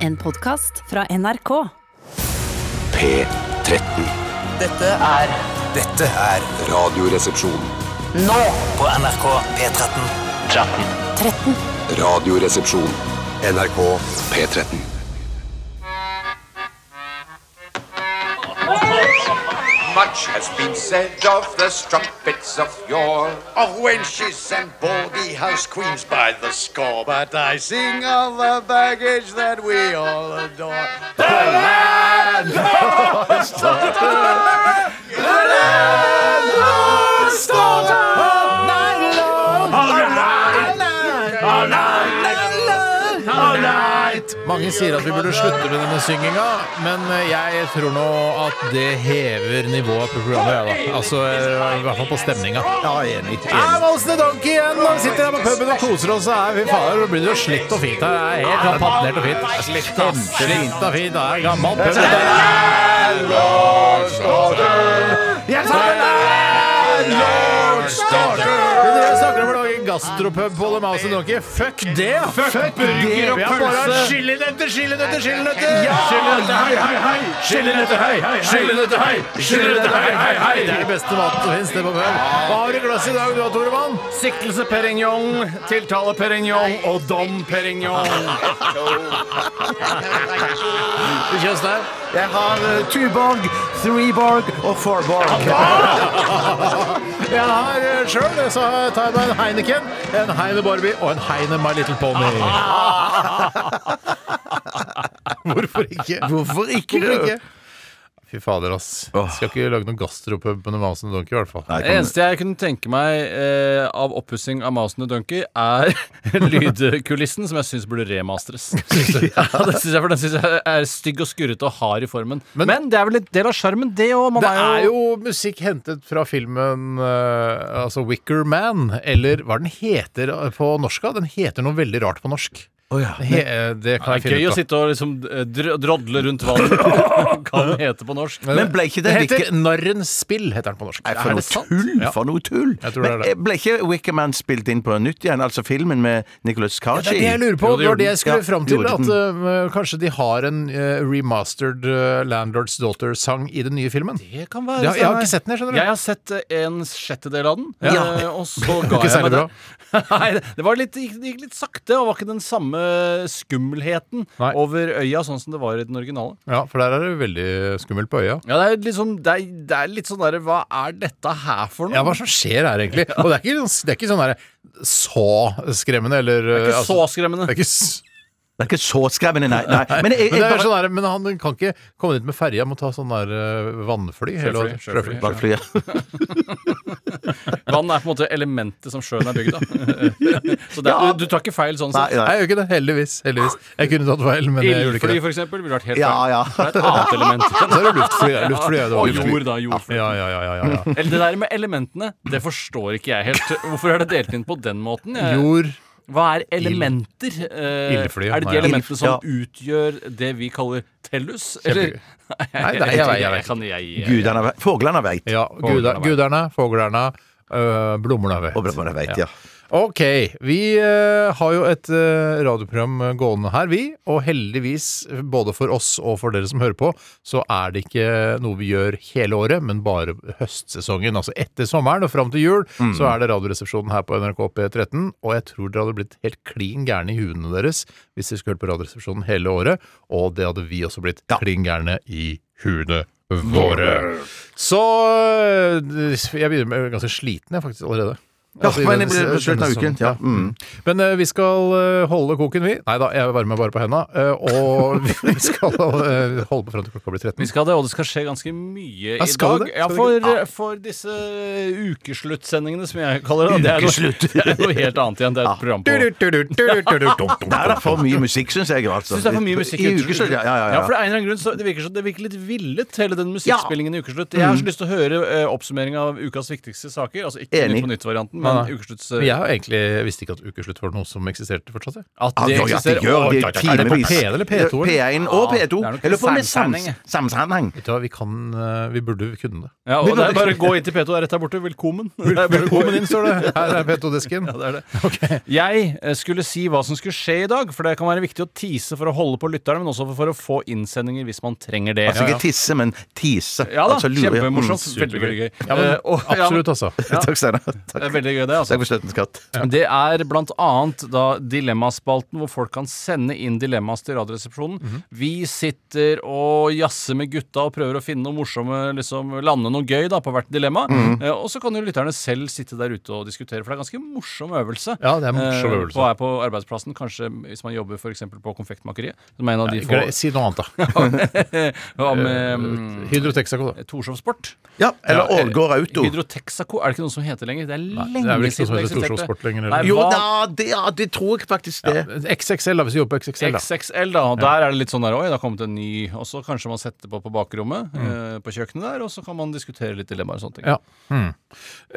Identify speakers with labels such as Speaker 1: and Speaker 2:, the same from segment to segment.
Speaker 1: En podkast fra NRK.
Speaker 2: P13.
Speaker 3: Dette er Dette er
Speaker 2: Radioresepsjon.
Speaker 3: Nå på NRK P13 13
Speaker 2: Radioresepsjon. NRK P13.
Speaker 4: Much has been said of the strumpets of yore.
Speaker 5: of wenches and baldy house queens by the score. But I sing of the baggage that we all adore.
Speaker 6: Mange sier at vi burde slutte med denne synginga, men eh, jeg tror nå at det hever nivået på programmet. Ja, da. Altså, I hvert fall på stemninga. Ja, enig. Er Vals the Donkey igjen! Da sitter her på puben og koser oss. og er vi fader, da blir det jo slitt og fint her. Det er Helt sånn patinert og fint. Slitt og fint. Det er gammel pub. Det er Jens Dere snakker om å lage gastropub på The Mouse and Donkey. Fuck det! Fuck, burger og pølse! Chillenøtter, chillenøtter, chillenøtter! Chillenøtter, hei, hei, hei! Chillenøtter, hei, hei, hei! Chillenøtter, hei, chillenøtter, hei, hei, hei! Det er det beste maten som finnes det på pub. Hva har du i glasset i dag, du, Toremann?
Speaker 7: Siktelse Perignon, tiltale Perignon og dom Perignon.
Speaker 6: Tjøstheim?
Speaker 7: Jeg har
Speaker 6: eh,
Speaker 7: uh, Tuborg, Threeborg og Fourborg.
Speaker 6: Jeg har eh, sjøl så tar jeg meg en Heineken, en Heine Barbie og en Heine My Little Pony. Hvorfor ikke?
Speaker 7: Hvorfor ikke?
Speaker 6: Hvorfor ikke? Fy fader, ass. Skal ikke lage noen gastropub på noen Mouse and Donkey, i hvert fall.
Speaker 8: Det eneste jeg kunne tenke meg eh, av oppussing av Mousen og Dunky, er lydkulissen, som jeg syns burde remastres. ja, det synes jeg, for Den syns jeg er stygg og skurrete og hard i formen. Men, det er vel en del av sjarmen, det òg.
Speaker 6: Det er jo musikk hentet fra filmen eh, altså Wicker Man, eller hva den heter eh, på norsk? da? Den heter noe veldig rart på norsk. Den he, eh, det kan jeg
Speaker 8: Det er
Speaker 6: finne
Speaker 8: gøy å
Speaker 6: ut av.
Speaker 8: sitte og liksom eh, dr- drodle rundt hva den kan hete på norsk.
Speaker 9: Men ble ikke det,
Speaker 6: Det
Speaker 9: Wicker-
Speaker 6: heter Narrens spill, heter den på norsk.
Speaker 9: Nei, for noe tull! For noe tull!
Speaker 6: Jeg tror det er
Speaker 9: Men
Speaker 6: det.
Speaker 9: eh, ble ikke Wickerman spilt inn på nytt igjen? Altså filmen med Nicholas
Speaker 6: Det er
Speaker 9: Cargi?
Speaker 6: det jeg lurer på.
Speaker 8: Jo, det
Speaker 6: det var
Speaker 8: gjorde
Speaker 6: det jeg skulle
Speaker 9: den. Ja,
Speaker 6: fram til.
Speaker 9: gjorde
Speaker 6: At eh, kanskje de har en eh, remastered eh, Landlords Daughter-sang i den nye filmen.
Speaker 8: Det kan være
Speaker 6: Ja, jeg har
Speaker 8: Steinar.
Speaker 6: ikke sett den, jeg, skjønner du.
Speaker 8: Jeg har sett eh, en sjettedel av den, eh, og så ga
Speaker 6: Ikke
Speaker 8: jeg meg
Speaker 6: særlig
Speaker 8: det. Nei, det var litt, det gikk- det gikk litt sakte, og var ikke den samme skummelheten
Speaker 6: Nei.
Speaker 8: over øya sånn som det var i den originale.
Speaker 6: Ja, for der er det veldig skummelt på øya.
Speaker 8: Ja, det er liksom, det er, det er litt sånn derre Hva er dette her for noe?
Speaker 6: Ja, hva som skjer her, egentlig? Og det er ikke, sånn- det er ikke sånn der, så skremmende, eller altså,
Speaker 8: det altså? er ikke så skremmende.
Speaker 6: Det er ikke s-
Speaker 9: Det er ikke så skremmende, nei. nei. Men, jeg,
Speaker 6: men,
Speaker 9: jeg,
Speaker 6: det er
Speaker 9: bare,
Speaker 6: sånn der, men han kan ikke komme dit med ferja, må ta sånn der eh, vannfly. eller-
Speaker 8: Sjøfly, sjøfly.
Speaker 9: bare fly, ja.
Speaker 8: Vann er på en måte elementet som sjøen er bygd av. så det er,
Speaker 9: Ja.
Speaker 8: du, du tar ikke feil sånn
Speaker 9: Nei,
Speaker 8: sett.
Speaker 9: nei.
Speaker 6: Nei, jeg gjør ikke det. Heldigvis. heldigvis. Jeg kunne tatt feil, men jeg gjorde ikke
Speaker 8: Ildfly,
Speaker 6: det.
Speaker 8: for eksempel, ville vært helt
Speaker 9: Ja,
Speaker 8: feil. Det er
Speaker 9: ja.
Speaker 8: et annet element.
Speaker 6: Så er det luftfly. luftfly er det
Speaker 8: Og
Speaker 6: også.
Speaker 8: jord, da. Jordfly.
Speaker 6: Ja, ja, ja, ja, ja, ja.
Speaker 8: Eller det der med elementene, det forstår ikke jeg helt. Hvorfor er det delt inn på den måten? Jeg,
Speaker 6: Jord
Speaker 8: Hva er elementer? Eh,
Speaker 6: Ildfly, ja.
Speaker 8: er det
Speaker 6: Ja.
Speaker 8: de elementene som
Speaker 9: Ja.
Speaker 8: utgjør det vi kaller tellus?
Speaker 6: Kjempegøy. Nei, det er- jeg
Speaker 8: jeg,
Speaker 6: vet ikke,
Speaker 8: jeg,
Speaker 6: jeg
Speaker 8: kan jeg, jeg,
Speaker 9: Gudene veit. Fuglene veit.
Speaker 6: Ja, guda, guderne, foglerne, øh, blomstene vet.
Speaker 9: Og blomstene vet, ja.
Speaker 6: Ok, vi øh, har jo et øh, radioprogram gående her, vi. Og heldigvis, både for oss og for dere som hører på, så er det ikke noe vi gjør hele året, men bare høstsesongen. Altså etter sommeren og fram til jul, så er det Radioresepsjonen her på NRK P13. Og jeg tror dere hadde blitt helt klin gærne i huene deres hvis dere skulle hørt på Radioresepsjonen hele året. Og det hadde vi også blitt klin gærne i huene våre. Så øh, jeg begynner med ganske sliten, jeg, faktisk, allerede.
Speaker 9: Ja,
Speaker 6: Altså, i
Speaker 9: men
Speaker 6: denne-
Speaker 9: jeg blir på slutten av
Speaker 6: denne
Speaker 9: uken.
Speaker 6: sesongen.
Speaker 9: Ja. Mm.
Speaker 6: sånn. Men eh, vi skal eh, holde koken, vi. Nei da, jeg varmer meg bare på henda. eh, og vi skal eh, holde på fram til klokka blir 13.
Speaker 8: Vi skal det, og det skal skje ganske mye
Speaker 6: Ja,
Speaker 8: i
Speaker 6: skal
Speaker 8: dag.
Speaker 6: det?
Speaker 8: Ja,
Speaker 6: Skal det
Speaker 8: for,
Speaker 6: ikke?
Speaker 8: for disse ukeslutt-sendingene, som jeg kaller det. da, Det er noe, det er noe helt annet igjen. Det er et program på
Speaker 9: Der er det for
Speaker 6: Nei,
Speaker 9: mye musikk, syns jeg. Altså.
Speaker 8: Synes det er for mye musikk
Speaker 9: I ukeslutt, ja, ja, ja,
Speaker 8: for det er en eller annen grunn så Det virker, så, det virker litt villet, hele
Speaker 9: Mm.
Speaker 8: den musikkspillingen i ukeslutt. Jeg har så lyst til å høre eh, oppsummering av ukas viktigste saker. Altså ikke
Speaker 9: Enig.
Speaker 8: Nytt på Nytt-varianten, Ukesluttsfesten,
Speaker 6: Nei,
Speaker 8: men
Speaker 6: nei.
Speaker 8: Ukeslutts...
Speaker 6: Men jeg har egentlig jeg visste ikke at ukeslutt var noe som eksisterte fortsatt. jeg.
Speaker 8: At
Speaker 9: Ja,
Speaker 8: det
Speaker 9: ja, ja,
Speaker 8: eksisterer.
Speaker 9: det gjør
Speaker 8: Å,
Speaker 9: det
Speaker 8: ja, ja, ja.
Speaker 6: Er det på
Speaker 9: timevis.
Speaker 6: P1 eller P2, eller?
Speaker 9: P1 og P2.
Speaker 8: det er nok
Speaker 9: Jeg lurer på om det er
Speaker 8: sammenheng,
Speaker 9: sams- sammenheng.
Speaker 6: Vet du hva, vi kan eh, Vi burde kunne det.
Speaker 8: Ja,
Speaker 9: Vi
Speaker 8: og det
Speaker 9: burde-
Speaker 8: er bare å gå inn til P2 rett der borte. Velkommen. Det er bare å gå
Speaker 6: Velkommen inn, står det. Her er P2-disken.
Speaker 8: Ja, det er det. Jeg eh, skulle si hva som skulle skje i dag, for det kan være viktig å tease for å holde på lytterne, men også for å få innsendinger hvis man trenger det.
Speaker 9: Altså ikke tisse, men tise.
Speaker 8: Ja da,
Speaker 9: altså, lurer-
Speaker 8: kjempemorsomt.
Speaker 9: Mm,
Speaker 8: Veldig, veldig gøy.
Speaker 6: Ja, men,
Speaker 8: Eh, og- ja,
Speaker 6: absolutt, altså.
Speaker 9: Takk, Steinar. Takk.
Speaker 8: Det er veldig gøy, det. altså
Speaker 9: Takk for støtten, skatt.
Speaker 8: Det er blant annet da Dilemmaspalten, hvor folk kan sende inn dilemmas til Radioresepsjonen.
Speaker 6: Mhm.
Speaker 8: Vi sitter og jazzer med gutta og prøver å finne noe morsomme, liksom lande noe gøy da på hvert dilemma.
Speaker 6: Mhm.
Speaker 8: Eh, og så kan jo lytterne selv sitte der ute og diskutere, for det er ganske morsom øvelse.
Speaker 6: Ja, det er en morsom
Speaker 8: Eh,
Speaker 6: øvelse.
Speaker 8: Og er på arbeidsplassen, kanskje hvis man jobber f.eks. på Konfektmakeriet, som er en av de få
Speaker 6: Greit, Si noe annet, da.
Speaker 8: Hva
Speaker 6: Eh,
Speaker 8: med mm,
Speaker 6: Hydro Texaco, da.
Speaker 8: Torshov-sport?
Speaker 9: Ja, eller Ålgård Auto.
Speaker 8: Hydro Texaco, er det ikke noe som heter lenger? Det er lenge
Speaker 6: det er vel ikke noe som
Speaker 8: siden det
Speaker 6: heter
Speaker 8: eksisterte.
Speaker 6: Torshov-sport lenger,
Speaker 8: Nei,
Speaker 6: eller?
Speaker 9: Jo
Speaker 8: hva-
Speaker 9: da, det, ja, det tror jeg faktisk det.
Speaker 6: XXL, da, hvis vi jobber på XXL. da
Speaker 8: XXL, da. Og der er det litt sånn der Oi, det har kommet en ny. Og så kanskje man setter på på bakrommet eh, på kjøkkenet der, og så kan man diskutere litt dilemmaer og sånne ting.
Speaker 6: Mm. Ja. Hmm.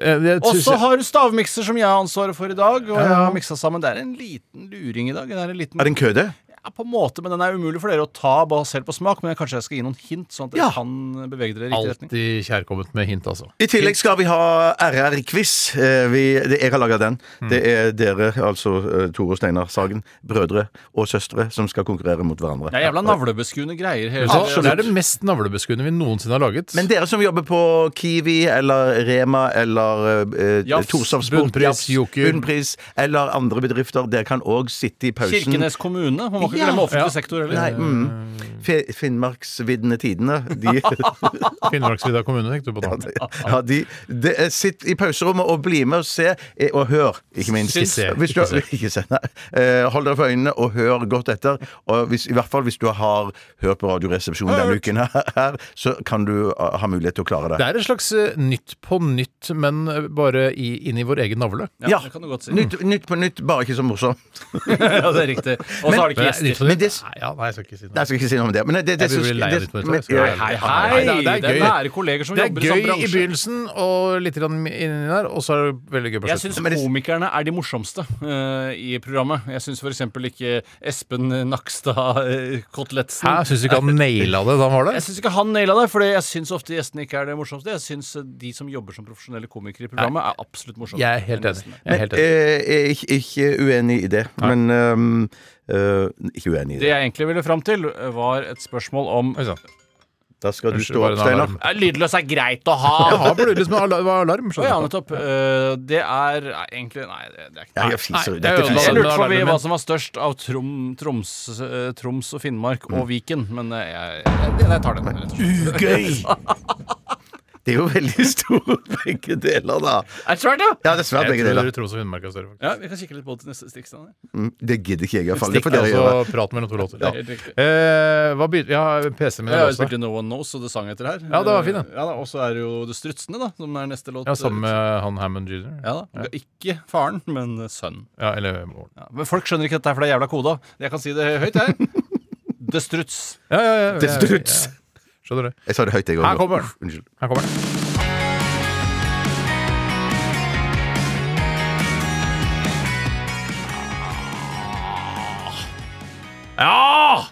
Speaker 6: Eh, jeg
Speaker 8: Og
Speaker 6: synes-
Speaker 8: så har du stavmikser, som jeg har ansvaret for i dag. Og jeg
Speaker 6: Ja.
Speaker 8: har miksa sammen. Det er en liten luring i dag. Den er en liten,
Speaker 9: Er det en køde?
Speaker 8: ja, på en måte, men den er umulig for dere å ta basert på smak. Men jeg, kanskje jeg skal gi noen hint, sånn at dere
Speaker 9: Ja.
Speaker 8: kan bevege dere i riktig retning.
Speaker 6: Alltid kjærkomment med hint, altså.
Speaker 9: I tillegg skal vi ha RR-quiz. Eh, vi- det- Jeg har laga den.
Speaker 8: Mm.
Speaker 9: Det er dere, altså eh, Tore og Steinar Sagen, brødre og søstre, som skal konkurrere mot hverandre.
Speaker 8: Det er jævla navlebeskuende greier. Hele
Speaker 6: Så,
Speaker 8: tiden.
Speaker 6: det er det mest navlebeskuende vi noensinne har laget.
Speaker 9: Men dere som jobber på Kiwi eller Rema eller eh,
Speaker 8: Jafs,
Speaker 9: Torshov Sport,
Speaker 6: Bunnpris,
Speaker 9: Jafs,
Speaker 6: Joker.
Speaker 9: Bunnpris eller andre bedrifter, dere kan òg sitte i pausen.
Speaker 8: Kirkenes kommune. Man må ikke
Speaker 9: Ja.
Speaker 8: glemme
Speaker 6: Ja.
Speaker 8: offentlig sektor heller.
Speaker 9: Nei, mm. Fe- Finnmarksvidne Tidene. De,
Speaker 6: Finnmarksvidda kommune, tenkte du på nå.
Speaker 9: ja, de, de, eh, sitt i pauserommet og bli med og se, eh, og hør, ikke minst.
Speaker 6: Ikke se,
Speaker 9: Hvis du,
Speaker 6: ikke se.
Speaker 9: ikke se nei. Eh, Hold dere for øynene og hør godt etter. Og hvis, I hvert fall hvis du har hørt på Radioresepsjonen denne uken, her, så kan du ah, ha mulighet til å klare
Speaker 6: Det
Speaker 9: det.
Speaker 6: er et slags eh, Nytt på nytt, men eh, bare i, inn i vår egen navle.
Speaker 8: Ja, det kan du godt si.
Speaker 9: Nytt, nytt på nytt, bare ikke så morsomt.
Speaker 8: ja, det er riktig. Og så
Speaker 9: Men-
Speaker 8: har de ikke
Speaker 6: Men,
Speaker 8: gjester.
Speaker 6: Nytt på nytt?
Speaker 9: Men det-
Speaker 6: Nei, ja, nei, jeg skal ikke si
Speaker 9: Nei,
Speaker 6: noe.
Speaker 9: Jeg skal ikke si noe om det. Men det, det, det,
Speaker 6: Jeg blir
Speaker 9: synes-
Speaker 6: lei av
Speaker 9: det-
Speaker 6: Nytt på Nytt, jeg skal
Speaker 9: men-
Speaker 6: være
Speaker 8: Hei,
Speaker 6: ærlig.
Speaker 8: hei!
Speaker 6: Nei, det er- det er gøy.
Speaker 8: nære kolleger som
Speaker 6: Det er
Speaker 8: jobber i samme
Speaker 6: gøy i
Speaker 8: bransje.
Speaker 6: begynnelsen og litt grann inni der, og så er det veldig gøy på
Speaker 8: Jeg
Speaker 6: slutten.
Speaker 8: syns
Speaker 9: Men det-
Speaker 8: komikerne er de morsomste eh, i programmet. Jeg syns f.eks. ikke Espen Nakstad eh, Kotletsen
Speaker 6: Hæ, syns du ikke han naila det da han var
Speaker 8: Jeg
Speaker 6: der?
Speaker 8: syns ikke han naila det, for jeg syns ofte gjestene ikke er det morsomste. Jeg syns de som jobber som profesjonelle komikere i programmet, er absolutt morsomste.
Speaker 6: Jeg er helt
Speaker 8: enn
Speaker 6: enig.
Speaker 8: gjestene.
Speaker 6: Jeg er helt enig.
Speaker 9: Eh, jeg er ikke, ikke uenig i det. Men ehm, eh, Ikke uenig i
Speaker 8: Det
Speaker 9: det.
Speaker 8: jeg egentlig ville fram til, eh, var et spørsmål om
Speaker 6: Oi sann.
Speaker 9: Da skal du
Speaker 6: Unnskyld,
Speaker 9: stå
Speaker 6: bare
Speaker 9: opp,
Speaker 6: en
Speaker 9: Steinar.
Speaker 6: alarm.
Speaker 8: «Er Lydløs er greit å ha!
Speaker 6: Jeg har burde liksom al- alarm.
Speaker 8: Å ja,
Speaker 6: skjønner du.
Speaker 8: nettopp. Eh, det er nei, egentlig Nei, det, det er ikke
Speaker 9: Ja, jeg fiser.
Speaker 6: Nei, det er
Speaker 9: Dette
Speaker 6: jo-
Speaker 9: fiser.
Speaker 8: Jeg lurte på
Speaker 6: alarmen min.
Speaker 8: hva som var størst av Trom, Troms, eh, Troms og Finnmark og Viken, men eh, jeg, jeg, jeg tar den. rett og slett.
Speaker 9: Ugøy! Det er jo veldig store begge deler, da.
Speaker 8: Er det svært, ja?
Speaker 9: Ja, det er svært
Speaker 6: Jeg
Speaker 9: begge
Speaker 6: tror
Speaker 9: deler.
Speaker 6: Troms og Finnmark er større. faktisk.
Speaker 8: Ja, Vi kan kikke litt på det til neste stikk. Stanley.
Speaker 9: Mm, Det gidder ikke jeg, iallfall. Det
Speaker 6: Stikk,
Speaker 9: får dere gjøre.
Speaker 6: altså prat mellom to låter.
Speaker 8: Det er helt riktig.
Speaker 6: Eh, hva begynte Ja, PC-en min
Speaker 8: Jeg
Speaker 6: er
Speaker 8: har jo
Speaker 6: låst.
Speaker 8: spilt i No One Knows, og det sang etter her. Eh,
Speaker 6: Ja, det var fin, den.
Speaker 8: ja, da, Og så er det jo Det Strutsende, da, som er neste låt.
Speaker 6: Ja, eh, sammen med han Hammond jr.
Speaker 8: Ja da. Ikke faren, men sønnen.
Speaker 6: Ja, eller Morten.
Speaker 8: Ja. Men folk skjønner ikke dette her, for det er jævla koda. Jeg kan si det høyt, jeg. The Struts.
Speaker 6: Ja, ja, ja, ja,
Speaker 9: Det
Speaker 6: ja,
Speaker 9: er struts.
Speaker 6: ja. Skjønner du.
Speaker 9: Jeg sa det høyt, jeg òg.
Speaker 6: Her kommer den.
Speaker 9: Unnskyld.
Speaker 6: Her kommer den.
Speaker 8: Ja!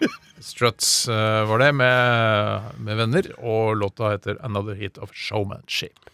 Speaker 6: Struts eh, var det, med, med venner, og låta heter 'Another Hit of Showmanship'.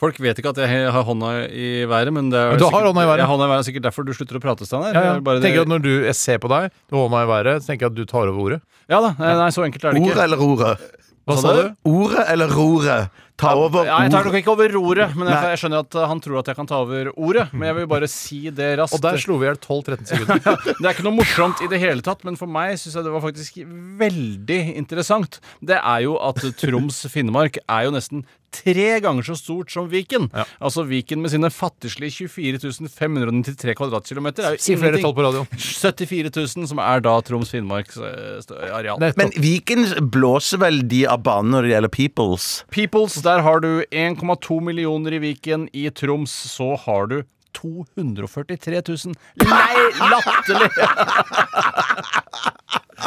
Speaker 8: Folk vet ikke at jeg har hånda i været, men det er
Speaker 6: Men du har hånda i været.
Speaker 8: Jeg har hånda i været, er sikkert derfor du slutter å prate, Steinar.
Speaker 6: Ja, ja.
Speaker 8: Det er bare det-
Speaker 6: Tenker at Når du, jeg ser på deg, du har hånda i været, så tenker jeg at du tar over ordet.
Speaker 8: Ja da, nei, nei, så enkelt er det ikke.
Speaker 9: Ordet eller roret?
Speaker 6: Hva
Speaker 8: sa
Speaker 6: sa du?
Speaker 8: du?
Speaker 9: Ordet eller roret? Ta over
Speaker 8: Ja, jeg tar nok
Speaker 9: ordet.
Speaker 8: ikke over roret, men jeg,
Speaker 9: Nei.
Speaker 8: jeg skjønner at uh, han tror at jeg kan ta over ordet. Men jeg vil bare si det raskt.
Speaker 6: Og der slo vi i hjel 12-13 sekunder.
Speaker 8: Det er ikke noe morsomt i det hele tatt, men for meg syns jeg det var faktisk veldig interessant. Det er jo at Troms-Finnmark er jo nesten tre ganger så stort som Viken. Altså Viken med sine fattigslige 24 593 kvadratkilometer er jo
Speaker 6: Si flere
Speaker 8: ingenting.
Speaker 6: tall på radioen.
Speaker 8: 74 000, som er da Troms-Finnmarks eh, stø- areal.
Speaker 6: Nettopp.
Speaker 9: Men Viken blåser vel de av banen når det gjelder Peoples?
Speaker 8: Peoples, der har du 1,2 millioner i Viken. I Troms så har du 243 000. Nei, latterlig!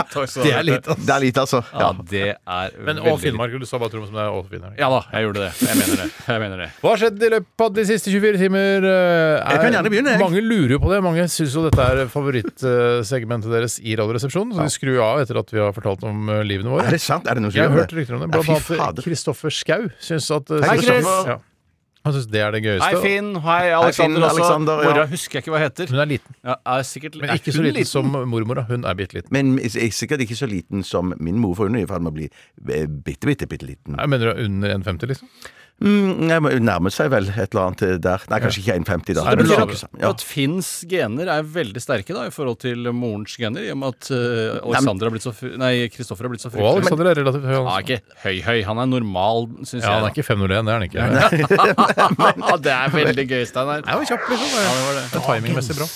Speaker 8: takk skal du
Speaker 6: Det
Speaker 8: ha.
Speaker 6: er litt, ass.
Speaker 9: Det er lite, altså.
Speaker 8: Ja,
Speaker 9: Ja.
Speaker 8: det er
Speaker 6: Men
Speaker 8: veldig
Speaker 6: og Finnmark, du sa bare Troms, men det er også Finnmark.
Speaker 8: Ja da, jeg gjorde det. Jeg mener det. Jeg mener det.
Speaker 6: Hva har skjedd i løpet av de siste 24 timer? eh, Er,
Speaker 9: Jeg kan gjerne begynne, jeg.
Speaker 6: Mange lurer jo på det. Mange syns jo dette er favorittsegmentet deres i Radioresepsjonen, så de skrur av etter at vi har fortalt om eh, livene våre.
Speaker 9: Er det sant? Er det noe som
Speaker 6: Jeg har
Speaker 9: gjør
Speaker 6: hørt rykter om det.
Speaker 9: Ja,
Speaker 6: Blant
Speaker 9: fy
Speaker 6: annet
Speaker 9: fader.
Speaker 6: Kristoffer Schau syns at eh,
Speaker 9: Hei, Chris.
Speaker 6: Ja. Han syns det er det gøyeste.
Speaker 8: Hei, Finn. Hei, Alexander.
Speaker 9: Finn,
Speaker 8: også.
Speaker 9: Alexander, ja.
Speaker 8: Mora husker jeg ikke hva heter.
Speaker 6: Hun er liten,
Speaker 8: Ja, er sikkert,
Speaker 6: men
Speaker 8: er
Speaker 6: ikke så
Speaker 8: hun
Speaker 6: liten som mormora. Hun er bitte liten.
Speaker 9: Men jeg er sikkert ikke så liten som min mor, for hun er i ferd med å bli eh, bitte, bitte, bitte liten.
Speaker 6: Jeg mener du er under 1,50, liksom?
Speaker 9: Mm, nei, men hun nærmer seg vel et eller annet eh, der. Nei, kanskje ikke 1,50 da.
Speaker 6: Så det
Speaker 9: Men
Speaker 6: betyr
Speaker 9: noe
Speaker 6: at-
Speaker 9: sånt,
Speaker 8: Og At Finns gener er veldig sterke da, i forhold til morens gener, i og med at eh, Alexander har blitt så fr- Nei, Kristoffer har blitt så
Speaker 6: Og
Speaker 8: fryktelig
Speaker 6: Alexander er relativt høy. altså.
Speaker 8: Han
Speaker 6: Han,
Speaker 8: er ikke høy-høy. Han er normal, syns
Speaker 6: ja, han er
Speaker 8: jeg.
Speaker 6: ikke 501, det er han ikke. liksom,
Speaker 8: da. det er veldig gøy, Steinar.
Speaker 6: Det var kjapp, liksom. Det, det er timingmessig bra.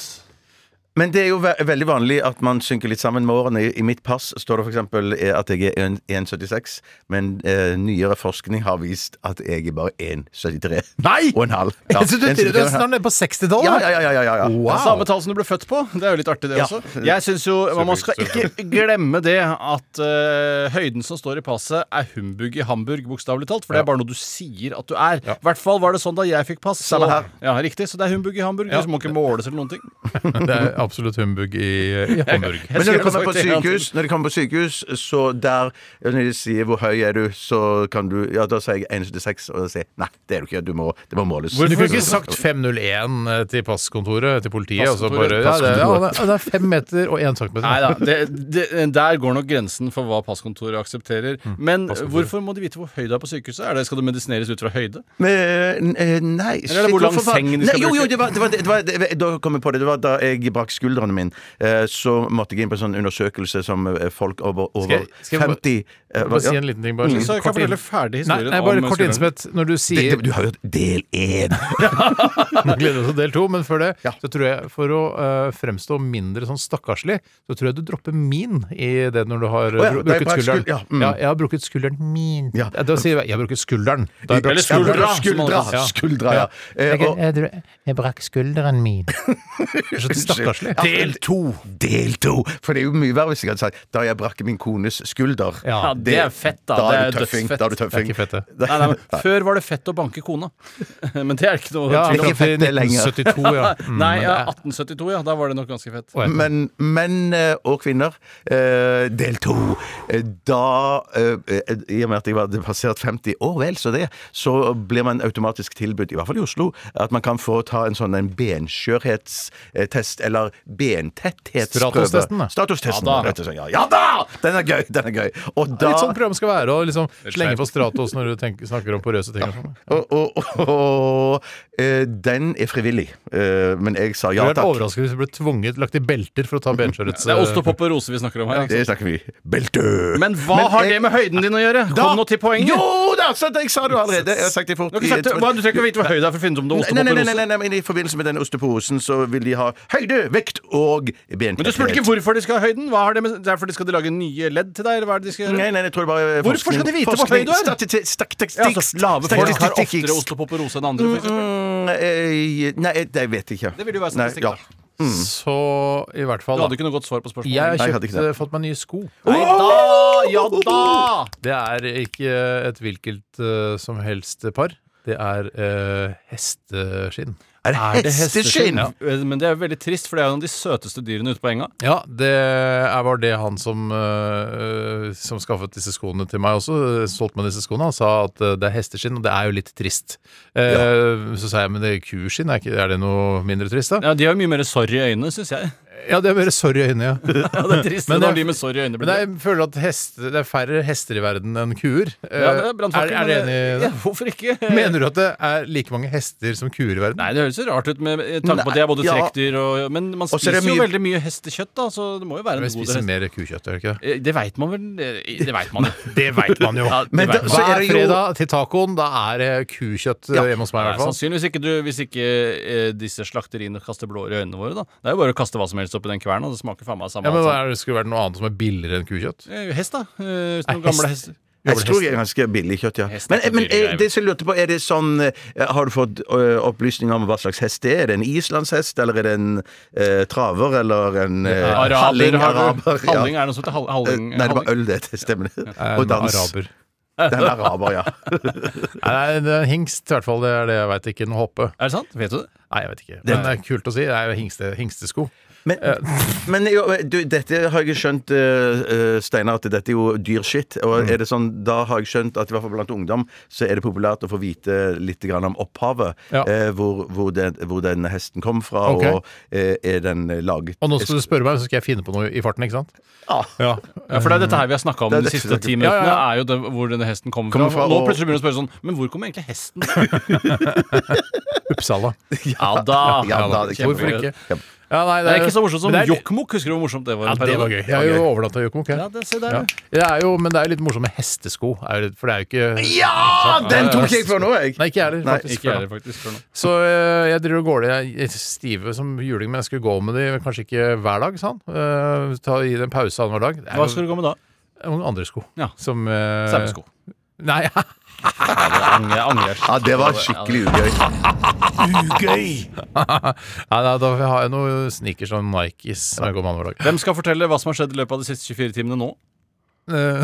Speaker 9: Men det er jo ve veldig vanlig at man synker litt sammen med årene. I, i mitt pass står det f.eks. at jeg er en- 1,76, men eh, nyere forskning har vist at jeg er bare 1,73
Speaker 6: Nei!
Speaker 9: og en halv. Ja,
Speaker 6: Så du, du
Speaker 9: 1,73 og
Speaker 6: er
Speaker 9: en halv.
Speaker 6: snart nede på
Speaker 9: ja,
Speaker 6: 60-tallet?
Speaker 9: ja, ja, ja, ja, ja.
Speaker 8: Det
Speaker 6: Wow.
Speaker 8: er Samme tall som du ble født på. Det er jo litt artig, det
Speaker 9: Ja.
Speaker 8: også. Jeg synes jo Man skal ikke glemme det at eh, høyden som står i passet, er humbug i Hamburg, bokstavelig talt. For det er bare noe du sier at du er. I hvert fall var det sånn da jeg fikk pass. så-
Speaker 9: Samme her.
Speaker 8: Ja, riktig. Så det er humbug i Hamburg. Du må ikke måles eller noen ting.
Speaker 6: Det er absolutt humbug i, i Hamburg.
Speaker 9: Men når
Speaker 8: skulle
Speaker 9: du kommer
Speaker 8: sagt
Speaker 9: på
Speaker 8: det hele tiden.
Speaker 9: sykehus, når du kommer på sykehus så der Når de sier 'hvor høy er du', så kan du Ja, da sier jeg 1,76, og da sier jeg 'nei, det er du ikke, du må, det må måles'.
Speaker 6: Du kunne ikke sagt 501 eh, til passkontoret, til politiet, og så bare
Speaker 8: Passkontoret,
Speaker 6: ja, det, ja, det er- det er fem meter og én centimeter.
Speaker 8: Nei da. Det, det, der går nok grensen for hva passkontoret aksepterer.
Speaker 6: Mm.
Speaker 8: Men hvorfor må de vite hvor høy du er på sykehuset? Er det, skal du medisineres ut fra høyde?
Speaker 9: Men, eh, nei shit,
Speaker 8: hvor lang
Speaker 9: hvorfor var-
Speaker 8: sengen de skal
Speaker 9: nei, jo, Jo,
Speaker 8: bruke?
Speaker 9: det var, det var, det var det, Da kom jeg på det. Det var da jeg brakk skuldrene mine. eh, Så måtte jeg inn på en sånn undersøkelse som eh, folk over, over
Speaker 6: Skal jeg- skal jeg bare-
Speaker 9: 50 eh,
Speaker 6: Bare si
Speaker 9: ja.
Speaker 6: en liten ting. Bare, sånn
Speaker 8: Så jeg
Speaker 6: kort
Speaker 8: kan
Speaker 6: inn-
Speaker 8: fortelle ferdig
Speaker 6: Nei,
Speaker 8: historien
Speaker 6: nei, bare
Speaker 8: om
Speaker 6: kort
Speaker 8: skulderen.
Speaker 6: innsmett. Når du
Speaker 9: det,
Speaker 6: sier
Speaker 9: det, Du har jo del én!
Speaker 6: Nå gleder vi oss til del to, men før det så tror jeg for å eh, fremstå mindre sånn stakkarslig, så tror jeg du dropper min i det når du har eh,
Speaker 9: Å ja,
Speaker 6: bru-
Speaker 9: da jeg
Speaker 6: brukket
Speaker 9: brakk
Speaker 6: skulderen.
Speaker 9: skul- ja, mm.
Speaker 6: jeg har brukket skulderen min. Eh,
Speaker 9: Ja.
Speaker 6: Da sier jeg jeg har brukket skulderen. Da jeg
Speaker 8: Eller
Speaker 6: brakk skulderen.
Speaker 8: skuldra, som alle
Speaker 9: Skuldra!
Speaker 8: sier.
Speaker 9: skuldra ja. Eh, og-
Speaker 6: jeg brakk skulderen min. Så stakkarslig.
Speaker 9: Del to! Del to! For det er jo mye verre hvis jeg hadde sagt 'da jeg brakk min kones skulder'.
Speaker 6: Ja,
Speaker 8: det er fett, da.
Speaker 9: Da er
Speaker 8: Det er
Speaker 9: du tøffing.
Speaker 8: dødsfett.
Speaker 9: Da er du
Speaker 6: Det er
Speaker 9: tøffing.
Speaker 6: ikke fett, det.
Speaker 8: Nei, nei, men Før var det fett å banke kona. Men det er ikke noe
Speaker 6: Ja,
Speaker 8: tvil om.
Speaker 9: ikke
Speaker 6: fram til
Speaker 9: fett det lenger.
Speaker 6: 1972, ja. Mm,
Speaker 8: Nei,
Speaker 6: men
Speaker 8: ja,
Speaker 6: det er-
Speaker 8: 1872, ja. Da var det nok ganske fett.
Speaker 6: Å, jeg-
Speaker 9: Men menn eh, og kvinner, eh, del to. Eh, Da, eh, eh, i og med at jeg var passert 50 år, vel så det, så blir man automatisk tilbudt, i hvert fall i Oslo, at man kan få ta en sånn en benskjørhetstest, eller bentetthetsprøve.
Speaker 6: Stratostesten, da.
Speaker 9: Stratostesten,
Speaker 8: Ja da.
Speaker 9: rett og slett. Ja, ja da! Den er gøy, den er gøy. Og
Speaker 6: Det er
Speaker 9: da
Speaker 6: litt sånn programmet skal være, å liksom slenge på Stratos når du tenker, snakker om porøse ting. Og sånn.
Speaker 9: og, og, og, og, eh, Den er frivillig. Eh, men jeg sa ja
Speaker 6: det hadde vært
Speaker 9: takk. Mm.
Speaker 6: overraskende hvis du ble tvunget, lagt i belter for å ta eh, benskjørhets...
Speaker 8: Det er ost og pop og rose vi snakker om her. Ikke sant?
Speaker 9: Det snakker vi. Belte!
Speaker 8: liksom. Men hva har det med høyden din å gjøre? Kom nå til poenget.
Speaker 9: Jo da! Så jeg sa det jo allerede. Jeg har sagt det fort.
Speaker 8: Du, har ikke sagt, hva, du trenger ikke å vite hvor høy det er for å finne ut om det er
Speaker 9: Nei,
Speaker 8: ostepop
Speaker 9: nei,
Speaker 8: eller
Speaker 9: nei, nei,
Speaker 8: rose.
Speaker 9: nei, nei, men I forbindelse med den osteposen så vil de ha høyde, vekt og bentetthet.
Speaker 8: Men du spurte ikke hvorfor de skal ha høyden. Hva har det med, det er fordi de skal de lage nye ledd til deg, eller hva er det de skal
Speaker 9: Nei,
Speaker 8: gjøre?
Speaker 9: nei, jeg tror det bare
Speaker 8: Hvorfor
Speaker 9: forskning-
Speaker 8: skal de vite hvor
Speaker 9: forskning-
Speaker 8: høy du er?
Speaker 9: Statistikk, statistikk,
Speaker 8: Ja, altså, lave folk har
Speaker 9: statistikk-
Speaker 8: oftere ostepop og rose enn andre. for eksempel.
Speaker 9: Mm, eh, Nei, jeg- det vet jeg ikke.
Speaker 8: Det vil jo være
Speaker 9: Nei,
Speaker 8: statistikk,
Speaker 9: ja.
Speaker 8: da.
Speaker 6: Så i hvert fall,
Speaker 8: Du
Speaker 6: da.
Speaker 8: hadde ikke noe godt svar på spørsmålet.
Speaker 6: Jeg har
Speaker 9: Nei, jeg
Speaker 6: kjøpt,
Speaker 9: hadde ikke det.
Speaker 6: eh, fått meg nye sko.
Speaker 8: Nei da! Ja da!
Speaker 6: Det er ikke et hvilket eh, som helst par. Det er eh, hesteskinn.
Speaker 9: Er det hesteskinn?
Speaker 8: Ja. Eh, Men det er veldig trist, for det er jo en av de søteste dyrene ute på enga.
Speaker 6: Ja, det er- var det han som, eh, som skaffet disse skoene til meg også. eh, Solgte meg disse skoene. Han sa at eh, det er hesteskinn, og det er jo litt trist. Eh, Så sa jeg men det er kuskinn, er, ikke, er det noe mindre trist da?
Speaker 8: Ja, De har jo mye mer sorry i øynene, syns jeg.
Speaker 6: Ja, det er bare sorry i øynene, ja.
Speaker 8: Ja, det er trist
Speaker 6: Men
Speaker 8: når
Speaker 6: det-
Speaker 8: de med sorry i øynene
Speaker 6: Men
Speaker 8: blir det.
Speaker 6: jeg føler at hest, det er færre hester i verden enn kuer. Eh,
Speaker 8: Ja, det er
Speaker 6: er,
Speaker 8: brannfakkel.
Speaker 6: er du enig i
Speaker 8: Ja,
Speaker 6: det?
Speaker 8: hvorfor ikke?
Speaker 6: Mener du at det er like mange hester som kuer i verden?
Speaker 8: Nei, det høres jo rart ut med tanke på at de er både
Speaker 9: Nei, ja.
Speaker 8: trekkdyr og Men man
Speaker 9: Og så er
Speaker 8: spiser
Speaker 9: det
Speaker 8: jo
Speaker 9: mye-
Speaker 8: veldig mye hestekjøtt, da, så det må jo være
Speaker 6: Vi
Speaker 8: en god
Speaker 6: spiser
Speaker 8: hest.
Speaker 6: mer kukjøtt, gjør vi ikke det?
Speaker 8: Eh, Det veit man vel eh, Det veit man jo.
Speaker 6: Det veit man jo.
Speaker 8: Ja, det
Speaker 9: Men
Speaker 8: vet
Speaker 9: da-
Speaker 8: man.
Speaker 9: så er
Speaker 6: Hver
Speaker 9: det jo-
Speaker 6: fredag til tacoen, da er det kukjøtt eh,
Speaker 9: Ja.
Speaker 6: hjemme hos meg i
Speaker 8: Nei,
Speaker 6: hvert fall.
Speaker 8: sannsynligvis ikke, du, hvis ikke eh, disse slakteriene kaster blår i øynene våre, da. Det er jo bare å kaste hva som helst oppi den kverna, det smaker faen meg samme.
Speaker 6: Ja, men
Speaker 8: alt
Speaker 6: hva
Speaker 8: sammen.
Speaker 6: er det, Skulle vært noe annet som er billigere enn kukjøtt?
Speaker 8: Eh, Hest, da. Eh,
Speaker 6: Nei,
Speaker 8: noen gamle
Speaker 6: hest.
Speaker 8: hester.
Speaker 9: Jeg tror jeg er ganske billig kjøtt, ja.
Speaker 8: Hest er
Speaker 9: Men,
Speaker 8: ikke
Speaker 9: men
Speaker 8: billig,
Speaker 9: eh,
Speaker 8: jeg
Speaker 9: det som jeg lurte på, er det sånn eh, Har du fått eh, opplysninger om hva slags hest det er? Er det en islandshest, eller er det en eh, traver, eller en eh, halling
Speaker 8: Araber har du.
Speaker 9: araber?
Speaker 8: Halling
Speaker 9: ja.
Speaker 8: er noe sånt. hal-
Speaker 9: Eh,
Speaker 8: Halling,
Speaker 9: Nei, det var
Speaker 8: halling.
Speaker 9: øl, det. det Stemmer det.
Speaker 6: Eh,
Speaker 9: Og dans.
Speaker 6: Araber.
Speaker 9: Det er en araber, ja.
Speaker 6: Nei, nei, det er en hingst, i hvert fall. Det er det jeg veit. Ikke noe hoppe.
Speaker 8: Er det sant? Vet du det?
Speaker 6: Nei, jeg vet ikke. Men det er kult å si. Det er jo hingste, hingstesko.
Speaker 9: Men, men jo, du, dette har jeg skjønt, eh, eh, Steinar, at dette er jo dyr shit. Og er det sånn, da har jeg skjønt at i hvert fall blant ungdom så er det populært å få vite litt grann om opphavet.
Speaker 6: Ja.
Speaker 9: eh, hvor, hvor, den, hvor den hesten kom fra,
Speaker 6: Ok.
Speaker 9: og eh, er den laget
Speaker 6: Og nå skal du spørre meg, så skal jeg finne på noe i farten, ikke sant? Ja.
Speaker 8: Ja, for det er dette her vi har snakka om
Speaker 9: Det er
Speaker 8: de
Speaker 9: dette
Speaker 8: siste
Speaker 9: vi
Speaker 8: ti
Speaker 9: snakker
Speaker 6: Ja,
Speaker 8: minuttene.
Speaker 6: ja, ja.
Speaker 8: Er jo det, hvor denne hesten kommer,
Speaker 9: Kommer
Speaker 8: fra.
Speaker 9: fra,
Speaker 8: Nå
Speaker 9: og-
Speaker 8: plutselig begynner du å spørre sånn Men hvor kommer egentlig hesten?
Speaker 6: Uppsala.
Speaker 8: ja da!
Speaker 9: Ja, da, det er
Speaker 6: Hvorfor
Speaker 9: kjempegøy.
Speaker 6: ikke?
Speaker 9: Ja.
Speaker 6: Ja, nei,
Speaker 8: Det er ikke så morsomt som
Speaker 6: men det er-
Speaker 8: jokkmokk. Husker du hvor morsomt det var?
Speaker 6: Ja,
Speaker 8: en
Speaker 6: det var
Speaker 8: periode?
Speaker 6: gøy. Jeg har jo overnatta i Jokkmokk,
Speaker 8: Ja,
Speaker 6: jeg.
Speaker 8: det, se der,
Speaker 6: Ja.
Speaker 8: ja.
Speaker 6: Det er jo, men det er jo litt morsomt med hestesko, er det- for det er jo ikke
Speaker 9: Ja! Den tok jeg fra nå, jeg!
Speaker 6: Nei, ikke jeg heller,
Speaker 9: Nei,
Speaker 6: faktisk.
Speaker 8: Ikke jeg heller, faktisk. For noe.
Speaker 6: Så øh, jeg driver og går det jeg er stive som juling, men jeg skulle gå med de kanskje ikke hver dag, sa han. Øh, ta, gi det en pause annenhver dag. Det er jo
Speaker 8: Hva skal du gå med da?
Speaker 6: noen andre sko.
Speaker 8: Ja.
Speaker 6: Som øh,
Speaker 8: Sauesko.
Speaker 6: Nei,
Speaker 8: Jeg angrer.
Speaker 9: Ja, det var skikkelig ugøy.
Speaker 6: nei, nei, da har jeg noen sneakers og Nikes som jeg går med annenhver dag.
Speaker 8: Hvem skal fortelle hva som har skjedd i løpet av de siste 24 timene nå?
Speaker 6: Eh,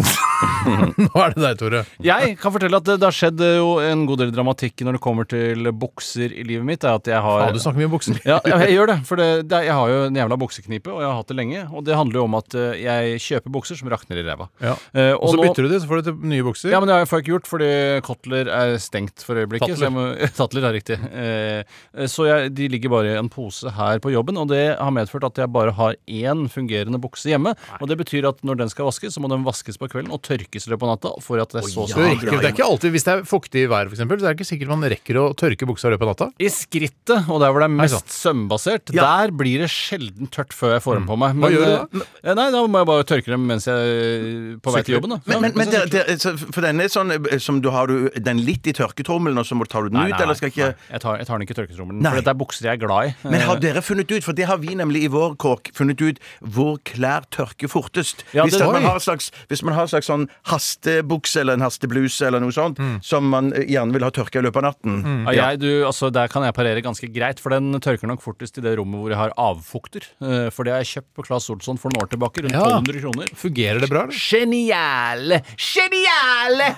Speaker 6: Nå er det deg, Tore.
Speaker 8: Jeg kan fortelle at det, det har skjedd eh, jo en god del dramatikk når det kommer til bukser i livet mitt. Er at jeg har
Speaker 6: Ja, du snakker mye om bukser.
Speaker 8: Ja, ja, jeg gjør det. For det, det, er- jeg har jo en jævla bukseknipe, og jeg har hatt det lenge. Og det handler jo om at eh, jeg kjøper bukser som rakner i ræva.
Speaker 6: Ja.
Speaker 8: Eh,
Speaker 6: Og så
Speaker 8: nå-
Speaker 6: bytter du de, så får du til nye bukser.
Speaker 8: Ja, men det har jeg får jeg ikke gjort, fordi Kotler er stengt for
Speaker 6: Tatler.
Speaker 8: øyeblikket. Så jeg må, Tatler er riktig. Eh, så jeg, de ligger bare i en pose her på jobben, og det har medført at jeg bare har én fungerende bukse hjemme. Og det betyr at når den skal vaskes, så må den vaskes på kvelden og tørkes i løpet av natta. For at det er så
Speaker 6: Du rekker, det er ikke alltid, Hvis det er fuktig vær, for eksempel, så er det ikke sikkert man rekker å tørke buksa i løpet av natta.
Speaker 8: I skrittet, og der hvor det er
Speaker 6: sant.
Speaker 8: mest sømbasert, der blir det sjelden tørt før jeg får dem på meg. Men,
Speaker 6: gjør
Speaker 8: eh, eh, Nei, da må jeg bare tørke dem mens jeg eh, på vei
Speaker 6: Sykler.
Speaker 8: til jobben, da.
Speaker 9: Men, men, men
Speaker 8: Ja,
Speaker 9: det, det, så for denne er sånn eh, som du har du den litt i tørketrommelen, og så må du ta den ut,
Speaker 8: Nei, nei,
Speaker 9: eller skal ikke
Speaker 8: nei. Jeg tar, jeg tar den ikke i tørketrommelen,
Speaker 9: Nei.
Speaker 8: for dette er bukser jeg er glad i.
Speaker 9: Men har dere funnet ut, for det har vi nemlig i vår kåk, funnet ut hvor klær tørker fortest.
Speaker 8: Ja,
Speaker 9: hvis,
Speaker 8: det-
Speaker 9: at man
Speaker 8: Oi.
Speaker 9: har en slags, hvis man har en slags sånn hastebukse eller en hastebluse eller noe sånt,
Speaker 8: Mm.
Speaker 9: som man eh, gjerne vil ha tørka i løpet av natten.
Speaker 8: Ja, jeg, du, altså, der kan jeg parere ganske greit, for den tørker nok fortest i det rommet hvor jeg har avfukter. Eh, For det har jeg kjøpt på Claes Olsson for noen år tilbake, rundt
Speaker 6: Ja.
Speaker 8: 1200 kroner.
Speaker 6: Fungerer det bra? eller?
Speaker 8: Geniale! Geniale!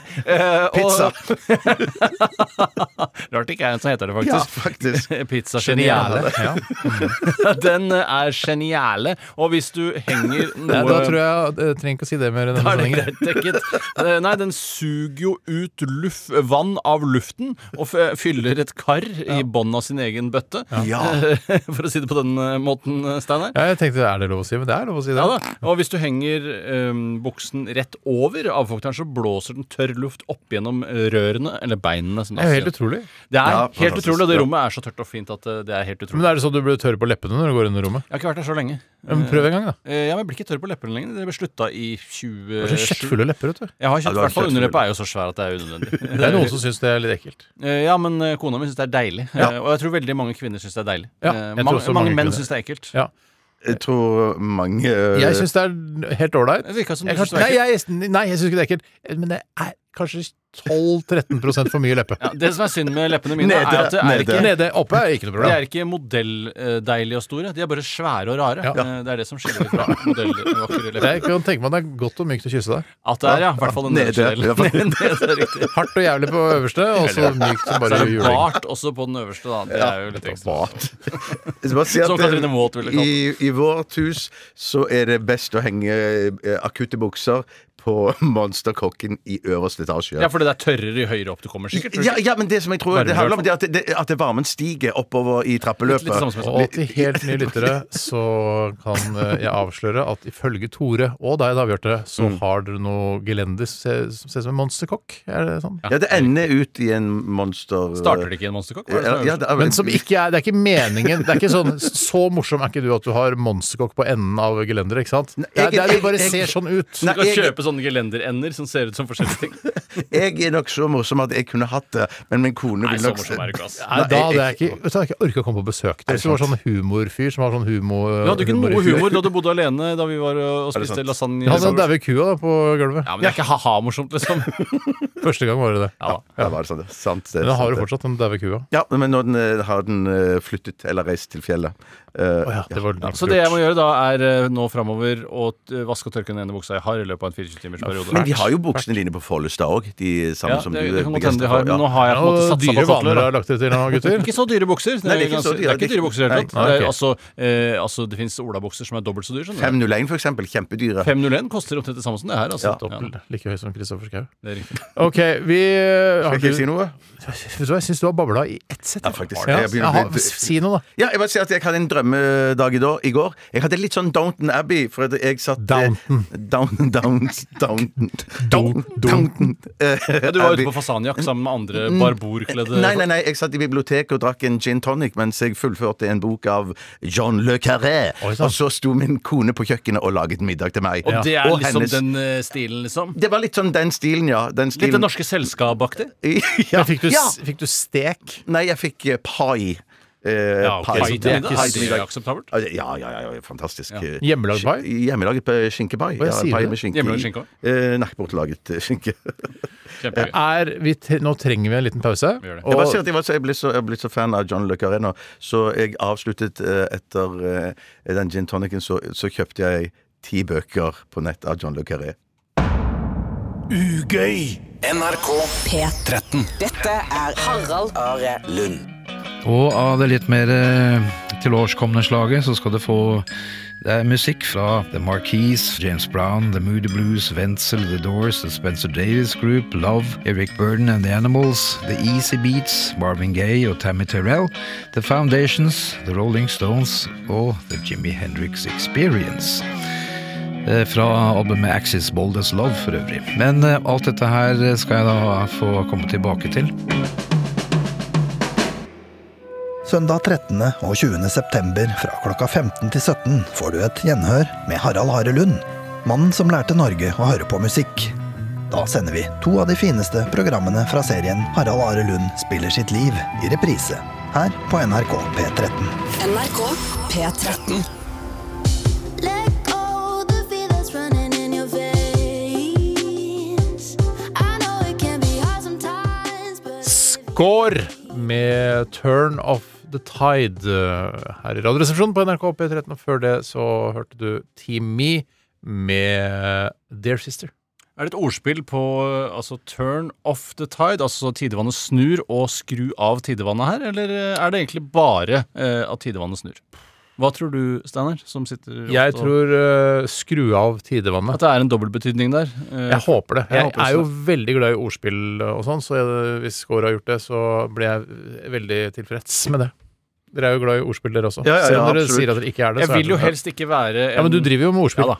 Speaker 8: Pizza. Rart det ikke er en som heter det,
Speaker 9: Ja,
Speaker 8: faktisk.
Speaker 9: faktisk.
Speaker 8: Pizza geniale. Den eh, er geniale. Og hvis du henger
Speaker 6: Nei,
Speaker 8: noe
Speaker 6: Da tror jeg eh, jeg trenger ikke å si det mer i denne
Speaker 8: Da er det
Speaker 6: sendingen.
Speaker 8: greit dekket. Eh, Nei, den suger jo ut luft, vann av luften og f- fyller et kar i bånn av sin egen bøtte.
Speaker 9: Ja.
Speaker 8: For å si det på den eh, måten, eh, Steinar.
Speaker 6: Ja, jeg tenkte, er det lov å si? Men det er lov å si det.
Speaker 8: Ja da. Og hvis du henger eh, buksen rett over avfukteren, så blåser den tørr luft opp gjennom eh, rørene, eller beinene. Som
Speaker 6: Det er jo helt utrolig.
Speaker 8: Det er
Speaker 9: Ja,
Speaker 8: helt
Speaker 9: fantastisk.
Speaker 8: utrolig, og det
Speaker 9: Ja.
Speaker 8: rommet er så tørt og fint at eh, det er helt utrolig.
Speaker 6: Men er det sånn du blir tørr på leppene når du går inn i rommet?
Speaker 8: Jeg har ikke vært der så lenge.
Speaker 6: Ja, men Prøv en gang, da.
Speaker 8: Eh, ja, men Jeg blir ikke tørr på leppene lenger. Det ble slutta i
Speaker 6: Du har så
Speaker 8: 27
Speaker 6: kjøttfulle lepper, vet du.
Speaker 8: Jeg har kjøtt,
Speaker 9: Ja,
Speaker 8: i
Speaker 9: du har
Speaker 8: hvert fall
Speaker 9: kjøttfull.
Speaker 8: underleppa er jo så svær at det er unødvendig.
Speaker 6: Det er noen som syns det er litt ekkelt.
Speaker 8: Eh, Ja, men eh, kona mi syns det er deilig. Eh, Og jeg tror veldig mange kvinner syns det er deilig.
Speaker 6: Ja,
Speaker 8: Eh,
Speaker 6: jeg tror
Speaker 8: mange,
Speaker 6: også
Speaker 8: mange,
Speaker 6: mange
Speaker 8: menn
Speaker 6: kvinner.
Speaker 8: syns det er ekkelt.
Speaker 6: Ja.
Speaker 9: Jeg tror mange eh,
Speaker 6: Jeg syns det er helt ålreit.
Speaker 8: Det virka som du
Speaker 6: Jeg
Speaker 8: syns
Speaker 6: kanskje-
Speaker 8: det var
Speaker 6: Nei,
Speaker 8: ekkelt.
Speaker 6: jeg, nei, jeg syns ikke det er ekkelt. Men det er kanskje 12-13 for mye leppe.
Speaker 8: Ja, det som er synd med leppene mine,
Speaker 9: Nede,
Speaker 8: er at det er
Speaker 9: nede.
Speaker 8: ikke
Speaker 6: Nede oppe er ikke noe
Speaker 8: de
Speaker 6: problem.
Speaker 8: er ikke modelldeilige og store, de er bare svære og rare.
Speaker 6: Ja.
Speaker 8: Eh, Det er det som skiller fra modellvakre lepper.
Speaker 6: Jeg kan tenke meg at det er godt og mykt å kysse deg.
Speaker 8: At det er, ja. I hvert fall den
Speaker 9: Nede,
Speaker 8: nederste
Speaker 9: i hvert fall.
Speaker 8: delen. Nede, det er riktig.
Speaker 6: Hardt og jævlig på øverste, og så mykt som
Speaker 8: Så
Speaker 6: bare
Speaker 8: er det
Speaker 6: juling.
Speaker 8: bart også på den øverste, da. Det er jo litt ekstra.
Speaker 9: Jeg skal bare si at,
Speaker 8: Som Katrine Maat ville kalt
Speaker 9: i, I vårt hus så er det best å henge eh, akutte bukser på monsterkokken i øverste etasje.
Speaker 8: Ja, fordi det er tørrere jo høyere opp du kommer, sikkert. tror du
Speaker 9: Ja,
Speaker 8: ikke?
Speaker 9: ja, men det som jeg tror
Speaker 8: Varme
Speaker 9: det handler om,
Speaker 8: i
Speaker 9: det er at, det, at det varmen stiger oppover i trappeløpet.
Speaker 8: Litt samme som
Speaker 6: Altså, Og til helt nye lyttere så kan eh, jeg avsløre at ifølge Tore og deg, da, Bjarte, så
Speaker 9: Mm.
Speaker 6: har dere noe gelender som ser- som ser ut som en monsterkokk. Er det sånn?
Speaker 9: Ja, det ender ut i en monster... eh,
Speaker 8: Starter det ikke i en monsterkokk? Hva er det som
Speaker 9: Ja,
Speaker 8: er
Speaker 9: ja,
Speaker 8: øverst?
Speaker 9: det er,
Speaker 6: Men som ikke er, det er ikke meningen Det er ikke sånn, Så morsom er ikke du at du har monsterkokk på enden av gelenderet, ikke sant? Det, er- det, er- det bare
Speaker 9: jeg-
Speaker 6: ser sånn ut.
Speaker 9: Nei,
Speaker 8: Du kan
Speaker 9: jeg-
Speaker 8: kjøpe sånn sånne gelenderender som ser ut som forskjellige ting.
Speaker 9: Jeg er nok så morsom at jeg kunne hatt det, men min kone
Speaker 8: Nei,
Speaker 9: vil
Speaker 8: så
Speaker 9: nok
Speaker 8: morsom er du ikke, ass.
Speaker 6: Nei, da hadde jeg ikke, vet du, jeg hadde ikke orka å komme på besøk. Hvis du var sånn humorfyr som har sånn humo...
Speaker 8: Du hadde ikke noe
Speaker 6: humor i
Speaker 8: humor da du bodde alene da vi var øh, og spiste
Speaker 9: sant?
Speaker 8: lasagne.
Speaker 6: Ja, den daue kua da, på gulvet.
Speaker 8: Ja, men det er ikke ha-ha-morsomt, liksom.
Speaker 6: Første gang var det det.
Speaker 8: Ja, da.
Speaker 9: Ja, var det sant? det? Sant, det,
Speaker 6: Men den har
Speaker 9: sant
Speaker 6: jo
Speaker 9: det.
Speaker 6: fortsatt den daue kua.
Speaker 9: Ja, men nå den, eh, har den eh, flyttet eller reist til fjellet. Eh,
Speaker 6: Ja, det var
Speaker 8: Så det jeg må gjøre da, er eh, nå framover å eh, vaske og tørke den ene buksa jeg har i løpet av en 24-timersperiode.
Speaker 9: men de har jo buksene dine på Follestad òg, de samme
Speaker 8: ja,
Speaker 9: som
Speaker 8: det,
Speaker 9: du
Speaker 8: det
Speaker 9: er
Speaker 8: kan godt hende de
Speaker 9: begeistret
Speaker 8: har,
Speaker 9: for.
Speaker 8: men nå
Speaker 9: Ja.
Speaker 8: har jeg på en måte
Speaker 6: Og
Speaker 8: satsa
Speaker 6: dyre
Speaker 8: på
Speaker 6: vaner
Speaker 8: satteløra.
Speaker 6: har lagt dere til nå, gutter.
Speaker 8: Ikke så dyre bukser. Det
Speaker 9: Nei,
Speaker 8: er,
Speaker 9: det er ikke så
Speaker 8: ganske, det er ikke dyre bukser i det hele tatt.
Speaker 6: Nei,
Speaker 8: Det er
Speaker 6: ok.
Speaker 8: Altså, eh, altså, det fins olabukser som er dobbelt så dyre. Skjønner du.
Speaker 9: 501, for eksempel. Kjempedyre.
Speaker 8: 501 koster omtrent det samme som det her. Altså.
Speaker 6: Opp,
Speaker 8: Ja,
Speaker 6: Like høy som Kristoffer Schau.
Speaker 8: det er riktig.
Speaker 6: OK, vi
Speaker 9: Skal
Speaker 6: har
Speaker 9: ikke jeg
Speaker 6: du-
Speaker 9: si noe?
Speaker 6: Vet du hva, jeg syns du har babla i ett sett.
Speaker 9: Ja, faktisk.
Speaker 6: Ja,
Speaker 9: Jeg begynner å
Speaker 6: Jaha,
Speaker 9: bli-
Speaker 6: si noe, da.
Speaker 9: Ja, jeg bare sier at jeg hadde en drømmedag i dag- i går. Jeg hadde litt sånn Downton Abbey. For at jeg satt eh,
Speaker 6: Downton.
Speaker 9: Down, down, Downton.
Speaker 6: Don-
Speaker 9: Downton. eh,
Speaker 8: Ja, du var
Speaker 9: Abbey.
Speaker 8: ute på fasanjakk sammen med andre barborkledde
Speaker 9: Mm, Nei, nei, nei, jeg satt i biblioteket og drakk en gin tonic mens jeg fullførte en bok av John Le Carré.
Speaker 6: Oi, sant.
Speaker 9: Og så sto min kone på kjøkkenet og laget middag til meg.
Speaker 8: Og det er
Speaker 9: Og
Speaker 8: liksom
Speaker 9: hennes-
Speaker 8: den eh, stilen, liksom?
Speaker 9: Det var litt sånn den stilen, ja. Den
Speaker 8: Litt
Speaker 9: stilen.
Speaker 8: det norske selskapaktig?
Speaker 9: ja.
Speaker 6: Men fikk, du,
Speaker 9: ja.
Speaker 6: s- fikk du stek?
Speaker 9: Nei, jeg fikk eh, pai. Eh,
Speaker 8: Ja, ok,
Speaker 9: pai.
Speaker 8: så det er ikke
Speaker 9: Pai
Speaker 8: så
Speaker 9: til middag.
Speaker 8: akseptabelt.
Speaker 9: Ja, det- Ja, ja, ja, ja, fantastisk. Eh,
Speaker 6: Hjemmelagd pai?
Speaker 9: skin- Hjemmelaget eh, skinkepai.
Speaker 6: jeg
Speaker 9: Ja,
Speaker 6: sier
Speaker 9: pai
Speaker 6: det.
Speaker 9: med skinke. i.
Speaker 8: Hjemmelagd skinke også?
Speaker 9: Eh, nei, bortelaget eh, skinke.
Speaker 8: Kjempegøy.
Speaker 6: Er vi tre- nå trenger vi en liten pause.
Speaker 8: Vi gjør det.
Speaker 9: Jeg, bare sier
Speaker 6: Og
Speaker 9: at jeg, var så, jeg, ble så, jeg ble så fan av John Le Carré nå, så jeg avsluttet eh, etter eh, den gin tonicen, så, så kjøpte jeg ti bøker på nett av John Le Carré.
Speaker 3: Ugøy!
Speaker 2: NRK
Speaker 1: P13.
Speaker 10: Dette er Harald Are
Speaker 2: Lund.
Speaker 11: Og av det litt mer eh, tilårskomne slaget så skal du få det er musikk fra The Marquise, James Brown, The Moody Blues, Wenzel, The Doors, The Spencer Davis Group, Love, Eric Burden and The Animals, The Easy Beats, Marvin Gaye og Tammy Terrell, The Foundations, The Rolling Stones og The Jimmy Hendrix Experience. Eh, Fra albumet Axis Bold as Love, for øvrig. Men eh, alt dette her eh, skal jeg da få komme tilbake til.
Speaker 12: Søndag 13. og 20. september fra klokka 15 til 17 får du et gjenhør med Harald Hare Lund, mannen som lærte Norge å høre på musikk. Da sender vi to av de fineste programmene fra serien Harald Are Lund spiller sitt liv i reprise, her på NRK P13.
Speaker 10: NRK P13.
Speaker 6: skår med Turn Off The Tide eh, her i Radioresepsjonen på NRK P13. Og før det så hørte du Team Me med Dear Sister.
Speaker 8: Er det et ordspill på eh, altså, turn off the tide, altså tidevannet snur, og skru av tidevannet her, eller eh, er det egentlig bare eh, at tidevannet snur? Hva tror du, Steinar, som sitter ofte
Speaker 6: Jeg
Speaker 8: og-
Speaker 6: tror eh, skru av tidevannet.
Speaker 8: At det er en dobbeltbetydning der. eh,
Speaker 6: Jeg håper det.
Speaker 8: Jeg
Speaker 6: Jeg,
Speaker 8: håper
Speaker 6: er jo
Speaker 8: også
Speaker 6: veldig glad i ordspill og sånn, så jeg, hvis Skår har gjort det, så blir jeg veldig tilfreds med det. Dere er jo glad i ordspill, dere også.
Speaker 9: Ja, ja, ja,
Speaker 6: Selv om dere
Speaker 9: absolutt.
Speaker 6: sier at dere ikke er det.
Speaker 8: Jeg
Speaker 6: så er
Speaker 8: vil jo
Speaker 6: dere-
Speaker 8: helst ikke være en
Speaker 6: Ja, Men du driver jo med ordspill
Speaker 8: Ja da.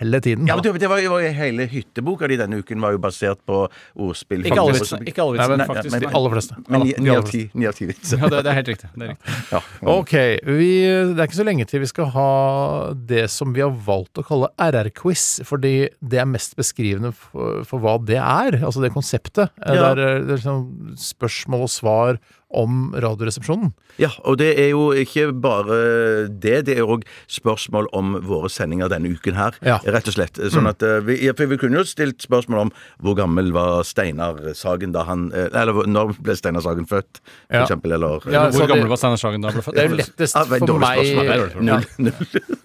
Speaker 6: hele tiden.
Speaker 9: Ja, men du, det var jo var jo Hele hytteboka di denne uken var jo basert på ordspill.
Speaker 8: Ikke alle vitsene, ikke alle
Speaker 6: Nei, men-
Speaker 8: vitsene
Speaker 9: nei,
Speaker 8: faktisk.
Speaker 9: men-
Speaker 6: De aller fleste.
Speaker 9: Men ni-
Speaker 6: Ja,
Speaker 9: ni
Speaker 6: de
Speaker 9: av
Speaker 6: aller fleste.
Speaker 9: ti- ni av ti vitser.
Speaker 8: Ja, det, det er helt riktig. Det er riktig.
Speaker 9: Ja.
Speaker 6: Ok, vi, Det er ikke så lenge til vi skal ha det som vi har valgt å kalle RR-quiz, fordi det er mest beskrivende for, for hva det er, altså det konseptet. Det
Speaker 9: Ja.
Speaker 6: er, det er sånn spørsmål og svar om Radioresepsjonen.
Speaker 9: Ja, og det er jo ikke bare det, det er òg spørsmål om våre sendinger denne uken her,
Speaker 6: Ja. Mm.
Speaker 9: rett og slett. Sånn at eh, vi, ja, for vi kunne jo stilt spørsmål om hvor gammel var Steinar Sagen da han eh, Eller hvor- når ble Steinar Sagen født, for
Speaker 6: Ja.
Speaker 9: eksempel, eller
Speaker 6: Ja, så det-
Speaker 8: Hvor gammel var Steinar Sagen da han ble født?
Speaker 6: Det er jo lettest
Speaker 9: Ja, det er et
Speaker 6: for
Speaker 9: dårlig
Speaker 6: meg
Speaker 9: spørsmål.
Speaker 8: Det er et dårlig
Speaker 6: Ja.
Speaker 9: Null. null.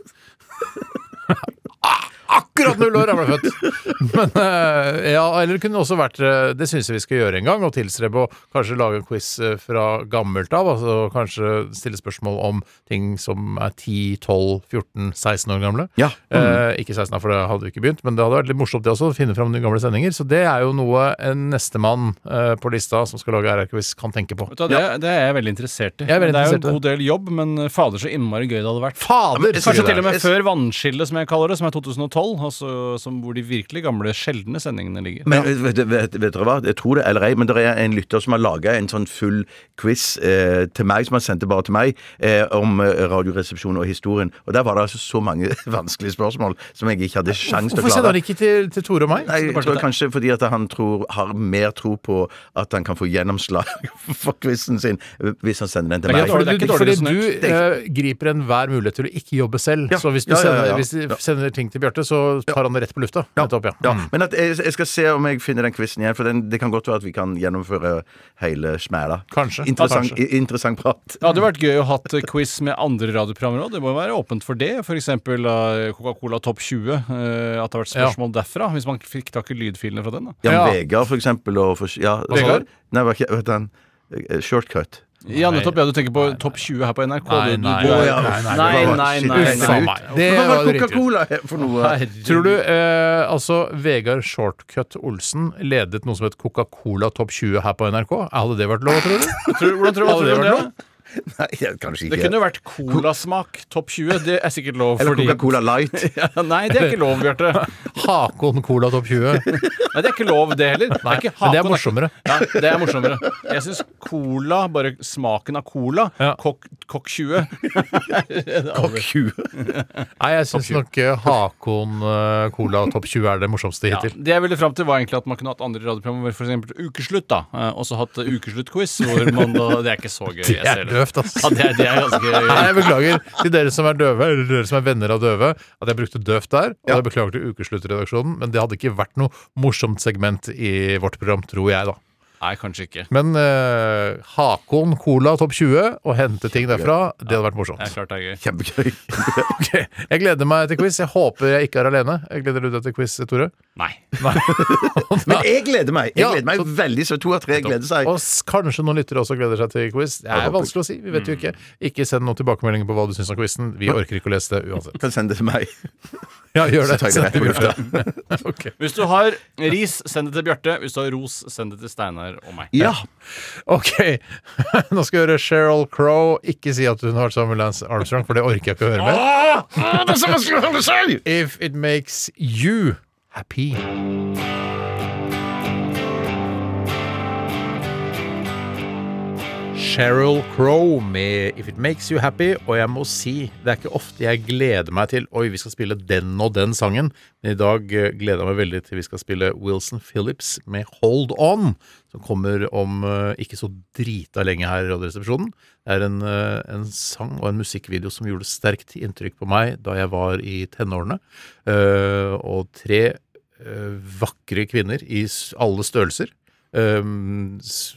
Speaker 6: Akkurat null år er man født! Men eh, ja, eller det kunne også vært eh, Det syns jeg vi skal gjøre en gang, og tilstrebe å kanskje lage en quiz eh, fra gammelt av. Altså kanskje stille spørsmål om ting som er 10, 12, 14, 16 år gamle.
Speaker 9: Ja. Mm.
Speaker 6: Eh, ikke 16, da, for det hadde vi ikke begynt, men det hadde vært litt morsomt det også, å finne fram de gamle sendinger. Så det er jo noe en nestemann eh, på lista som skal lage RR-quiz, kan tenke på.
Speaker 8: Vet du hva, det, det er jeg veldig interessert i.
Speaker 6: Jeg er veldig
Speaker 8: det er jo en
Speaker 6: interessert i
Speaker 8: god del jobb, men eh, fader så innmari gøy det hadde vært.
Speaker 6: Fader!
Speaker 9: jeg
Speaker 6: sier
Speaker 8: Kanskje
Speaker 9: det.
Speaker 8: til og med
Speaker 9: Jeg-
Speaker 8: før vannskillet, som jeg kaller det, som er 2012, altså, som hvor de virkelig gamle hvor de sjeldne sendingene ligger.
Speaker 9: Men vet, vet, vet dere hva, jeg tror det eller ei, men det er en lytter som har laga en sånn full quiz eh, til meg, som han sendte bare til meg, eh, om eh, Radioresepsjonen og historien. Og der var det altså så mange vanskelige spørsmål som jeg ikke hadde sjans til å
Speaker 6: Hvorfor sender han
Speaker 9: klare.
Speaker 6: ikke til, til Tore og meg?
Speaker 9: Nei, jeg tror kanskje fordi at han tror, har mer tro på at han kan få gjennomslag for quizen sin hvis han sender den til
Speaker 6: Ja,
Speaker 9: meg.
Speaker 6: fordi du, fordi du
Speaker 9: Det er ikke-
Speaker 6: eh, griper enhver mulighet til å ikke jobbe selv. Så hvis du
Speaker 9: Ja, ja, ja,
Speaker 6: sender,
Speaker 9: ja.
Speaker 6: Hvis du sender ting til Bjarte, så tar han det rett på lufta. Nettopp, ja. Mm.
Speaker 9: Men at jeg, jeg skal se om jeg finner den quizen igjen, for den, det kan godt være at vi kan gjennomføre hele smæla.
Speaker 6: Kanskje.
Speaker 9: Interessant,
Speaker 8: Ja,
Speaker 9: i- interessant prat.
Speaker 8: Det hadde vært gøy å hatt eh, quiz med andre radioprogrammer òg. Det må jo være åpent for det. F.eks. Coca-Cola Topp 20. eh, At det har vært spørsmål derfra. Hvis man fikk tak i lydfilene fra den, da.
Speaker 9: Jan Vegard, for eksempel. Og for, ja,
Speaker 8: Vegard?
Speaker 9: Nei, hva het den? Eh, Shortcut.
Speaker 8: Ja, nettopp. Ja, du tenker på Topp 20 her på NRK.
Speaker 6: Nei,
Speaker 8: du- du-
Speaker 6: nei,
Speaker 8: du-
Speaker 6: nei,
Speaker 9: nei, nei,
Speaker 8: nei,
Speaker 9: det var-
Speaker 8: nei,
Speaker 9: shit,
Speaker 8: nei,
Speaker 9: jeg tenkte
Speaker 8: nei.
Speaker 9: ut.
Speaker 6: Det
Speaker 9: Hva var
Speaker 6: var riktig.
Speaker 9: Coca-Cola for noe?
Speaker 6: Tror du eh, altså Vegard Shortcut Olsen ledet noe som het Coca-Cola Topp 20 her på NRK? Hadde det vært lov, tror du?
Speaker 8: Tror- Hvordan tror du
Speaker 6: Hadde
Speaker 8: tror du
Speaker 6: det
Speaker 8: det?
Speaker 6: vært
Speaker 8: da?
Speaker 9: Nei, jeg- kanskje ikke.
Speaker 8: Det kunne jo vært colasmak topp 20. Det er sikkert lov.
Speaker 9: Eller
Speaker 8: fordi-
Speaker 9: Coca-Cola Light.
Speaker 8: ja, nei, det er ikke lov, Bjarte.
Speaker 6: Hakon Cola Topp 20.
Speaker 8: Nei, det er ikke lov, det heller.
Speaker 6: Nei,
Speaker 8: ikke
Speaker 6: men det er
Speaker 8: Hakon,
Speaker 6: morsommere.
Speaker 8: Ja, det er morsommere. Jeg syns cola, bare smaken av cola, kokk kokk 20 Kokk
Speaker 9: 20?
Speaker 6: Nei, jeg syns nok eh, Hakon eh, Cola Topp 20 er det morsomste
Speaker 8: Ja,
Speaker 6: hittil.
Speaker 8: det jeg ville fram til, var egentlig at man kunne hatt andre radioprogrammer, f.eks. Ukeslutt, da. eh, Og så hatt eh, Ukeslutt-quiz, hvor man da Det er ikke så gøy.
Speaker 6: Det
Speaker 8: jeg
Speaker 6: er
Speaker 8: ser
Speaker 6: døvt, ass.
Speaker 8: Ja, det er, det er
Speaker 6: Nei, jeg
Speaker 8: ganske
Speaker 6: beklager til dere som er døve, eller dere som er venner av døve, at jeg brukte døvt der. Og jeg beklager til Ukesluttredaksjonen, men det hadde ikke vært noe morsomt segment i vårt program, tror jeg, da.
Speaker 8: Nei, kanskje ikke.
Speaker 6: Men eh, Hakon Cola Topp 20 og hente ting derfra, det hadde vært
Speaker 8: Det er
Speaker 6: morsomt.
Speaker 8: klart det er gøy.
Speaker 9: Kjempegøy.
Speaker 6: Ok, Jeg gleder meg til quiz. Jeg håper jeg ikke er alene. Jeg Gleder du deg til quiz, Tore?
Speaker 8: Nei.
Speaker 9: Men jeg gleder meg. Jeg
Speaker 6: Ja,
Speaker 9: gleder meg
Speaker 6: så-
Speaker 9: veldig, så to av tre gleder seg.
Speaker 6: Og s- kanskje noen lyttere også gleder seg til quiz. Det er
Speaker 9: håper.
Speaker 6: vanskelig å si. Vi vet jo ikke. Ikke send noen tilbakemeldinger på hva du syns om quizen. Vi orker ikke å lese det uansett.
Speaker 9: Kan sende det til meg.
Speaker 6: Ja, gjør det.
Speaker 9: Så tar jeg det rett på lufta.
Speaker 8: Hvis du har ris, send det til Bjarte. Hvis du har ros, send det til Steinar og meg.
Speaker 9: Ja.
Speaker 6: Ok, nå skal jeg høre Sheryl Crow. Ikke si at hun har vært sammen med Lance Armstrong, for det orker jeg ikke å høre mer.
Speaker 9: Ah, det er så vanskelig å holde seg!
Speaker 6: If it makes you happy. Sheryl Crow med If It Makes You Happy, og jeg må si det er ikke ofte jeg gleder meg til Oi, vi skal spille den og den sangen, men i dag eh, gleder jeg meg veldig til vi skal spille Wilson Phillips med Hold On, som kommer om eh, ikke så drita lenge her i Radioresepsjonen. Det er en, eh, en sang og en musikkvideo som gjorde sterkt inntrykk på meg da jeg var i tenårene, Eh, og tre eh, vakre kvinner i s- alle størrelser. Um, s-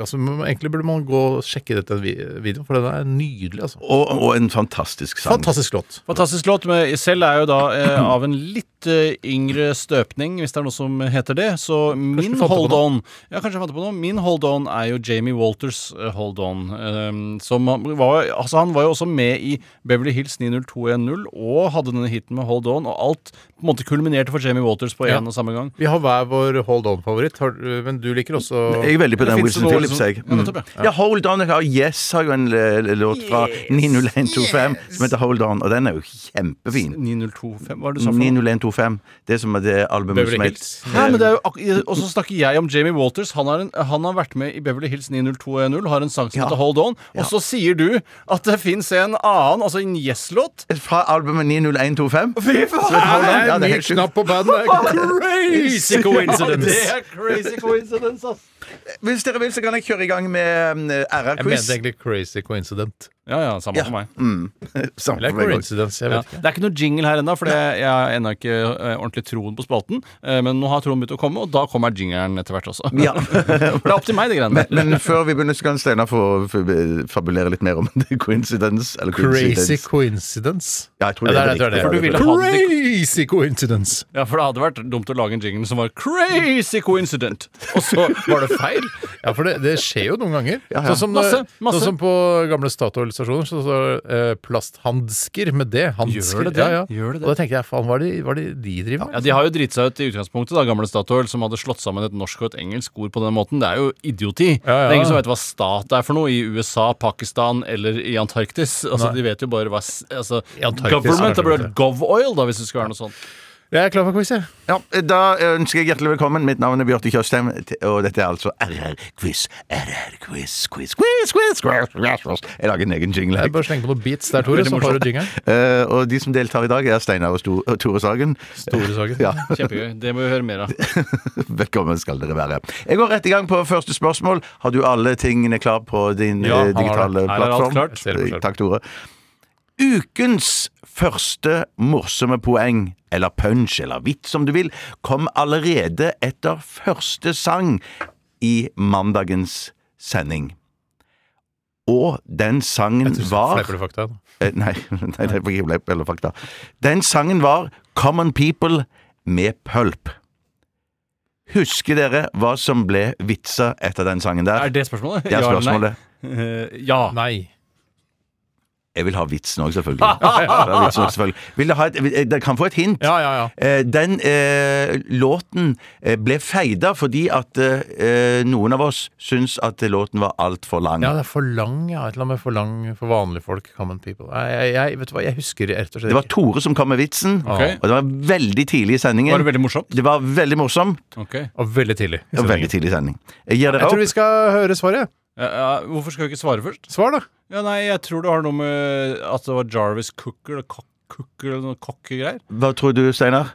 Speaker 6: altså, man- egentlig burde man gå og sjekke dette vi- videoen, for den er nydelig. Altså.
Speaker 9: Og, og en fantastisk sang.
Speaker 6: Fantastisk låt.
Speaker 8: Fantastisk låt. Men selv er jo da eh, av en litt eh, yngre støpning, hvis det er noe som heter det. Så min
Speaker 6: du fant på
Speaker 8: hold
Speaker 6: noe?
Speaker 8: on Ja, kanskje jeg fant på noe. Min hold on er jo Jamie Walters eh, hold on. eh, som han var, altså han var jo også med i Beverly Hills 90210 og hadde denne hiten med Hold On, og alt på en måte kulminerte for Jamie Walters på én
Speaker 6: Ja.
Speaker 8: og samme gang.
Speaker 6: Vi har hver vår hold on-favoritt, har- men du liker også
Speaker 9: Jeg er veldig på den
Speaker 8: Finnes
Speaker 9: Wilson
Speaker 8: det noe
Speaker 9: Phillips,
Speaker 8: som-
Speaker 9: jeg. Mm.
Speaker 8: Ja, nettopp, ja.
Speaker 9: Ja, Hold On. Jeg har Yes har jo en eh, låt fra 90125 som heter Hold On, og den er jo kjempefin.
Speaker 8: 9025, hva er det du sa for noe?
Speaker 9: 90125 Det som er det albumet
Speaker 6: Beverly
Speaker 9: som er
Speaker 6: Hills.
Speaker 8: Nei, men det er jo ak- Og så snakker jeg om Jamie Walters. Han, er en, han har vært med i Beverly Hills 90210, har en sang som
Speaker 9: Ja.
Speaker 8: heter Hold On. Og
Speaker 9: Ja.
Speaker 8: så sier du at det fins en annen, altså en Yes-låt.
Speaker 9: Fra albumet 90125. Fy Ja, det er helt sjukt.
Speaker 6: på bandet! Crazy
Speaker 8: Det er crazy coincidence, ass.
Speaker 9: Hvis dere vil, så kan jeg kjøre i gang med um,
Speaker 6: Jeg mente
Speaker 9: RR-quiz.
Speaker 6: egentlig crazy coincident.
Speaker 8: Ja, ja, samme for meg.
Speaker 6: Eller coincidence, jeg
Speaker 8: Ja.
Speaker 6: vet ikke.
Speaker 8: Det er ikke noe jingle her ennå, for det- jeg har ennå ikke eh, ordentlig troen på spalten. Eh, Men nå har troen begynt å komme, og da kommer jingeren etter hvert også.
Speaker 9: Ja.
Speaker 8: Det er opp til meg, de greiene der.
Speaker 9: Men før vi begynner, så kan Steinar få få fabulere litt mer om det. coincidence. Eller
Speaker 6: Crazy
Speaker 9: coincidence.
Speaker 6: coincidence?
Speaker 9: Ja, jeg tror
Speaker 6: Ja,
Speaker 9: det
Speaker 6: det
Speaker 9: er
Speaker 6: er det, det er
Speaker 9: riktig.
Speaker 6: det.
Speaker 9: For du
Speaker 8: ville ha det
Speaker 6: Crazy coincidence!
Speaker 8: Ja, for det hadde vært dumt å lage en jingle som var crazy coincident, og så var det feil.
Speaker 6: Ja, for det, det skjer jo noen ganger.
Speaker 9: ja.
Speaker 6: Sånn, som,
Speaker 8: Masse,
Speaker 6: eh,
Speaker 8: masse.
Speaker 6: sånn som på gamle Statoil-stasjoner, så står det eh, plasthansker med det. Hansker.
Speaker 8: Gjør det det?
Speaker 6: Ja, ja.
Speaker 8: Gjør det det?
Speaker 6: Og da tenker jeg, faen, hva er det hva er det de driver med?
Speaker 8: Ja, De har jo driti seg ut i utgangspunktet, da, gamle Statoil, som hadde slått sammen et norsk og et engelsk ord på den måten. Det er jo idioti.
Speaker 6: Ja, ja.
Speaker 8: Det er ingen som vet hva stat er for noe i USA, Pakistan eller i Antarktis. Altså, De vet jo bare hva s- altså,
Speaker 6: Antarktis,
Speaker 8: Government.
Speaker 6: kanskje
Speaker 8: Det burde
Speaker 6: det.
Speaker 8: vært GovOil, da, hvis det skulle være noe sånt.
Speaker 6: Jeg er klar for quiz, jeg.
Speaker 9: Ja, da eh, ønsker jeg hjertelig velkommen. Mitt navn er Bjarte Tjøstheim, og dette er altså RR-quiz. RR-quiz, quiz, quiz, quiz, quiz, quiz, quiz. Jeg lager en egen jingle.
Speaker 6: Jeg bør slenge på noen beats der, Tore,
Speaker 9: Veldig
Speaker 6: så har
Speaker 9: morsomt.
Speaker 6: du jingeren.
Speaker 9: Eh, og de som deltar i dag, er Steinar og Sto- og Tore Sagen.
Speaker 6: Store saken.
Speaker 9: Ja.
Speaker 8: Kjempegøy. Det må vi høre mer av.
Speaker 9: Velkommen skal dere være. Jeg går rett i gang på første spørsmål. Har du alle tingene klar på din
Speaker 8: Ja, har
Speaker 9: eh, digitale
Speaker 8: det. Her er alt
Speaker 9: plattform? Eh,
Speaker 8: klart. Jeg ser det på skjermen.
Speaker 9: Takk, Tore. Ukens første morsomme poeng, eller punch, eller vits som du vil, kom allerede etter første sang i mandagens sending. Og den sangen var
Speaker 6: Fleip eller fakta?
Speaker 9: Eh, Nei, nei, det var ikke bleip eller fakta. Den sangen var Common People med Pulp. Husker dere hva som ble vitsa etter den sangen der?
Speaker 8: Er det spørsmålet?
Speaker 9: Det er
Speaker 8: Ja eller nei?
Speaker 9: spørsmålet.
Speaker 8: Eh, ja.
Speaker 6: Nei.
Speaker 9: Jeg vil ha vitsen òg, selvfølgelig. Jeg vil ha vitsen også, selvfølgelig. Vil dere ha et, eh, dere kan få et hint. Eh, Den eh, låten eh, ble feida fordi at eh, noen av oss syns at låten var altfor lang.
Speaker 6: Ja, det er for lang, ja. Et eller annet med for lang for vanlige folk. Common people. Nei, Jeg, jeg, vet du hva, jeg husker rett og slett
Speaker 9: Det var Tore som kom med vitsen,
Speaker 6: Ok.
Speaker 9: og det var veldig tidlig i sendingen.
Speaker 6: Var det
Speaker 8: veldig morsomt?
Speaker 9: Det var veldig morsomt.
Speaker 6: Og veldig tidlig. i
Speaker 9: Ja,
Speaker 6: sendingen.
Speaker 9: veldig tidlig i sending. Jeg gir
Speaker 6: Jeg
Speaker 9: dere
Speaker 6: tror
Speaker 9: opp.
Speaker 6: vi skal høre svaret.
Speaker 8: Ja, ja, hvorfor skal vi ikke svare først?
Speaker 6: Svar, da.
Speaker 8: Ja, nei, jeg tror det har noe med at det var Jarvis Cooker eller Cock- Cooker eller noe kokkegreier.
Speaker 9: Hva tror du, Steinar?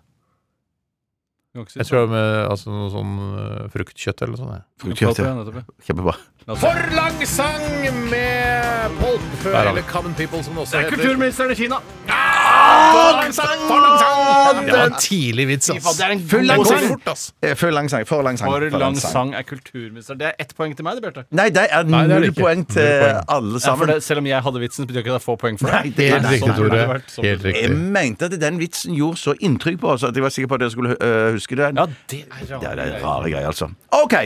Speaker 8: Kan ikke si
Speaker 6: Jeg
Speaker 8: det.
Speaker 6: tror det var med altså, noe sånn eh, fruktkjøtt eller noe sånt.
Speaker 9: Fruktkjøtt, ja.
Speaker 8: Nettopp, ja, nettopp,
Speaker 9: Kjempebra.
Speaker 7: For lang sang med Polp,
Speaker 6: Der har vi.
Speaker 7: eller Common People, som det også heter.
Speaker 8: Kulturministeren i Kina!
Speaker 7: For lang sang! For lang sang!
Speaker 6: Det var en tidlig vits,
Speaker 8: Fy faen,
Speaker 6: ass.
Speaker 8: det er en
Speaker 9: Full lang
Speaker 8: god
Speaker 9: sang.
Speaker 8: fort, ass.
Speaker 9: Eh, For lang sang. For lang sang.
Speaker 8: For lang sang er kulturminister. Det er ett poeng til meg, det, Bjarte.
Speaker 9: Nei, det er
Speaker 8: det er
Speaker 9: null
Speaker 8: det ikke.
Speaker 9: poeng til
Speaker 8: Null poeng.
Speaker 9: alle
Speaker 8: Ja, for
Speaker 9: sammen.
Speaker 8: det, selv om jeg hadde vitsen, så betyr ikke det at jeg får poeng for det.
Speaker 9: Nei, det er
Speaker 8: Nei,
Speaker 9: riktig,
Speaker 8: sånn er det.
Speaker 9: Tore.
Speaker 8: Det har vært sånn.
Speaker 6: Helt riktig.
Speaker 9: Jeg mente at den vitsen gjorde så inntrykk på oss at jeg var sikker på at dere skulle øh, huske den.
Speaker 8: Ja, det er
Speaker 9: Det er
Speaker 8: rart.
Speaker 9: det er rare greier, altså. OK.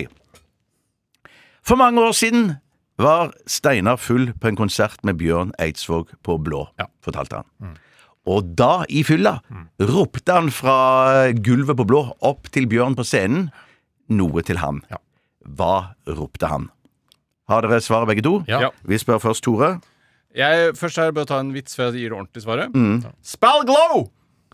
Speaker 9: For mange år siden var Steinar full på en konsert med Bjørn Eidsvåg på Blå, fortalte han.
Speaker 8: Mm.
Speaker 9: Og da, i fylla, ropte han fra gulvet på Blå opp til Bjørn på scenen noe til ham. Hva ropte han? Har dere svaret, begge to?
Speaker 8: Ja.
Speaker 9: Vi spør først Tore.
Speaker 8: Jeg, først er det bare å ta en vits før jeg gir det ordentlige svaret.
Speaker 9: Mm.
Speaker 8: Spell glow!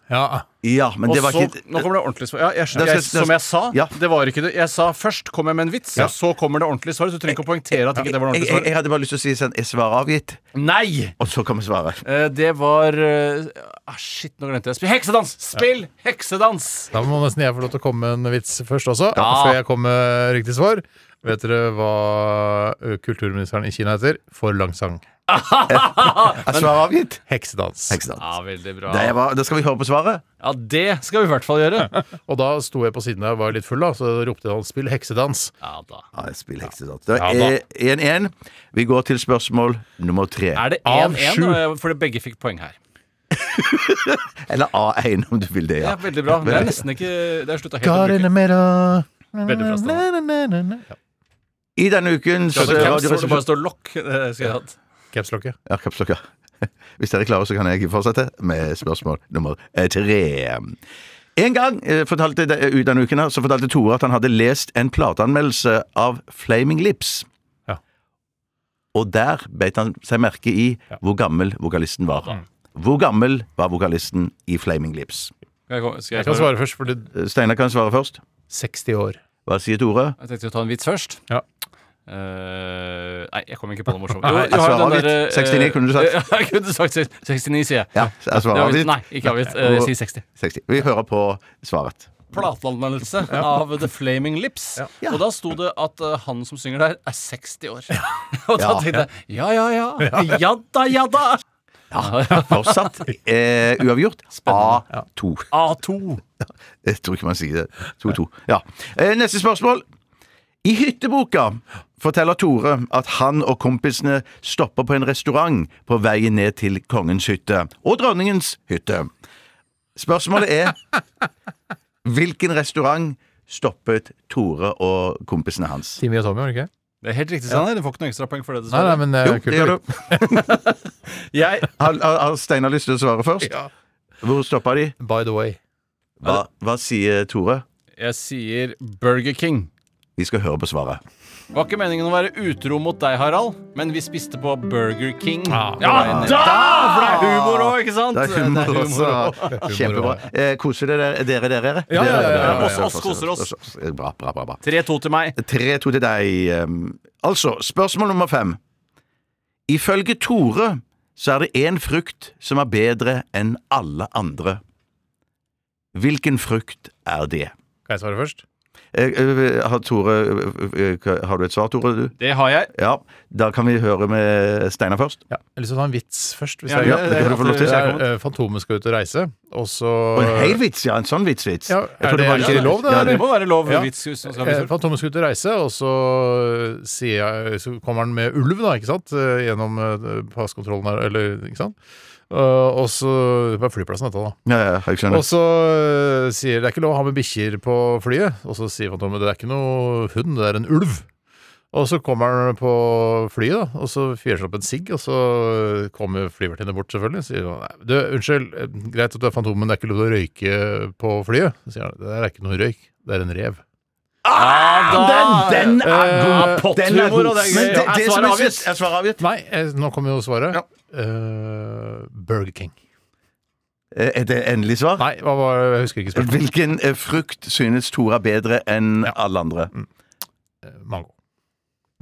Speaker 6: Ja.
Speaker 9: Ja, men
Speaker 8: Og
Speaker 9: det var
Speaker 8: så,
Speaker 9: ikke
Speaker 8: Nå kommer det ordentlig svar. Ja, jeg,
Speaker 9: Da
Speaker 8: jeg,
Speaker 9: skal- da-
Speaker 8: som jeg sa,
Speaker 9: Ja.
Speaker 8: det var ikke det. Jeg sa først kom jeg med en vits,
Speaker 9: Ja.
Speaker 8: og så kommer det ordentlige svaret. Så du trenger ikke å poengtere at ikke det var det ordentlige
Speaker 9: jeg, jeg,
Speaker 8: svaret.
Speaker 9: jeg hadde bare lyst til å si sånn Er svaret avgitt?
Speaker 8: Nei!
Speaker 9: Og så kommer svaret.
Speaker 8: Eh, Det var eh, ah, Shit, nå glemte jeg. Spill heksedans! Spill heksedans!
Speaker 6: Da må nesten jeg få lov til å komme med en vits først også, før jeg kommer med riktig svar. Vet dere hva ø, kulturministeren i Kina heter? For lang sang.
Speaker 9: Er svaret avgitt?
Speaker 6: Heksedans.
Speaker 9: Heksedans.
Speaker 8: Ja, veldig bra.
Speaker 9: Det var, da skal vi høre på svaret.
Speaker 8: Ja, det skal vi i hvert fall gjøre.
Speaker 6: Og da sto jeg på siden der og var litt full, da, så ropte han 'spill heksedans'.
Speaker 8: Ja, da.
Speaker 9: Ja, jeg spiller heksedans. Det
Speaker 6: Ja da.
Speaker 9: er 1-1. Vi går til spørsmål nummer tre.
Speaker 8: Er det
Speaker 6: Av
Speaker 8: 1-1?
Speaker 6: sju.
Speaker 8: og jeg- Fordi begge fikk poeng her.
Speaker 9: Eller A1, om du vil det.
Speaker 8: Ja,
Speaker 9: ja.
Speaker 8: veldig bra. Det er nesten ikke Det er slutta helt å
Speaker 6: God in
Speaker 8: bruke.
Speaker 6: the middle.
Speaker 8: Veldig bra, Stavanger.
Speaker 6: Na-na-na-na-na. Ja.
Speaker 9: I denne ukens
Speaker 8: Ja, det
Speaker 9: eh,
Speaker 8: caps, hvor det
Speaker 9: radioresepsjon-
Speaker 8: bare står lokk. Det skulle jeg hatt.
Speaker 6: Capslokket.
Speaker 9: Ja, kapslokka. Hvis dere klarer, så kan jeg fortsette med spørsmål nummer eh, tre. En gang eh, fortalte, de- ut denne uken her, så fortalte Tore at han hadde lest en plateanmeldelse av Flaming Lips.
Speaker 6: Ja.
Speaker 9: Og der beit han seg merke i hvor gammel vokalisten var.
Speaker 8: Mm.
Speaker 9: Hvor gammel var vokalisten i Flaming Lips?
Speaker 8: Skal jeg gå- skal
Speaker 6: Jeg
Speaker 8: jeg
Speaker 6: kan
Speaker 8: svare?
Speaker 6: svare først, for det
Speaker 9: Eh, Steinar kan svare først.
Speaker 6: 60 år.
Speaker 9: Hva sier Tore?
Speaker 8: Jeg tenkte å ta en vits først.
Speaker 6: Ja.
Speaker 8: Eh, nei, jeg kom ikke på noe morsomt.
Speaker 9: Nei, jeg svarer avgitt. 69 kunne du sagt.
Speaker 8: eh, Ja, jeg kunne sagt 69, sier jeg.
Speaker 9: Ja, jeg svarer
Speaker 8: Det er
Speaker 9: avgitt.
Speaker 8: Nei, ikke avgitt. Eh, Jeg sier 60.
Speaker 9: 60. Vi hører på svaret.
Speaker 8: Plateanmeldelse av The Flaming Lips. Og da sto det at eh, han som synger der, er 60 år. Og da
Speaker 9: Ja.
Speaker 8: tenkte jeg ja, ja, ja. Ja da, ja da.
Speaker 9: Fortsatt eh, uavgjort. A2.
Speaker 8: A2.
Speaker 9: Jeg tror ikke man sier det. 2-2. Ja. Eh, neste spørsmål. I hytteboka forteller Tore at han og kompisene stopper på en restaurant på veien ned til kongens hytte og dronningens hytte. Spørsmålet er hvilken restaurant stoppet Tore og kompisene hans?
Speaker 6: Timmy og Tommy, var det ikke?
Speaker 8: Det er helt riktig, Steinar. Du får ikke noe ekstrapoeng for det.
Speaker 6: Nei, nei,
Speaker 8: dessverre.
Speaker 6: men eh, det er
Speaker 9: Jo, det
Speaker 6: kult.
Speaker 9: gjør du.
Speaker 8: Jeg
Speaker 9: Har, har har Steinar lyst til å svare først? Hvor stoppa de?
Speaker 6: By the way.
Speaker 9: Hva, hva sier Tore?
Speaker 8: Jeg sier Burger King.
Speaker 9: Vi skal høre på svaret.
Speaker 8: Var ikke meningen å være utro mot deg, Harald, men vi spiste på Burger King.
Speaker 9: Ah,
Speaker 8: på
Speaker 7: Ja,
Speaker 8: veien ned.
Speaker 7: da!
Speaker 8: For det er humor òg, ikke sant?
Speaker 9: Det er
Speaker 8: Det
Speaker 9: humor
Speaker 8: er
Speaker 9: også.
Speaker 8: humor også.
Speaker 9: Kjempebra. Eh, koser dere, dere, dere?
Speaker 8: Ja, ja, ja, ja, ja.
Speaker 9: Dere,
Speaker 8: Oss,
Speaker 9: dere,
Speaker 8: oss koser oss.
Speaker 9: Bra, bra, bra. bra.
Speaker 8: 3-2 til meg.
Speaker 9: 3-2 til deg. Um, Altså, spørsmål nummer fem. Ifølge Tore så er det én frukt som er bedre enn alle andre. Hvilken frukt er det?
Speaker 6: Kan jeg svare først?
Speaker 9: Eh, eh, Har, Tore, eh, eh, har du et svar, Tore? Du?
Speaker 8: Det har jeg.
Speaker 9: Ja, Da kan vi høre med Steinar først.
Speaker 6: Ja. Jeg har lyst til å ta en vits først. Hvis
Speaker 9: Ja,
Speaker 6: jeg,
Speaker 9: ja, det kan du få lov til.
Speaker 6: Det er, eh, Fantomet skal ut og reise, og så
Speaker 9: Og en hel vits, ja. En sånn vits-vits.
Speaker 6: Ja,
Speaker 9: Jeg
Speaker 6: er
Speaker 9: tror
Speaker 6: det,
Speaker 9: var-
Speaker 6: er ikke lov, det?
Speaker 9: Ja,
Speaker 6: eller?
Speaker 8: det må være lov, vits, hvis man skal ha vits.
Speaker 6: Eh, Fantomet skulle ut og reise, og så, eh, sier jeg, så kommer han med ulv, da, ikke sant? Eh, Gjennom eh, passkontrollen her, eller ikke sant? Eh, og så På flyplassen, dette, da.
Speaker 9: Ja, ja, jeg skjønner.
Speaker 6: Og så øh, sier det er ikke lov å ha med bikkjer på flyet. Og så sier Fantomet det er ikke noe hund, det er en ulv. Og så kommer han på flyet, da, og så fyrer han opp en sigg, og så kommer flyvertinne bort, selvfølgelig. og Sier han, «Nei, du, unnskyld, eh, greit at du er Fantomet, men det er ikke lov til å røyke på flyet. Så sier han det der er ikke noe røyk, det er en rev.
Speaker 8: Ah,
Speaker 9: den, den er god!
Speaker 6: Eh,
Speaker 9: Den er god.
Speaker 8: og det er gøy.
Speaker 9: Men det,
Speaker 8: Er
Speaker 9: det
Speaker 8: svaret
Speaker 9: som er
Speaker 8: avgitt?
Speaker 9: synd- Er svaret avgitt?
Speaker 6: Nei, eh, nå kommer jo svaret. Eh, Burger King.
Speaker 9: Eh, Er det endelig svar?
Speaker 6: Nei, hva var, jeg husker ikke spørsmålet.
Speaker 9: Hvilken eh, frukt synes Tore er bedre enn alle andre?
Speaker 6: Mango.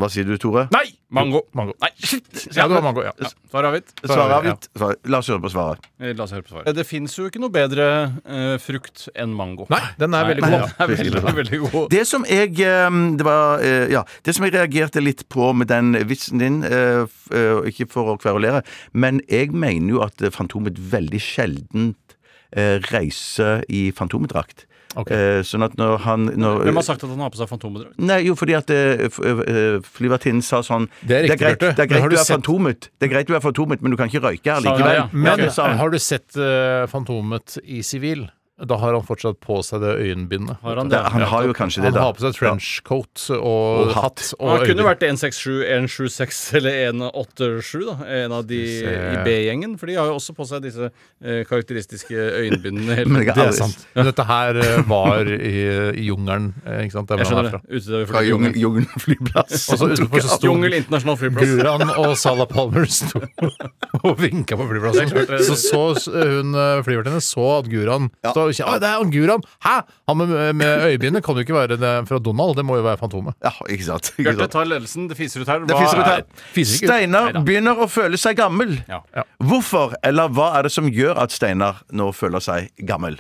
Speaker 9: Hva sier du, Tore?
Speaker 8: Nei! Mango.
Speaker 6: Mango.
Speaker 8: Nei, shit!
Speaker 6: Ja, det var mango, ja.
Speaker 8: Svar avgitt.
Speaker 9: Svaret avgitt. Svar- La oss høre på svaret.
Speaker 8: Eh, La oss høre på svaret. Det fins jo ikke noe bedre eh, frukt enn mango.
Speaker 6: Nei, den er veldig god.
Speaker 8: Den er veldig, veldig god.
Speaker 9: Det som jeg eh, det var, eh, ja, det som jeg reagerte litt på med den vitsen din, eh, f- eh, ikke for å kverulere, men jeg mener jo at eh, Fantomet veldig sjeldent eh, reiser i Fantomedrakt.
Speaker 6: Ok.
Speaker 9: Eh, Sånn at når han når,
Speaker 8: Hvem har sagt at han har på seg fantombedrag?
Speaker 9: Nei, jo, fordi at eh, f- eh, flyvertinnen sa sånn
Speaker 6: Det er riktig,
Speaker 9: greit,
Speaker 6: Bjarte.
Speaker 9: det er
Speaker 6: Men har du
Speaker 9: greit du er
Speaker 6: sett-
Speaker 9: fantomet, Det er greit du er fantomet, men du kan ikke røyke her
Speaker 8: Sa-
Speaker 9: likevel.
Speaker 8: ja, ja.
Speaker 6: Men
Speaker 9: det sa han.
Speaker 6: har du sett eh, Fantomet i sivil? Da har han fortsatt på seg det øyenbindet.
Speaker 8: Har han
Speaker 9: det,
Speaker 8: det?
Speaker 9: han har jo kanskje det,
Speaker 6: Han
Speaker 9: da.
Speaker 6: har på seg trenchcoat og,
Speaker 9: Og hatt.
Speaker 6: hatt
Speaker 8: Han
Speaker 6: og øyenbind.
Speaker 8: kunne vært 167, 176 eller 187, da. En av de i B-gjengen. For de har jo også på seg disse eh, karakteristiske øyenbindene. hele
Speaker 9: Men jeg
Speaker 8: tiden.
Speaker 9: har
Speaker 6: Det er
Speaker 9: aldri-
Speaker 6: sant. Men dette her eh, var i, i jungelen, eh, ikke sant? Det er
Speaker 8: Jeg
Speaker 6: hvor han er
Speaker 8: skjønner det.
Speaker 6: fra.
Speaker 8: Ute der vi
Speaker 9: Fra
Speaker 8: flyr
Speaker 9: Jungel
Speaker 8: jungel.
Speaker 9: Jungel flyplass.
Speaker 6: Og så utenfor så sto
Speaker 8: Jungel internasjonal flyplass.
Speaker 6: Guran og Salah Palmer sto og vinka på flyplassen. Så så s- hun eh, flyvertinne så at Guran stod og kjente Å, det er han Guran! Hæ?! Han med, med øyebindet kan jo ikke være det fra Donald, det må jo være Fantomet.
Speaker 9: Ja, ikke sant. Ikke
Speaker 8: Bjarte
Speaker 9: sant.
Speaker 8: tar ledelsen. Det fiser ut her.
Speaker 9: Det fiser ut her.
Speaker 8: er-
Speaker 6: Fiser ikke ut.
Speaker 9: Steinar
Speaker 8: Neida.
Speaker 9: begynner å føle seg gammel.
Speaker 8: Ja.
Speaker 9: Hvorfor, eller hva er det som gjør at Steinar nå føler seg gammel?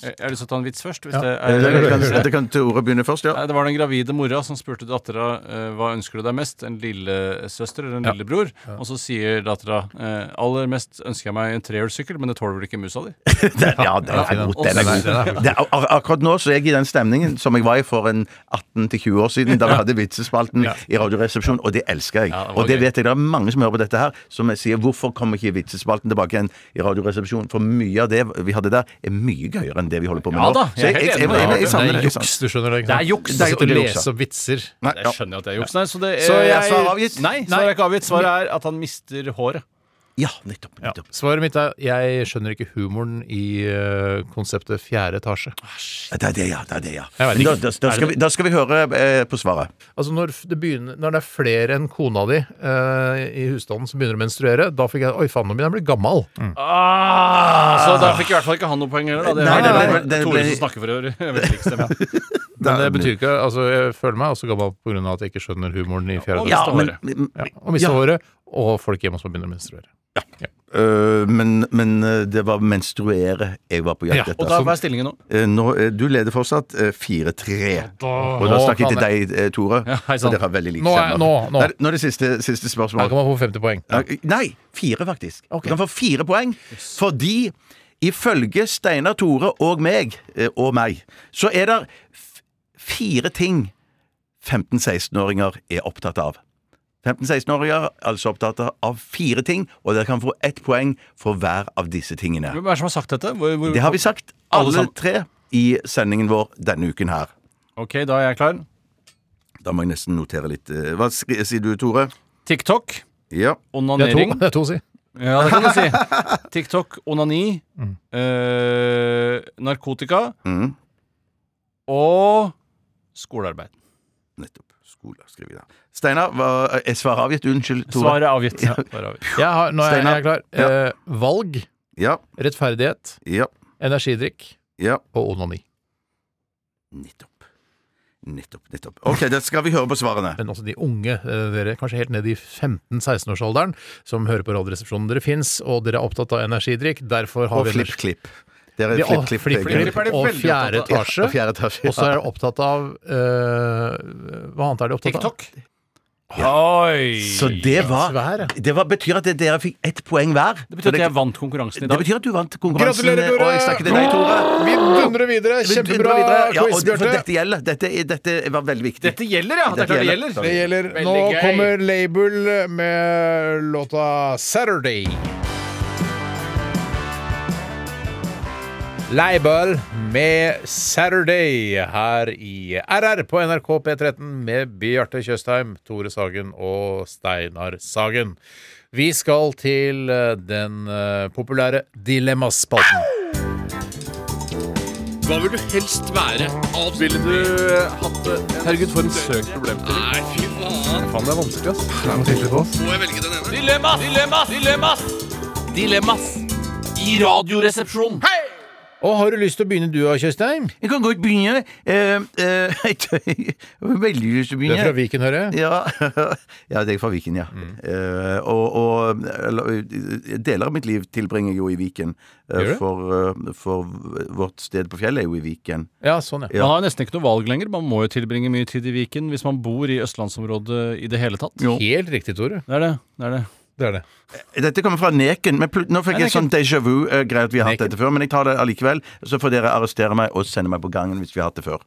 Speaker 8: Jeg jeg har lyst til å ta en vits først. Hvis
Speaker 6: Ja.
Speaker 8: det,
Speaker 9: Eh,
Speaker 8: er,
Speaker 9: Det kan, det kan Tore begynne først, ja.
Speaker 8: Nei, det var den gravide mora som spurte dattera eh, hva ønsker du deg mest, en lillesøster eller en lillebror. Og så sier dattera eh, aller mest ønsker jeg meg en trehjulssykkel, men det tåler vel ikke musa di?
Speaker 9: Den, ja, den er
Speaker 6: Ja,
Speaker 8: den
Speaker 9: god.
Speaker 8: er
Speaker 9: Den er
Speaker 8: fin,
Speaker 6: den er
Speaker 9: god. Det, er- ak- akkurat nå så er jeg i den stemningen som jeg var i for en 18-20 år siden, da vi hadde vitsespalten i Radioresepsjonen, og det elsker jeg.
Speaker 8: Ja, det var
Speaker 9: Og det
Speaker 8: gøy.
Speaker 9: vet jeg det er mange som hører på dette her, som sier 'hvorfor kommer ikke vitsespalten tilbake igjen i Radioresepsjonen'? For mye av det vi hadde der, er mye gøyere enn det vi holder på med
Speaker 8: Ja
Speaker 9: nå.
Speaker 8: da,
Speaker 9: Så jeg,
Speaker 8: jeg er
Speaker 9: jeg,
Speaker 8: helt
Speaker 9: jeg, jeg,
Speaker 8: enig.
Speaker 9: jeg, jeg
Speaker 6: Det
Speaker 9: savner
Speaker 6: er
Speaker 9: det.
Speaker 6: juks, du skjønner det? ikke
Speaker 8: Det
Speaker 6: sant?
Speaker 8: er juks.
Speaker 6: Det er
Speaker 9: Det er juks,
Speaker 6: lese opp vitser.
Speaker 9: Nei, ja.
Speaker 8: Jeg skjønner at det er juks. Nei, så det er,
Speaker 6: Så jeg-
Speaker 9: Svar avgitt?
Speaker 8: Nei, svaret er ikke avgitt. Svaret er at han mister håret.
Speaker 9: ja, nettopp. nettopp.
Speaker 6: Svaret mitt er jeg skjønner ikke humoren i eh, konseptet fjerde etasje.
Speaker 9: Det er det, ja. Det er det, ja.
Speaker 6: Jeg vet
Speaker 9: Men Da,
Speaker 6: ikke.
Speaker 9: da, da, skal vi, da skal vi høre eh, på svaret.
Speaker 6: Altså Når det, begynner, når det er flere enn kona di eh, i husstanden som begynner å menstruere, da fikk jeg Oi, faen, nå begynner jeg å bli gammel.
Speaker 9: Mm.
Speaker 8: Så da fikk i hvert fall ikke han noe poeng heller. Da. Det,
Speaker 9: Ah. Nei,
Speaker 8: er-
Speaker 9: nei,
Speaker 8: det
Speaker 9: nei,
Speaker 8: er
Speaker 9: det
Speaker 8: Tore
Speaker 9: ble-
Speaker 8: som snakker for øvrig. Jeg vet ikke stemmer.
Speaker 6: Men det betyr ikke Altså, jeg føler meg også gammel pga. at jeg ikke skjønner humoren i fjerde
Speaker 8: og
Speaker 6: etasje.
Speaker 8: mista
Speaker 9: men,
Speaker 8: håret.
Speaker 6: Ja, og mista håret, og folk hjemme som begynner å menstruere.
Speaker 9: øh, men, men øh, det var menstruere jeg var på
Speaker 6: Ja,
Speaker 9: jakt etter.
Speaker 8: Og da,
Speaker 9: Så,
Speaker 8: hva er stillingen nå?
Speaker 9: øh, nå, øh, du leder fortsatt øh, 4-3. Og da
Speaker 6: Å,
Speaker 9: snakker jeg til
Speaker 6: faen,
Speaker 9: deg, eh, Tore.
Speaker 8: Ja, hei
Speaker 9: for
Speaker 8: sann.
Speaker 9: dere har veldig like
Speaker 6: Nå er-
Speaker 9: stemmer.
Speaker 6: nå- nå.
Speaker 9: Nei, nå er det siste, siste
Speaker 6: Her kan
Speaker 9: spørsmål.
Speaker 6: man få 50 poeng.
Speaker 9: Nei, fire faktisk. Du kan få fire poeng fordi ifølge Steinar Tore og meg, eh, og meg, så er det f- fire ting 15-16-åringer er opptatt av. 15-16-åringer er altså opptatt av fire ting, og dere kan få ett poeng for hver av disse tingene.
Speaker 8: Hvem er det som har sagt dette? Hvor, hvor,
Speaker 9: Det har vi sagt,
Speaker 8: Alle
Speaker 9: alle
Speaker 8: sammen.
Speaker 9: tre, i sendingen vår denne uken her.
Speaker 8: Ok, da er jeg klar.
Speaker 9: Da må jeg nesten notere litt. eh, Hva skri- sier du, Tore?
Speaker 8: TikTok,
Speaker 9: Ja.
Speaker 6: Det er to,
Speaker 8: onanering.
Speaker 6: det er to å si.
Speaker 8: Ja, det kan du si. TikTok, onani,
Speaker 6: Mm.
Speaker 9: Mm.
Speaker 8: eh, narkotika og Skolearbeid.
Speaker 9: Nettopp. Skole, skriver vi da. Steinar, hva- eh, er svaret avgitt? Unnskyld, Tore.
Speaker 8: Svaret er avgitt.
Speaker 9: Ja.
Speaker 6: Jeg har, nå er jeg, jeg er klar.
Speaker 9: Ja.
Speaker 6: Eh, valg,
Speaker 9: Ja.
Speaker 6: rettferdighet,
Speaker 9: Ja.
Speaker 6: energidrikk
Speaker 9: Ja.
Speaker 6: og onani.
Speaker 9: Nettopp. Nettopp. nettopp. Ok, da skal vi høre på svarene.
Speaker 6: Men også de unge, eh, dere kanskje helt ned i 15-16-årsalderen, som hører på Radioresepsjonen. Dere fins, og dere er opptatt av energidrikk. Derfor har
Speaker 9: Og eh,
Speaker 6: vi
Speaker 9: flipp, klipp. Dere
Speaker 6: Vi-
Speaker 9: er
Speaker 6: og
Speaker 9: flipp, klipp.
Speaker 6: flipp,
Speaker 9: begge.
Speaker 6: klipp og fjerde etasje.
Speaker 9: Ja, og fjerde etasje,
Speaker 6: Og så er
Speaker 9: ja.
Speaker 6: dere opptatt av eh, Hva annet er dere opptatt av? TikTok.
Speaker 8: Oi!
Speaker 9: Så det var, det var, betyr at dere fikk ett poeng hver.
Speaker 8: Det betyr at jeg vant konkurransen i dag.
Speaker 9: Det betyr at du vant konkurransen. eh,
Speaker 8: Gratulerer, Tore!
Speaker 9: Og jeg snakker til deg, Tore.
Speaker 6: Vi dundrer videre.
Speaker 9: Vi dundrer
Speaker 6: Kjempebra
Speaker 9: videre. Ja, og
Speaker 6: quiz,
Speaker 9: det- for
Speaker 6: Bjarte.
Speaker 9: Dette gjelder. Dette, er- dette var veldig viktig.
Speaker 8: Dette gjelder, ja. Det er klart det gjelder.
Speaker 6: Det gjelder. Nå
Speaker 8: Veldig gøy.
Speaker 6: kommer Label med låta 'Saturday'. Label med 'Saturday' her i RR på NRK P13 med Bjarte Tjøstheim, Tore Sagen og Steinar Sagen. Vi skal til eh, den eh, populære Dilemmaspalten.
Speaker 13: Hva vil du helst være? Ville du eh, hatt det? Herregud, for en søk problemstilling. Nei, fy faen.
Speaker 6: Faen, det er vanskelig, ass.
Speaker 13: Må jeg velge den ene?
Speaker 8: Dilemmas, dilemmas, dilemmas! Dilemmas i Radioresepsjonen. Hei!
Speaker 6: Og har du lyst til å begynne du, Tjøstheim?
Speaker 9: Jeg kan godt begynne. Eh, eh, jeg har veldig lyst til å
Speaker 6: Du
Speaker 9: begynne.
Speaker 6: er fra Viken, hører jeg?
Speaker 9: Ja, ja det er fra Viken, ja.
Speaker 8: Mm.
Speaker 9: Eh, og og eller, deler av mitt liv tilbringer jeg jo i Viken. Eh,
Speaker 8: Gjør du?
Speaker 9: for, eh, for vårt sted på fjellet er jo i Viken.
Speaker 6: sånn,
Speaker 8: Man har jo nesten ikke noe valg lenger. Man må jo tilbringe mye tid i Viken hvis man bor i østlandsområdet i det hele tatt.
Speaker 6: Helt riktig, Tore.
Speaker 8: Det er det. det, er det.
Speaker 9: Dette kommer fra Neken. Men plut- nå fikk
Speaker 8: Nei,
Speaker 9: jeg sånn
Speaker 8: Neken.
Speaker 9: déjà vu-greie at vi har hatt dette før, men jeg tar det allikevel. Så får dere arrestere meg og sende meg på gangen hvis vi har hatt det før.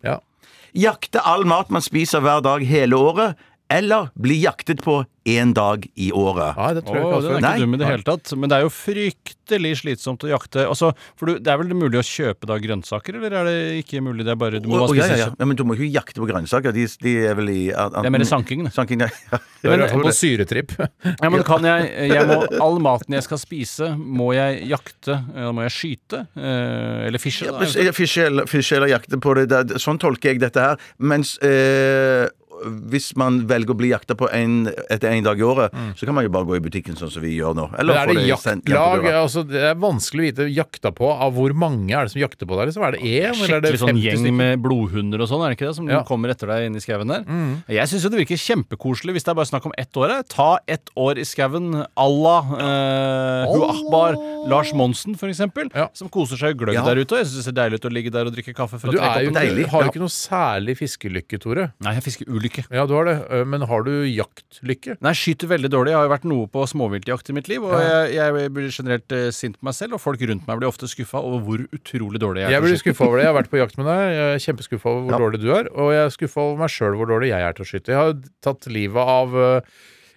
Speaker 9: Jakte all mat man spiser hver dag hele året, eller bli jaktet på én dag i året.
Speaker 6: Ja, det
Speaker 8: Åh, den er ikke dum i det hele tatt, men det er jo fryktelig slitsomt å jakte. Altså, for du, det er vel mulig å kjøpe da grønnsaker, eller er det ikke mulig? Det er bare, du må
Speaker 9: Å,
Speaker 8: bare
Speaker 9: å, ja, ja,
Speaker 8: spise
Speaker 9: ja. ja, men du må ikke jakte på grønnsaker. De, de er vel i
Speaker 8: Det er mer sanking, det.
Speaker 9: sanking ja.
Speaker 8: Men- Det er på
Speaker 6: syretripp.
Speaker 8: Ja, men kan jeg, jeg må, All maten jeg skal spise, må jeg jakte, eller må jeg skyte? Eh, Eller fische, da. eventuelt.
Speaker 9: Fiskjell eller jakte på det, det, sånn tolker jeg dette her. Mens eh, hvis man velger å bli jakta på en, etter én dag i året,
Speaker 8: Mm.
Speaker 9: så kan man jo bare gå i butikken sånn som vi gjør nå.
Speaker 6: Men er
Speaker 9: få
Speaker 6: det
Speaker 9: sendt hjem til
Speaker 6: jaktlag?
Speaker 9: døra.
Speaker 6: Altså, det er vanskelig å vite jakta på av hvor mange er det som jakter på deg. Liksom. Er det én, eller er det
Speaker 8: Skikkelig sånn
Speaker 6: 50
Speaker 8: gjeng
Speaker 6: stykker?
Speaker 8: med blodhunder og sånn, er det ikke det? Som
Speaker 6: Ja.
Speaker 8: kommer etter deg inn i skauen der.
Speaker 6: Mm.
Speaker 8: Jeg syns jo det virker kjempekoselig hvis det er bare snakk om ett år. jeg. Ta ett år i skauen. Allah, eh, Hu Akbar, Lars Monsen for eksempel, som koser seg i gløgg
Speaker 6: Ja.
Speaker 8: der ute. Og Jeg syns det ser deilig ut å ligge der og drikke kaffe fra
Speaker 6: Du er jo,
Speaker 8: trekoppen.
Speaker 6: ikke- har jo ikke noe særlig fiskelykke, Tore.
Speaker 8: Nei, jeg fisker ulykke.
Speaker 6: Ja, du har det. Øh, Men har du jaktlykke?
Speaker 8: Nei, jeg skyter veldig dårlig. Jeg har jo vært noe på småviltjakt i mitt liv, og
Speaker 6: Ja.
Speaker 8: jeg, jeg blir generelt eh, sint på meg selv, og folk rundt meg blir ofte skuffa over hvor utrolig dårlig jeg er.
Speaker 6: Jeg
Speaker 8: til å
Speaker 6: blir
Speaker 8: skyte.
Speaker 6: skuffa over det. Jeg har vært på jakt med deg. Jeg er kjempeskuffa over hvor dårlig du er. Og jeg er skuffa over meg sjøl hvor dårlig jeg er til å skyte. Jeg har tatt livet av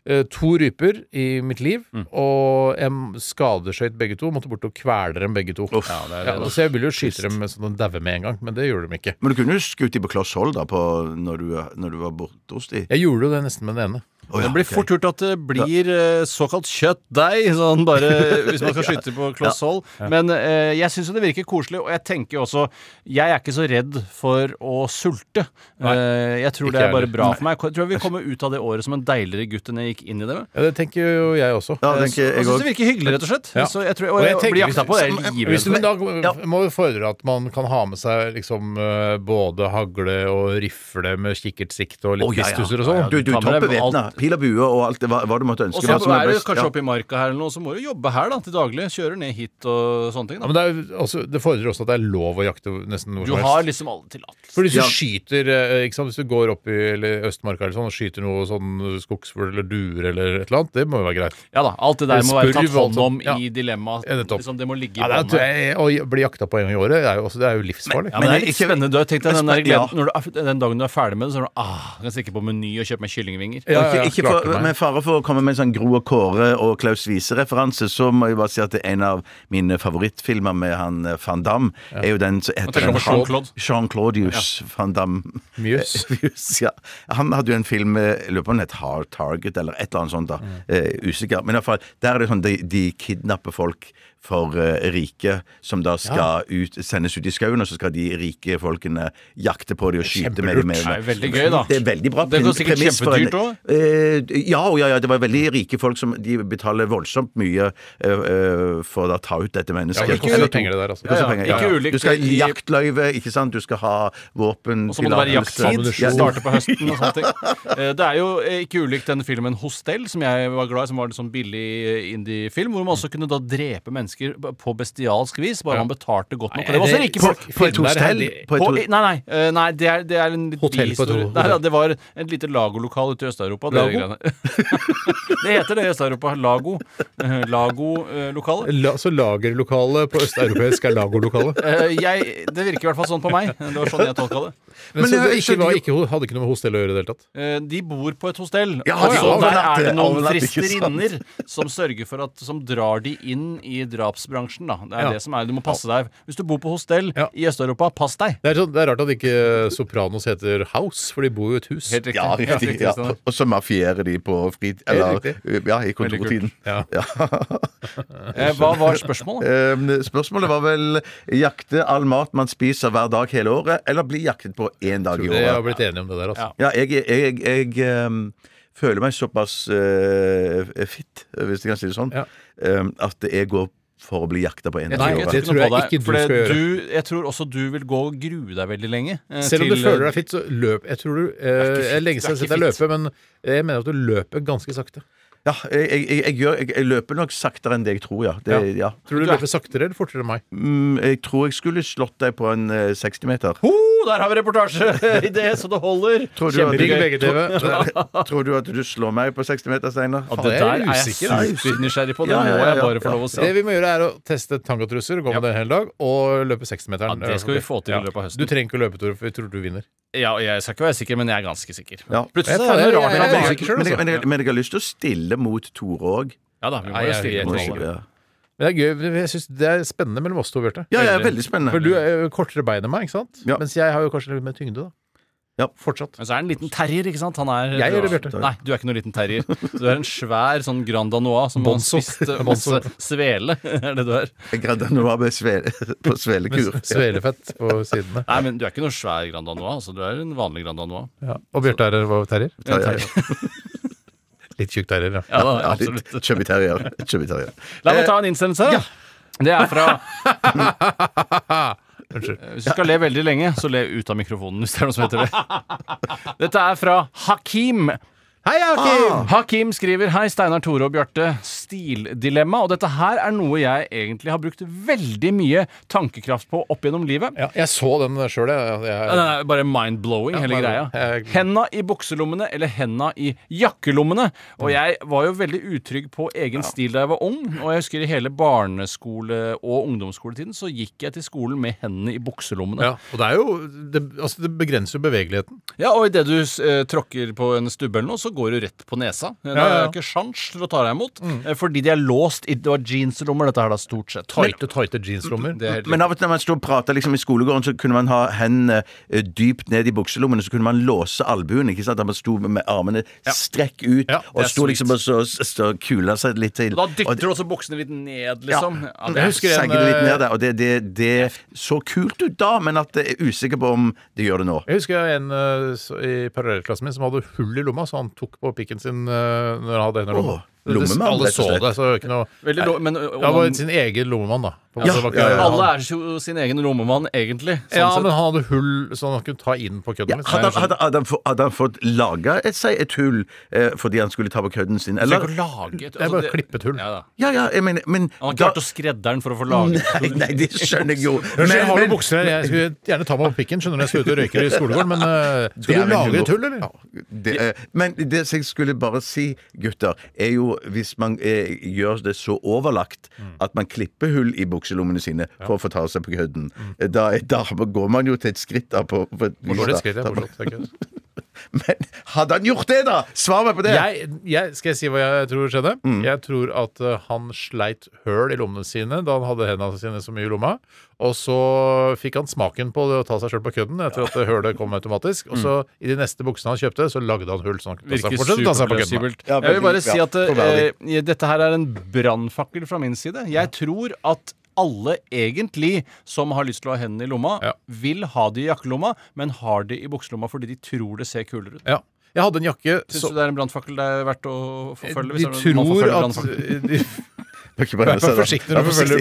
Speaker 6: eh, to ryper i mitt liv,
Speaker 9: Mm.
Speaker 6: og jeg skadeskøyt begge to. Måtte bort og kvele dem begge to. Ja,
Speaker 8: det er det, da.
Speaker 6: så jeg ville jo skyte dem sånn at de dauer med en gang, men det gjorde de ikke.
Speaker 9: Men du kunne jo skutt de på kloss hold da, på, når, du, når du var borte hos de.
Speaker 6: Jeg gjorde jo det nesten med den ene.
Speaker 9: Å, ja,
Speaker 8: det blir
Speaker 9: ok.
Speaker 8: fort gjort at det blir eh, såkalt kjøttdeig, sånn bare hvis man skal skyte på kloss
Speaker 9: Ja.
Speaker 8: hold.
Speaker 9: Ja.
Speaker 8: Men eh, jeg syns jo det virker koselig, og jeg tenker jo også Jeg er ikke så redd for å sulte. Eh, jeg tror
Speaker 6: Ikke
Speaker 8: det er bare
Speaker 6: heller.
Speaker 8: bra
Speaker 6: Nei.
Speaker 8: for meg. Jeg tror jeg vil komme ut av det året som en deiligere gutt enn jeg gikk inn i det med.
Speaker 6: Ja, Det tenker jo jeg også.
Speaker 8: Ja, det tenker jeg Jeg synes også. det eh, altså, virker hyggelig, rett og slett. Så jeg tror- og jeg blir jakta på, jeg er livredd
Speaker 6: Hvis du
Speaker 8: for det.
Speaker 6: da må jo fordre at man kan ha med seg liksom eh, både hagle og rifle med kikkertsikte og litt
Speaker 9: Å, ja, ja.
Speaker 6: pistuser og sånn.
Speaker 9: Du, du topper vetna. Pil og bue og alt det, hva, hva du måtte ønske.
Speaker 8: Og så
Speaker 9: hva som
Speaker 8: er du
Speaker 9: best.
Speaker 8: kanskje
Speaker 9: Ja.
Speaker 8: oppe i marka her eller noe, så må du jobbe her da, til daglig. Kjører ned hit og sånne ting.
Speaker 6: Ja,
Speaker 8: Da.
Speaker 6: men det, er, jo også, det fordrer også at det er lov å jakte nesten hvor
Speaker 8: du har liksom alle tillatelser.
Speaker 6: For hvis du
Speaker 8: Ja.
Speaker 6: skyter eh, ikke sant? Hvis du går opp i eller Østmarka eller sånn og skyter noe sånn skogsfugl eller duer eller et eller annet, det må jo være greit.
Speaker 8: Ja da, alt det der må være tatt
Speaker 6: Spurv og
Speaker 8: hånd
Speaker 6: sånn.
Speaker 8: om
Speaker 6: Ja.
Speaker 8: i dilemmaet.
Speaker 6: Ja, nettopp.
Speaker 8: Liksom, det må ligge i
Speaker 6: Ja, det
Speaker 8: båndet.
Speaker 6: er, å bli jakta på en gang i året det er jo, også, det er jo livsfarlig.
Speaker 8: Ja, men det er litt spennende. Du har tenkt deg den, der
Speaker 6: Men- ja.
Speaker 8: gleden, når du, den dagen du er ferdig med det, så er du ah, jeg kan stikke på Meny og kjøpe meg kyllingvinger.
Speaker 9: Og ikke, ikke for, med fare for å komme med en sånn Gro og Kåre og Klaus Wiese-referanse, så må jeg bare si at det er en av mine favorittfilmer med han eh, van Damme er jo den som
Speaker 8: Man
Speaker 9: heter
Speaker 8: tenker på
Speaker 9: han-
Speaker 8: Jean-Claude.
Speaker 9: Jean-Claudius van Damme.
Speaker 6: Mjøs.
Speaker 9: Mjøs, ja. Han hadde jo en film, eh, jeg lurer på om den het Hard
Speaker 8: Mm.
Speaker 9: Target eller et eller annet sånt, da. Eh, usikker. Men i hvert fall, der er det sånn de, de kidnapper folk for eh, rike, som da skal ut, sendes ut i skauen, og så skal de rike folkene jakte på dem og skyte med dem.
Speaker 8: Kjempelurt. Det er veldig gøy, da.
Speaker 9: Det er veldig bra.
Speaker 8: Det går sikkert
Speaker 9: premiss for en-
Speaker 8: kjempedyrt også.
Speaker 9: Eh, ja, og ja, ja, det var veldig rike folk som de betaler voldsomt mye eh, eh, for å ta ut dette mennesket.
Speaker 6: Ja, det koster
Speaker 9: Eller-
Speaker 6: penger, det der, altså.
Speaker 9: Det
Speaker 6: Ja,
Speaker 9: koster
Speaker 6: ja.
Speaker 9: penger, ja,
Speaker 6: Ikke
Speaker 9: ja.
Speaker 6: ulikt
Speaker 9: Du skal ha
Speaker 6: i-
Speaker 9: jaktløyve, ikke sant? Du skal ha våpen
Speaker 8: Og så må det være jakttid.
Speaker 9: Ja.
Speaker 8: Starte på høsten og sånne ting. Eh, Det er jo eh, ikke ulikt denne filmen Hostel, som jeg var glad i, som var en sånn billig eh, indie-film, hvor man også kunne da drepe mennesker b- på bestialsk vis, bare man betalte godt nok. Og det var også rike
Speaker 9: På-
Speaker 8: folk.
Speaker 9: på et hostell? På et
Speaker 8: På-
Speaker 9: ho-
Speaker 8: Nei, nei. eh, nei det, er, det er en litt
Speaker 9: Hotell på et
Speaker 8: bihistorie.
Speaker 9: ho-
Speaker 8: Nei, ja, det var et lite lagolokal ute i Øst-Europa. Det,
Speaker 6: Lago?
Speaker 8: greiene. det heter det i Øst-Europa. Lago. Eh, Lago-lokale.
Speaker 6: La, så lagerlokalet på østeuropeisk er lagorlokalet.
Speaker 8: Eh, jeg, det virker i hvert fall sånn på meg. Det var sånn jeg tolka det.
Speaker 6: Men, så det ikke, var, ikke, hadde ikke noe med hostell å gjøre i det hele tatt?
Speaker 8: Eh, De bor på et hostell,
Speaker 6: Ja,
Speaker 8: og
Speaker 6: de
Speaker 8: så der
Speaker 6: overnatter,
Speaker 8: er det noen
Speaker 6: overnatter, ikke
Speaker 8: fristerinner som sørger for at Som drar de inn i drapsbransjen, da. Det er
Speaker 6: Ja.
Speaker 8: det som er, du må passe deg. Hvis du bor på hostell i Øst-Europa, pass deg.
Speaker 6: Det er, sånn, det er rart at ikke Sopranos heter House, for de bor jo i et hus.
Speaker 8: Helt riktig.
Speaker 9: Ja, helt riktig, ja. Og så mafierer de på fritid Eller eh,
Speaker 6: riktig.
Speaker 9: ja,
Speaker 6: Veldig
Speaker 9: i
Speaker 6: kult.
Speaker 9: kontortiden.
Speaker 6: Ja.
Speaker 8: Eh, hva var spørsmålet?
Speaker 9: Eh, Spørsmålet var vel jakte all mat man spiser hver dag hele året, eller bli jaktet på én dag i
Speaker 6: Tror jeg har
Speaker 9: året.
Speaker 6: blitt enige om det der, altså.
Speaker 9: Ja, jeg, jeg, jeg, ehm, føler meg såpass eh, fit, hvis jeg kan si det sånn, ehm, at jeg går for å bli jakta på én
Speaker 8: Jeg
Speaker 9: dag
Speaker 8: tror ikke
Speaker 9: i året.
Speaker 8: jeg tror noe på deg, for det- du, jeg tror også du vil gå og grue deg veldig lenge. eh,
Speaker 6: Selv om du
Speaker 8: til-
Speaker 6: føler deg fit, så løp Jeg tror du eh,
Speaker 8: ikke
Speaker 6: Det er
Speaker 8: fit,
Speaker 6: lenge siden jeg har sett
Speaker 8: det
Speaker 6: deg
Speaker 8: er ikke
Speaker 6: løpe, men jeg mener at du løper ganske sakte.
Speaker 9: Ja, jeg, jeg, jeg, gjør, jeg, jeg løper nok saktere enn det jeg tror, ja. Det, ja.
Speaker 6: Tror du du løper saktere eller fortere enn meg?
Speaker 9: Mm, jeg tror jeg skulle slått deg på en eh, 60-meter.
Speaker 8: Ho, der har vi reportasje i det så det holder!
Speaker 9: Tror du, at,
Speaker 8: Kjempegøy.
Speaker 9: tror, tror, tror du at du slår meg på 60 meter, Steinar?
Speaker 8: Ja, det der er altså. jeg supernysgjerrig på. Det må jeg bare få lov å si.
Speaker 6: Det vi må gjøre, er å teste tangotrusser, gå med det en hel dag, og løpe 60-meteren.
Speaker 8: Ja, det skal vi få til i løpet av høsten.
Speaker 6: Du trenger ikke å løpe, Tore, for vi tror du vinner.
Speaker 8: Ja, og jeg skal ikke være sikker, men jeg er ganske sikker.
Speaker 9: Ja.
Speaker 8: Plutselig så er det noe rart.
Speaker 9: Men,
Speaker 8: med
Speaker 9: jeg-
Speaker 8: at man-
Speaker 9: men, jeg- men, jeg- men jeg har lyst til å stille mot Tore òg.
Speaker 8: Ja da, vi må
Speaker 6: Nei,
Speaker 8: jo
Speaker 6: jeg er
Speaker 8: stille
Speaker 6: helt
Speaker 8: mot
Speaker 6: enig.
Speaker 8: Norge.
Speaker 6: Men det er gøy, men jeg synes det er spennende mellom oss to, Bjarte.
Speaker 9: Ja, ja, veldig spennende.
Speaker 6: For du er jo kortere bein enn meg, ikke sant? Mens jeg har jo kanskje litt mer tyngde, da. Fortsatt.
Speaker 8: Men så er han en liten terrier, ikke sant? Han er
Speaker 6: Jeg eller Bjarte?
Speaker 8: Nei, du er ikke noen liten terrier. Du er en svær sånn Grand Danois som har
Speaker 6: Bonzo.
Speaker 8: spist eh, masse svele. er det du er.
Speaker 9: Jeg gradde nå av med svele, på svelekur.
Speaker 6: Med s- svelefett på sidene.
Speaker 8: Nei, men du er ikke noen svær Grand Danois. Altså, du er en vanlig Grand Danois.
Speaker 6: Ja. Og Bjarte er hva terrier?
Speaker 8: Ja, terrier.
Speaker 6: litt tjukk terrier,
Speaker 8: Ja, da,
Speaker 9: litt chubby terrier. Chubby terrier.
Speaker 8: La
Speaker 6: Eh,
Speaker 8: meg ta en innsendelse. Det er fra Eh,
Speaker 6: Unnskyld.
Speaker 8: Hvis du skal le veldig lenge, så le ut av mikrofonen hvis det er noe som heter det. Dette er fra Hakim.
Speaker 6: Hei,
Speaker 8: Hakim! Hakim skriver Hei, Steinar, Tore og Bjarte. Stildilemma. Og dette her er noe jeg egentlig har brukt veldig mye tankekraft på opp gjennom livet.
Speaker 6: Ja, jeg så den sjøl, jeg.
Speaker 8: Ja,
Speaker 6: jeg
Speaker 8: Den er bare mind-blowing,
Speaker 6: Ja,
Speaker 8: hele greia.
Speaker 6: bare- jeg-
Speaker 8: Henda i bukselommene eller henda i jakkelommene. Og jeg var jo veldig utrygg på egen stil da jeg var ung. Og jeg husker i hele barneskole- og ungdomsskoletiden så gikk jeg til skolen med hendene i bukselommene.
Speaker 6: ja, og det er jo det, altså, det begrenser jo bevegeligheten.
Speaker 8: Ja, og idet du eh, tråkker på en stubbe eller noe, så går du rett på nesa. Det
Speaker 6: Ja, ja, ja.
Speaker 8: er ikke sjans til å ta deg imot, eh, fordi de er låst i Det var jeanslommer, dette her, da, stort sett.
Speaker 6: Tighte, tighte jeanslommer.
Speaker 8: Det er helt
Speaker 9: Men av og til når man sto og prata liksom, i skolegården, så kunne man ha hendene eh, dypt ned i bukselommene, så kunne man låse albuen. Ikke sant? At man sto med armene strekk ut, og
Speaker 8: er
Speaker 9: sto liksom og så, så kula seg litt til.
Speaker 8: Og da dytter du også buksene litt ned, liksom.
Speaker 9: Ja.
Speaker 8: Ja, det
Speaker 9: jeg
Speaker 8: er-
Speaker 9: husker en, litt ned der, og det, det, det så kult ut da, men at jeg er usikker på om det gjør det nå.
Speaker 6: Jeg husker en eh, så- i parallellklassen min som hadde hull i lomma, så han tok på pikken sin eh, når han hadde henne i lomma.
Speaker 9: Åh, lommemann,
Speaker 6: alle
Speaker 9: rett og
Speaker 6: så
Speaker 9: slett.
Speaker 6: det, så det var ikke noe
Speaker 8: Veldig lo- men,
Speaker 6: Det
Speaker 8: og
Speaker 6: var
Speaker 8: man-
Speaker 6: sin egen lommemann, da. På en måte,
Speaker 8: Ja,
Speaker 6: det var ikke-
Speaker 8: ja, ja, ja. Alle er jo sin egen lommemann, egentlig. Sånn
Speaker 6: Ja,
Speaker 8: sett.
Speaker 6: men han hadde hull så han kunne ta inn på kødden.
Speaker 9: Ja,
Speaker 6: liksom.
Speaker 8: sånn-
Speaker 9: hadde, han- hadde, hadde, han få- hadde han fått laga et, seg et hull eh, fordi han skulle ta på kødden sin?
Speaker 8: Du
Speaker 9: Eller?
Speaker 8: trenger ikke å lage et
Speaker 6: Det er bare å klippe et hull.
Speaker 8: Ja, da.
Speaker 9: Ja, ja, jeg mener, men
Speaker 8: Han har ikke
Speaker 9: da-
Speaker 8: vært og skredderen for å få laget et
Speaker 9: Nei,
Speaker 8: hull.
Speaker 9: nei, det skjønner jeg jo.
Speaker 6: Unnskyld, jeg har noen bukser her. Jeg skulle gjerne ta meg på pikken. Skjønner du, jeg skal ut og røyke i skolegården, men eh,
Speaker 9: Det er
Speaker 6: skal du
Speaker 9: vel
Speaker 6: lage et
Speaker 9: humor.
Speaker 6: hull, eller?
Speaker 9: det, eh, men det som jeg skulle bare si, gutter, er jo hvis man eh, gjør det så overlagt
Speaker 6: Mm.
Speaker 9: at man klipper hull i bukselommene sine for å få ta seg på kødden, eh, da, da går man jo til et skritt da på, på et
Speaker 6: Man
Speaker 9: vis
Speaker 6: går det
Speaker 9: da.
Speaker 6: et skritt, ja,
Speaker 9: Da-
Speaker 6: fortsatt, det er ikke-
Speaker 9: Men hadde han gjort det, da? Svar meg på det!
Speaker 6: Jeg, jeg, skal jeg si hva jeg tror skjedde?
Speaker 8: Mm.
Speaker 6: Jeg tror at eh, han sleit høl i lommene sine da han hadde hendene sine så mye i lomma. Og så fikk han smaken på det å ta seg sjøl på kødden etter at hølet kom automatisk. Og så i de neste buksene han kjøpte, så lagde han hull. Så han kunne ta seg-
Speaker 8: Mm. Virker
Speaker 6: fortsette å ta seg på kødden.
Speaker 8: superplausibelt. jeg vil bare si at eh, dette her er en brannfakkel fra min side. Jeg tror at alle egentlig som har lyst til å ha hendene i lomma, vil ha de i jakkelomma, men har de i bukselomma fordi de tror det ser kulere ut.
Speaker 6: Ja. Jeg hadde en jakke
Speaker 8: Syns
Speaker 6: så-
Speaker 8: du det er en brannfakkel det er verdt å forfølge?
Speaker 6: De
Speaker 8: det er noen man
Speaker 6: tror
Speaker 8: forfølger
Speaker 6: at
Speaker 8: brannfakkel?
Speaker 6: de,
Speaker 9: ikke bare
Speaker 6: Vær
Speaker 9: se, da.
Speaker 6: forsiktig når
Speaker 9: Vær
Speaker 6: du forfølger
Speaker 9: forsiktig.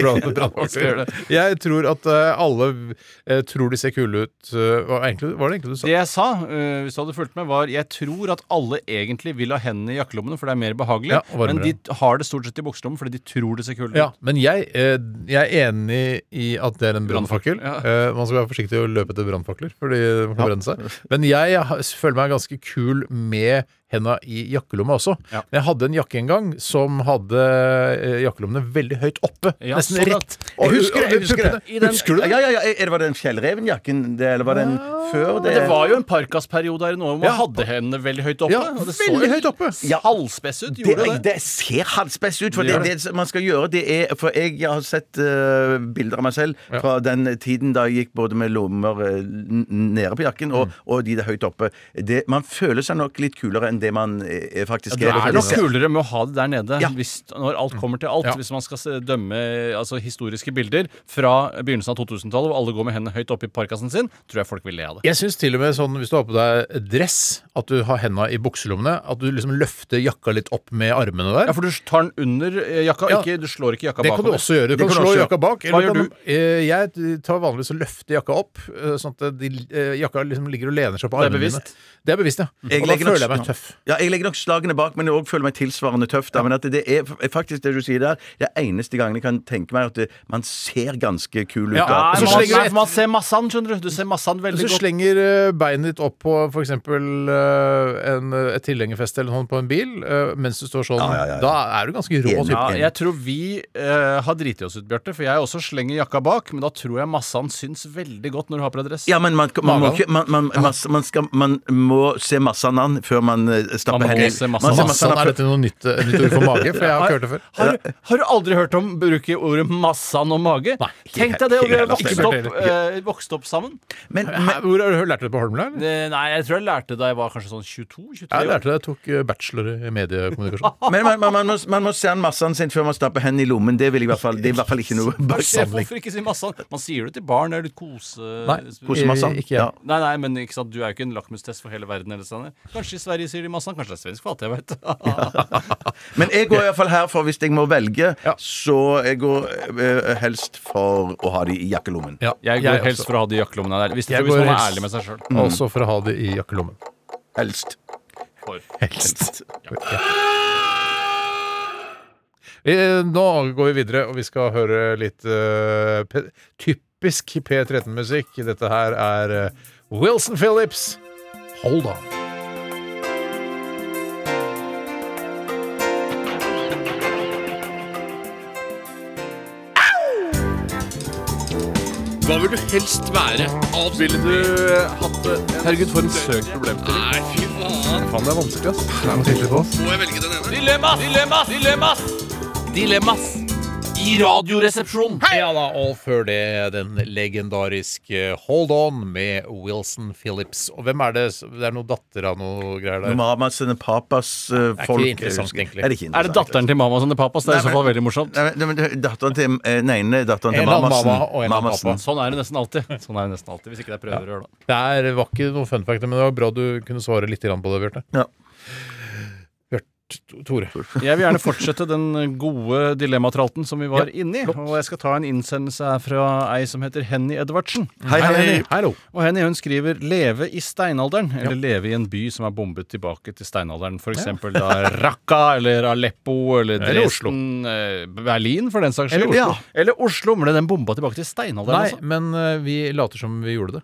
Speaker 6: brann-
Speaker 9: Skal gjøre det.
Speaker 6: brannvakter. Jeg tror at eh, alle eh, tror de ser kule ut. eh, hva, egentlig, var det egentlig du sa?
Speaker 8: Det jeg sa, eh, hvis du hadde fulgt med, var jeg tror at alle egentlig vil ha hendene i jakkelommene, for det er mer behagelig.
Speaker 6: Ja, og varmere.
Speaker 8: men de t- har det stort sett i bukselommen fordi de tror det ser kult ut.
Speaker 6: Ja, men jeg, eh, jeg er enig i at det er en brannfakkel. Eh, man skal være forsiktig å løpe etter brannfakler, fordi man kan
Speaker 8: Ja.
Speaker 6: brenne seg. Men jeg har- føler meg ganske kul med henda i jakkelomma også. Jeg hadde en jakke en gang som hadde eh, jakkelommene veldig høyt oppe.
Speaker 9: Ja,
Speaker 6: nesten
Speaker 9: sånn at-
Speaker 6: rett. Jeg husker det! Jeg husker det.
Speaker 9: I den-
Speaker 6: Husker du det? Ah.
Speaker 9: Ja, ja, ja. Er- Var det den fjellrevenjakken, det, eller var det den før det?
Speaker 8: Men det var jo en parkasperiode her nå hvor man
Speaker 9: Ja.
Speaker 8: hadde hendene veldig høyt oppe.
Speaker 9: Ja,
Speaker 8: og det
Speaker 9: veldig
Speaker 8: jo
Speaker 9: høyt oppe.
Speaker 8: Halvspess ut,
Speaker 9: Det,
Speaker 8: gjorde det.
Speaker 9: det ser halvspess ut, for
Speaker 8: Det
Speaker 9: det,
Speaker 8: gjør
Speaker 9: det, man skal gjøre det er For jeg, har sett eh, bilder av meg selv fra den tiden da jeg gikk både med lommer eh, n- nede på jakken og,
Speaker 8: Mm.
Speaker 9: og de der høyt oppe. Det, man føler seg nok litt kulere enn det man eh, faktisk
Speaker 8: Det
Speaker 9: er.
Speaker 8: er
Speaker 9: for
Speaker 8: nok
Speaker 9: ser-
Speaker 8: kulere med å ha det der nede hvis, når alt kommer til alt. Hvis man skal se- dømme altså, historiske bilder fra begynnelsen av 2000-tallet, hvor alle går med hendene høyt oppe i parkasen sin, tror jeg folk vil le av det.
Speaker 6: Jeg syns til og med sånn hvis du har på deg dress, at du har henda i bukselommene, at du liksom løfter jakka litt opp med armene der.
Speaker 8: Ja, for du tar den under eh, jakka,
Speaker 6: Ja.
Speaker 8: ikke, du slår ikke jakka
Speaker 6: det kan
Speaker 8: bakover.
Speaker 6: du også gjøre. Du
Speaker 8: Det
Speaker 6: kan,
Speaker 8: kan
Speaker 6: slå
Speaker 8: også gjøre.
Speaker 6: jakka bak.
Speaker 8: Hva gjør
Speaker 6: kan,
Speaker 8: du?
Speaker 6: Eh, Jeg tar vanligvis og løfter jakka opp, eh, sånn at de, eh, jakka liksom ligger og lener seg på
Speaker 9: Det er
Speaker 6: armene
Speaker 9: bevisst.
Speaker 6: mine. Det er bevisst,
Speaker 8: Mm.
Speaker 6: ja. Og da
Speaker 9: legger nok-
Speaker 6: føler jeg meg tøff.
Speaker 9: Ja, jeg legger nok slagene bak, men jeg også føler meg tilsvarende tøff. Da. Men at det er f- faktisk det du sier der, det er eneste gangen jeg kan tenke meg at det, man ser ganske kul ut.
Speaker 8: Ja,
Speaker 9: da.
Speaker 8: nei,
Speaker 9: Og så
Speaker 8: man,
Speaker 9: slenger
Speaker 8: nei,
Speaker 9: du-
Speaker 8: for man ser massan, skjønner du. Du ser massan
Speaker 6: Hvis
Speaker 8: veldig
Speaker 6: du
Speaker 8: godt.
Speaker 6: slenger eh, beinet ditt opp på f.eks. eh, et tilhengerfeste eller noe sånt på en bil, eh, mens du står sånn, da er du ganske rå type.
Speaker 8: Ja, jeg tror vi eh, har driti oss ut, Bjarte. For jeg også slenger jakka bak, men da tror jeg massan syns veldig godt når du har på deg dress.
Speaker 9: Ja, men man, man, må,
Speaker 8: Magen.
Speaker 9: ikke, man, man, man, man, skal, man må se massen an før man eh,
Speaker 8: Man må
Speaker 9: stapper hendene
Speaker 8: se
Speaker 6: Sånn,
Speaker 8: massen an. Massen, er dette
Speaker 6: noe nytt, ord for mage? For jeg har ikke hørt det før.
Speaker 8: Har, har, du aldri hørt om bruke ordet massan om mage? Tenk deg det, og vi har
Speaker 6: helt
Speaker 8: vokst
Speaker 6: enig.
Speaker 8: opp, eh, vokst opp sammen.
Speaker 6: Hæ, Hvor har du lært det på Holmlia? eller?
Speaker 8: Eh, Nei, jeg tror jeg lærte da jeg var kanskje sånn
Speaker 6: Jeg
Speaker 8: 22-23 år.
Speaker 6: lærte det. Jeg tok eh, bachelor i mediekommunikasjon.
Speaker 9: Men man, man, man, må, man må se an massen sin før man stapper hendene i lommen. Det, vil jeg i hvert fall, det er i hvert fall ikke noe
Speaker 8: Hva er det- Hvorfor ikke si massan? Man sier det til barn. Det er litt kose...
Speaker 9: Nei,
Speaker 8: sånn.
Speaker 9: kosemassan. Ikke jeg. Ja.
Speaker 8: Nei, nei, men ikke sant, du er jo ikke en lakmustest for hele verden. Eller sånn. Kanskje i Sverige sier de massan. Kanskje det er svensk for alt jeg vet.
Speaker 9: Men jeg går i hvert fall her for hvis jeg må velge, så jeg går eh, helst for å ha de i jakkelommen.
Speaker 8: Jeg går helst for å ha det i jakkelommene der. Hvis, hvis man er ærlig med seg sjøl.
Speaker 6: Også Altså for å ha det i jakkelommen.
Speaker 9: Helst.
Speaker 6: Helst. Eh, Nå går vi videre, og vi skal høre litt eh, P typisk P13-musikk. Dette her er eh, Wilson Phillips. Hold on.
Speaker 13: Hva vil du helst være? Alt Ville du hatt det? Herregud, for en søk problemstilling. Nei, fy faen.
Speaker 6: Faen, det er vanskelig, ass. Det er noe tydelig på oss.
Speaker 13: Må jeg velge den ene?
Speaker 3: Dilemmas! Dilemmas! Dilemmas! Dilemmas i Radioresepsjonen.
Speaker 6: Ja da, og før det den legendariske Hold On med Wilson Phillips. Og hvem er det? s- Det er noe datter av noe greier der.
Speaker 9: Mamas and papas eh,
Speaker 6: ikke
Speaker 9: folk
Speaker 6: interessant, egentlig.
Speaker 9: Er det, ikke
Speaker 8: Er det datteren til mamma som det papas? Det er i
Speaker 9: Nei,
Speaker 8: så fall veldig morsomt.
Speaker 9: Nei, men- nei, men datteren til eh, Nei, nei, datteren til
Speaker 6: En eller annen
Speaker 9: Mamasen.
Speaker 6: mamma og en eller annen
Speaker 9: Mamasen.
Speaker 6: pappa.
Speaker 8: Sånn er det nesten alltid. Sånn er det nesten alltid Hvis ikke det er prøverør, da.
Speaker 6: Det er, var ikke noe fun fact, men det var bra du kunne svare litt grann på det, Bjarte.
Speaker 9: Ja.
Speaker 6: Bjarte Tore.
Speaker 8: Jeg vil gjerne fortsette den gode dilemmatralten som vi var inni. Og jeg skal ta en innsendelse her fra ei som heter Henny Edvardsen.
Speaker 9: Hei, hei, Henny.
Speaker 6: Hallo.
Speaker 8: Og Henny hun skriver 'leve i steinalderen', eller 'leve i en by som er bombet tilbake til steinalderen'. For eksempel da Raqqa eller Aleppo eller
Speaker 6: Eller Oslo.
Speaker 8: Dresden, eh, Berlin for den saks skyld.
Speaker 6: Eller Oslo.
Speaker 8: Eller Oslo, ble den bomba tilbake til steinalderen?
Speaker 6: Nei,
Speaker 8: altså?
Speaker 6: men eh, vi later som vi gjorde det.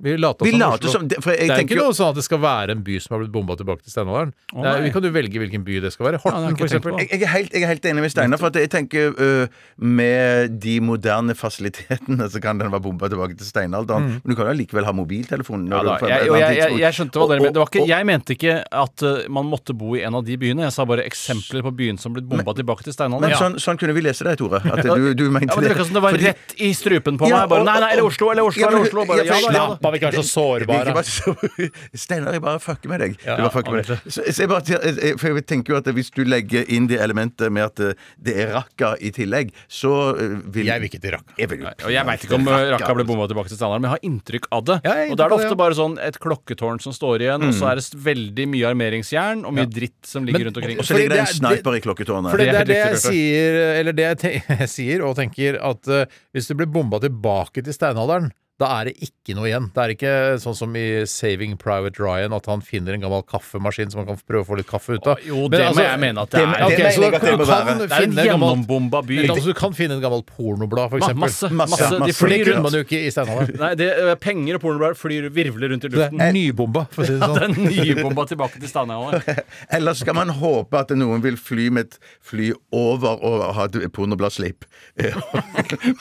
Speaker 6: Vi later
Speaker 9: Vi
Speaker 6: som
Speaker 9: later
Speaker 6: Oslo.
Speaker 9: som- det- for jeg
Speaker 6: det er
Speaker 9: tenker
Speaker 6: ikke
Speaker 9: jo-
Speaker 6: noe sånn at det skal være en by som har blitt bomba tilbake til steinalderen.
Speaker 9: Å,
Speaker 6: Det er-
Speaker 9: nei.
Speaker 6: vi kan jo velge hvilken by det skal være. Horten, for eksempel.
Speaker 9: Jeg, jeg, er helt, jeg er helt enig med Steinar. For at jeg tenker ø, Med de moderne fasilitetene så kan den være bomba tilbake til steinalderen.
Speaker 8: Mm.
Speaker 9: Men du kan jo likevel ha mobiltelefon. når
Speaker 8: Ja, da,
Speaker 9: du- på et
Speaker 8: jeg,
Speaker 9: eller
Speaker 8: og
Speaker 9: annet
Speaker 8: jeg, jeg,
Speaker 9: tidspunkt.
Speaker 8: jeg skjønte hva dere
Speaker 9: Og-
Speaker 8: mente. Det var ikke-
Speaker 9: og-
Speaker 8: Jeg mente ikke at eh, man måtte bo i en av de byene. Jeg sa bare eksempler på byen som ble bomba tilbake til steinalderen.
Speaker 9: Men sånn, sånn kunne vi lese deg, Tore. At du, du mente
Speaker 8: ja, men det virka som det var
Speaker 9: Fordi-
Speaker 8: rett i strupen på
Speaker 9: Ja,
Speaker 8: meg. Bare,
Speaker 9: og-
Speaker 8: nei, nei, eller Oslo, eller Oslo,
Speaker 9: Ja, men-
Speaker 8: eller Oslo. Bare,
Speaker 9: ja,
Speaker 8: ja, da,
Speaker 9: men-
Speaker 8: ja, da.
Speaker 6: vi kan være så sårbare.
Speaker 9: Det- det- det- det- Steinar, jeg bare fucker med deg. Du bare fucker med deg.
Speaker 6: ordentlig.
Speaker 9: Så, så jeg bare, sier- jeg- for jeg tenker jo at Hvis du legger inn det elementet med at eh, det er Raqqa i tillegg, så eh, vil Jeg vil
Speaker 6: ikke til Raqqa.
Speaker 9: Jeg, vil, jo-
Speaker 8: Og jeg veit ikke om eh, Raqqa ble bomba tilbake til standarden, men jeg har inntrykk av det.
Speaker 9: jeg har
Speaker 8: og da er det
Speaker 9: inntrykk av det,
Speaker 8: ofte bare sånn et klokketårn som står igjen, og
Speaker 9: Mm.
Speaker 8: så er det s- veldig mye armeringsjern og mye dritt som ligger rundt omkring.
Speaker 9: Og så ligger det en sniper i klokketårnet.
Speaker 6: For det, er det jeg sier, eller det jeg, te jeg sier og tenker, at eh, hvis du blir bomba tilbake til steinalderen, da er det ikke noe igjen. Det er ikke sånn som i Saving Private Ryan, at han finner en gammel kaffemaskin som han kan prøve å få litt kaffe ut av. altså,
Speaker 8: Jo, det må jeg mene at altså, det er.
Speaker 6: Ok,
Speaker 8: Det mener
Speaker 6: så
Speaker 8: jeg at det
Speaker 6: du
Speaker 8: må
Speaker 6: kan
Speaker 8: være. Det er en
Speaker 6: finne gammelt-
Speaker 8: gjennombomba by.
Speaker 6: Men Altså, du kan finne en gammel pornoblad, for
Speaker 8: Ma-
Speaker 6: eksempel.
Speaker 8: masse, masse.
Speaker 6: Ja,
Speaker 8: De
Speaker 6: masse.
Speaker 8: flyr
Speaker 6: For det kunne
Speaker 8: rundt.
Speaker 6: man jo ikke i steinalderen.
Speaker 8: Nei, det, eh, penger og pornoblader flyr virvler rundt i
Speaker 6: Det
Speaker 8: luften.
Speaker 6: er nybomba, for å si det
Speaker 8: Ja, det
Speaker 6: sånn.
Speaker 8: er nybomba tilbake til Steinhaug.
Speaker 9: Eller skal man håpe at noen vil fly med et fly over og ha et pornobladsleip?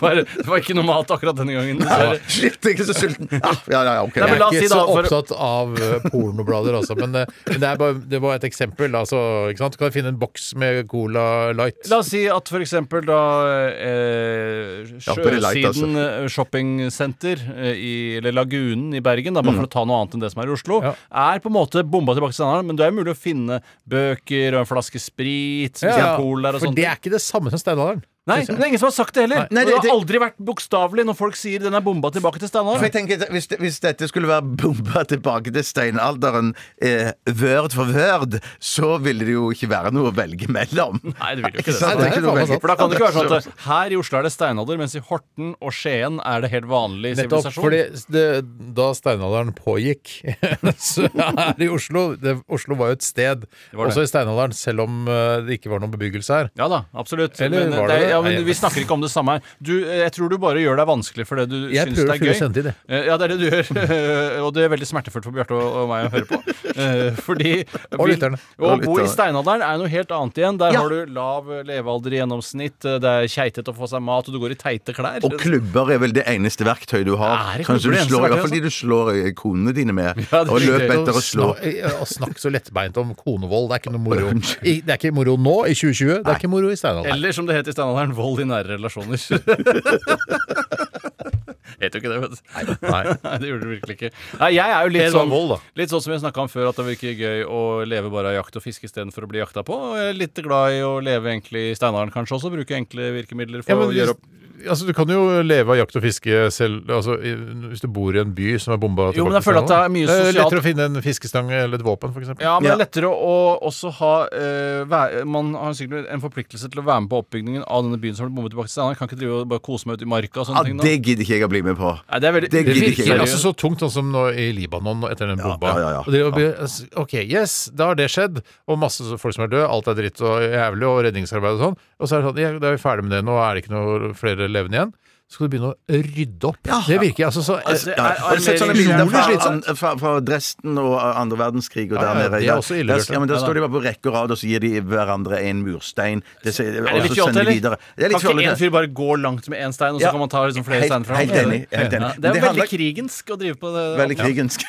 Speaker 8: Bare- Det var ikke noe mat akkurat denne gangen. dessverre.
Speaker 9: Shit, jeg er så sulten! Ah, ja, ja, ja, ok.
Speaker 8: Nei, men la oss
Speaker 6: Jeg er
Speaker 8: si
Speaker 6: ikke
Speaker 8: da,
Speaker 6: så
Speaker 8: for-
Speaker 6: opptatt av eh, pornoblader, altså. Men, eh, men det, er bare, det var et eksempel. Altså, ikke sant? Du kan finne en boks med Cola Light.
Speaker 8: La oss si at for eksempel da eh,
Speaker 6: Ja, bare leit, altså.
Speaker 8: Sjøsiden eh, shoppingsenter eh, i, eller Lagunen i Bergen, da, bare
Speaker 6: Mm.
Speaker 8: for å ta noe annet enn det som er i Oslo, er på en måte bomba tilbake til standarden, men det er mulig å finne bøker og en flaske sprit,
Speaker 6: Ja,
Speaker 8: hvis det er
Speaker 6: ja,
Speaker 8: Pol der og
Speaker 6: for
Speaker 8: sånt.
Speaker 6: det er ikke det samme som steinalderen.
Speaker 8: Nei,
Speaker 6: synes jeg.
Speaker 8: det er ingen som har sagt det heller.
Speaker 9: Nei,
Speaker 8: det,
Speaker 9: det-
Speaker 8: har aldri vært bokstavelig når folk sier 'den er bomba tilbake til
Speaker 9: For
Speaker 8: standarden'.
Speaker 9: jeg tenker, at hvis, det- hvis dette skulle være bomba tilbake til steinalderen eh, word for word, så ville det jo ikke være noe å velge mellom.
Speaker 8: Nei, det vil jo ikke det.
Speaker 9: sant? Det er ikke noe å velge.
Speaker 8: For da kan det ikke være sånn
Speaker 9: Så-
Speaker 8: at her i Oslo er det steinalder, mens i Horten og Skien er det helt vanlig
Speaker 6: Nettopp,
Speaker 8: sivilisasjon.
Speaker 6: fordi det, da steinalderen pågikk, så er det i Oslo det, Oslo var jo et sted,
Speaker 8: var det.
Speaker 6: også i steinalderen, selv om eh, det ikke var noen bebyggelse her.
Speaker 8: Ja da, absolutt.
Speaker 6: Eller
Speaker 8: men,
Speaker 6: var
Speaker 8: det,
Speaker 6: det-
Speaker 8: ja, men
Speaker 6: Nei,
Speaker 8: vi snakker ikke om det samme her. Du, eh, jeg tror du bare gjør deg vanskelig for det du
Speaker 6: Jeg prøver å
Speaker 8: syns det er
Speaker 6: fylle
Speaker 8: gøy.
Speaker 6: kjente i det.
Speaker 8: Eh, Ja, det er det du gjør. Eh, og det er veldig smertefullt for Bjarte og, og meg å høre på. Eh, fordi
Speaker 6: Og
Speaker 8: vi-
Speaker 6: lytterne.
Speaker 8: Å
Speaker 6: Og
Speaker 8: bo i
Speaker 6: lytterne.
Speaker 8: steinalderen er noe helt annet igjen. Der
Speaker 6: Ja.
Speaker 8: har du lav levealder i gjennomsnitt, eh, det er keitete å få seg mat, og du går i teite klær.
Speaker 9: Og klubber er vel det eneste verktøyet du har.
Speaker 8: Er det
Speaker 9: Kanskje
Speaker 8: klubber det
Speaker 9: du
Speaker 8: eneste
Speaker 9: slår, I hvert
Speaker 8: verktøyet,
Speaker 9: fall de du slår eh, konene dine med. og
Speaker 6: Ikke
Speaker 9: løp etter å slå.
Speaker 6: snak- eh, Å snakke så lettbeint om konevold, det er ikke noe moro. I, det er ikke moro nå, i 2020. Det er ikke moro i steinalderen.
Speaker 8: Eller som det het i steinalderen, vold i nære relasjoner. Het jo ikke det, vet du.
Speaker 6: Nei.
Speaker 8: det gjorde det virkelig ikke. Nei, jeg er jo litt
Speaker 6: Det var
Speaker 8: sånn,
Speaker 6: vold, da.
Speaker 8: litt sånn som jeg snakka om før, at det virker gøy å leve bare av jakt og fiske istedenfor å bli jakta på. Og jeg er litt glad i å leve egentlig i steinalderen kanskje også, bruke enkle virkemidler for
Speaker 6: Ja, men
Speaker 8: å gjøre opp
Speaker 6: hvis- Altså, du kan jo leve av jakt og fiske selv altså, i- hvis du bor i en by som er bomba.
Speaker 8: Jo, men
Speaker 6: tilbake
Speaker 8: jeg føler at det er mye
Speaker 6: til steinalderen. Det
Speaker 8: sosialt-
Speaker 6: Lettere å finne en fiskestang eller et våpen, f.eks.
Speaker 8: Ja, men det er lettere å også ha eh, væ- Man har sikkert en forpliktelse til å være med på oppbyggingen av denne byen som har blitt bombet tilbake til Steinar. Kan ikke drive og bare kose meg ute i marka og sånne
Speaker 9: Ja,
Speaker 8: ting. nå.
Speaker 9: det gidder ikke jeg å bli med på.
Speaker 8: Nei, det er veldig-
Speaker 9: det
Speaker 6: Det
Speaker 9: gidder ikke jeg.
Speaker 6: virker altså så tungt, sånn som nå i Libanon nå etter den bomba.
Speaker 9: ja, ja, ja.
Speaker 6: Og det å bli, altså, ok, yes, da har det skjedd, og masse så- folk som er døde, alt er dritt og jævlig, og redningsarbeid og sånn. Og så er det sånn, ja, da er vi ferdig med det nå, er det ikke noe flere levende igjen? Så skal du begynne å rydde opp. Det virker altså så
Speaker 9: Altså,
Speaker 6: eh,
Speaker 9: ja, har du sett sånne
Speaker 6: utrolig
Speaker 9: bilder fra,
Speaker 6: slitsomt.
Speaker 9: fra, fra Dresden og eh, andre verdenskrig og
Speaker 6: Ja, ja,
Speaker 9: der nede?
Speaker 6: det er også ille
Speaker 9: Der-
Speaker 6: gjort,
Speaker 9: Ja, men
Speaker 6: ja
Speaker 9: Der
Speaker 6: da.
Speaker 9: står de bare på rekke og rad, og så gir de hverandre en murstein. Det,
Speaker 8: Er
Speaker 9: ser- og
Speaker 8: det
Speaker 9: så
Speaker 8: litt fjollete,
Speaker 9: sender de
Speaker 8: eller?
Speaker 9: videre. Det er litt
Speaker 8: kan ikke
Speaker 9: fjollete.
Speaker 8: en fyr bare gå langt med én stein, og så
Speaker 9: Ja,
Speaker 8: kan man ta liksom flere
Speaker 9: helt-
Speaker 8: steiner fra
Speaker 9: helt
Speaker 8: hverandre?
Speaker 9: enig, helt enig.
Speaker 8: Ja,
Speaker 9: Men
Speaker 8: det er
Speaker 9: det
Speaker 8: jo
Speaker 9: handler-
Speaker 8: veldig krigensk å drive på det.
Speaker 9: Veldig
Speaker 8: Ja.
Speaker 9: krigensk.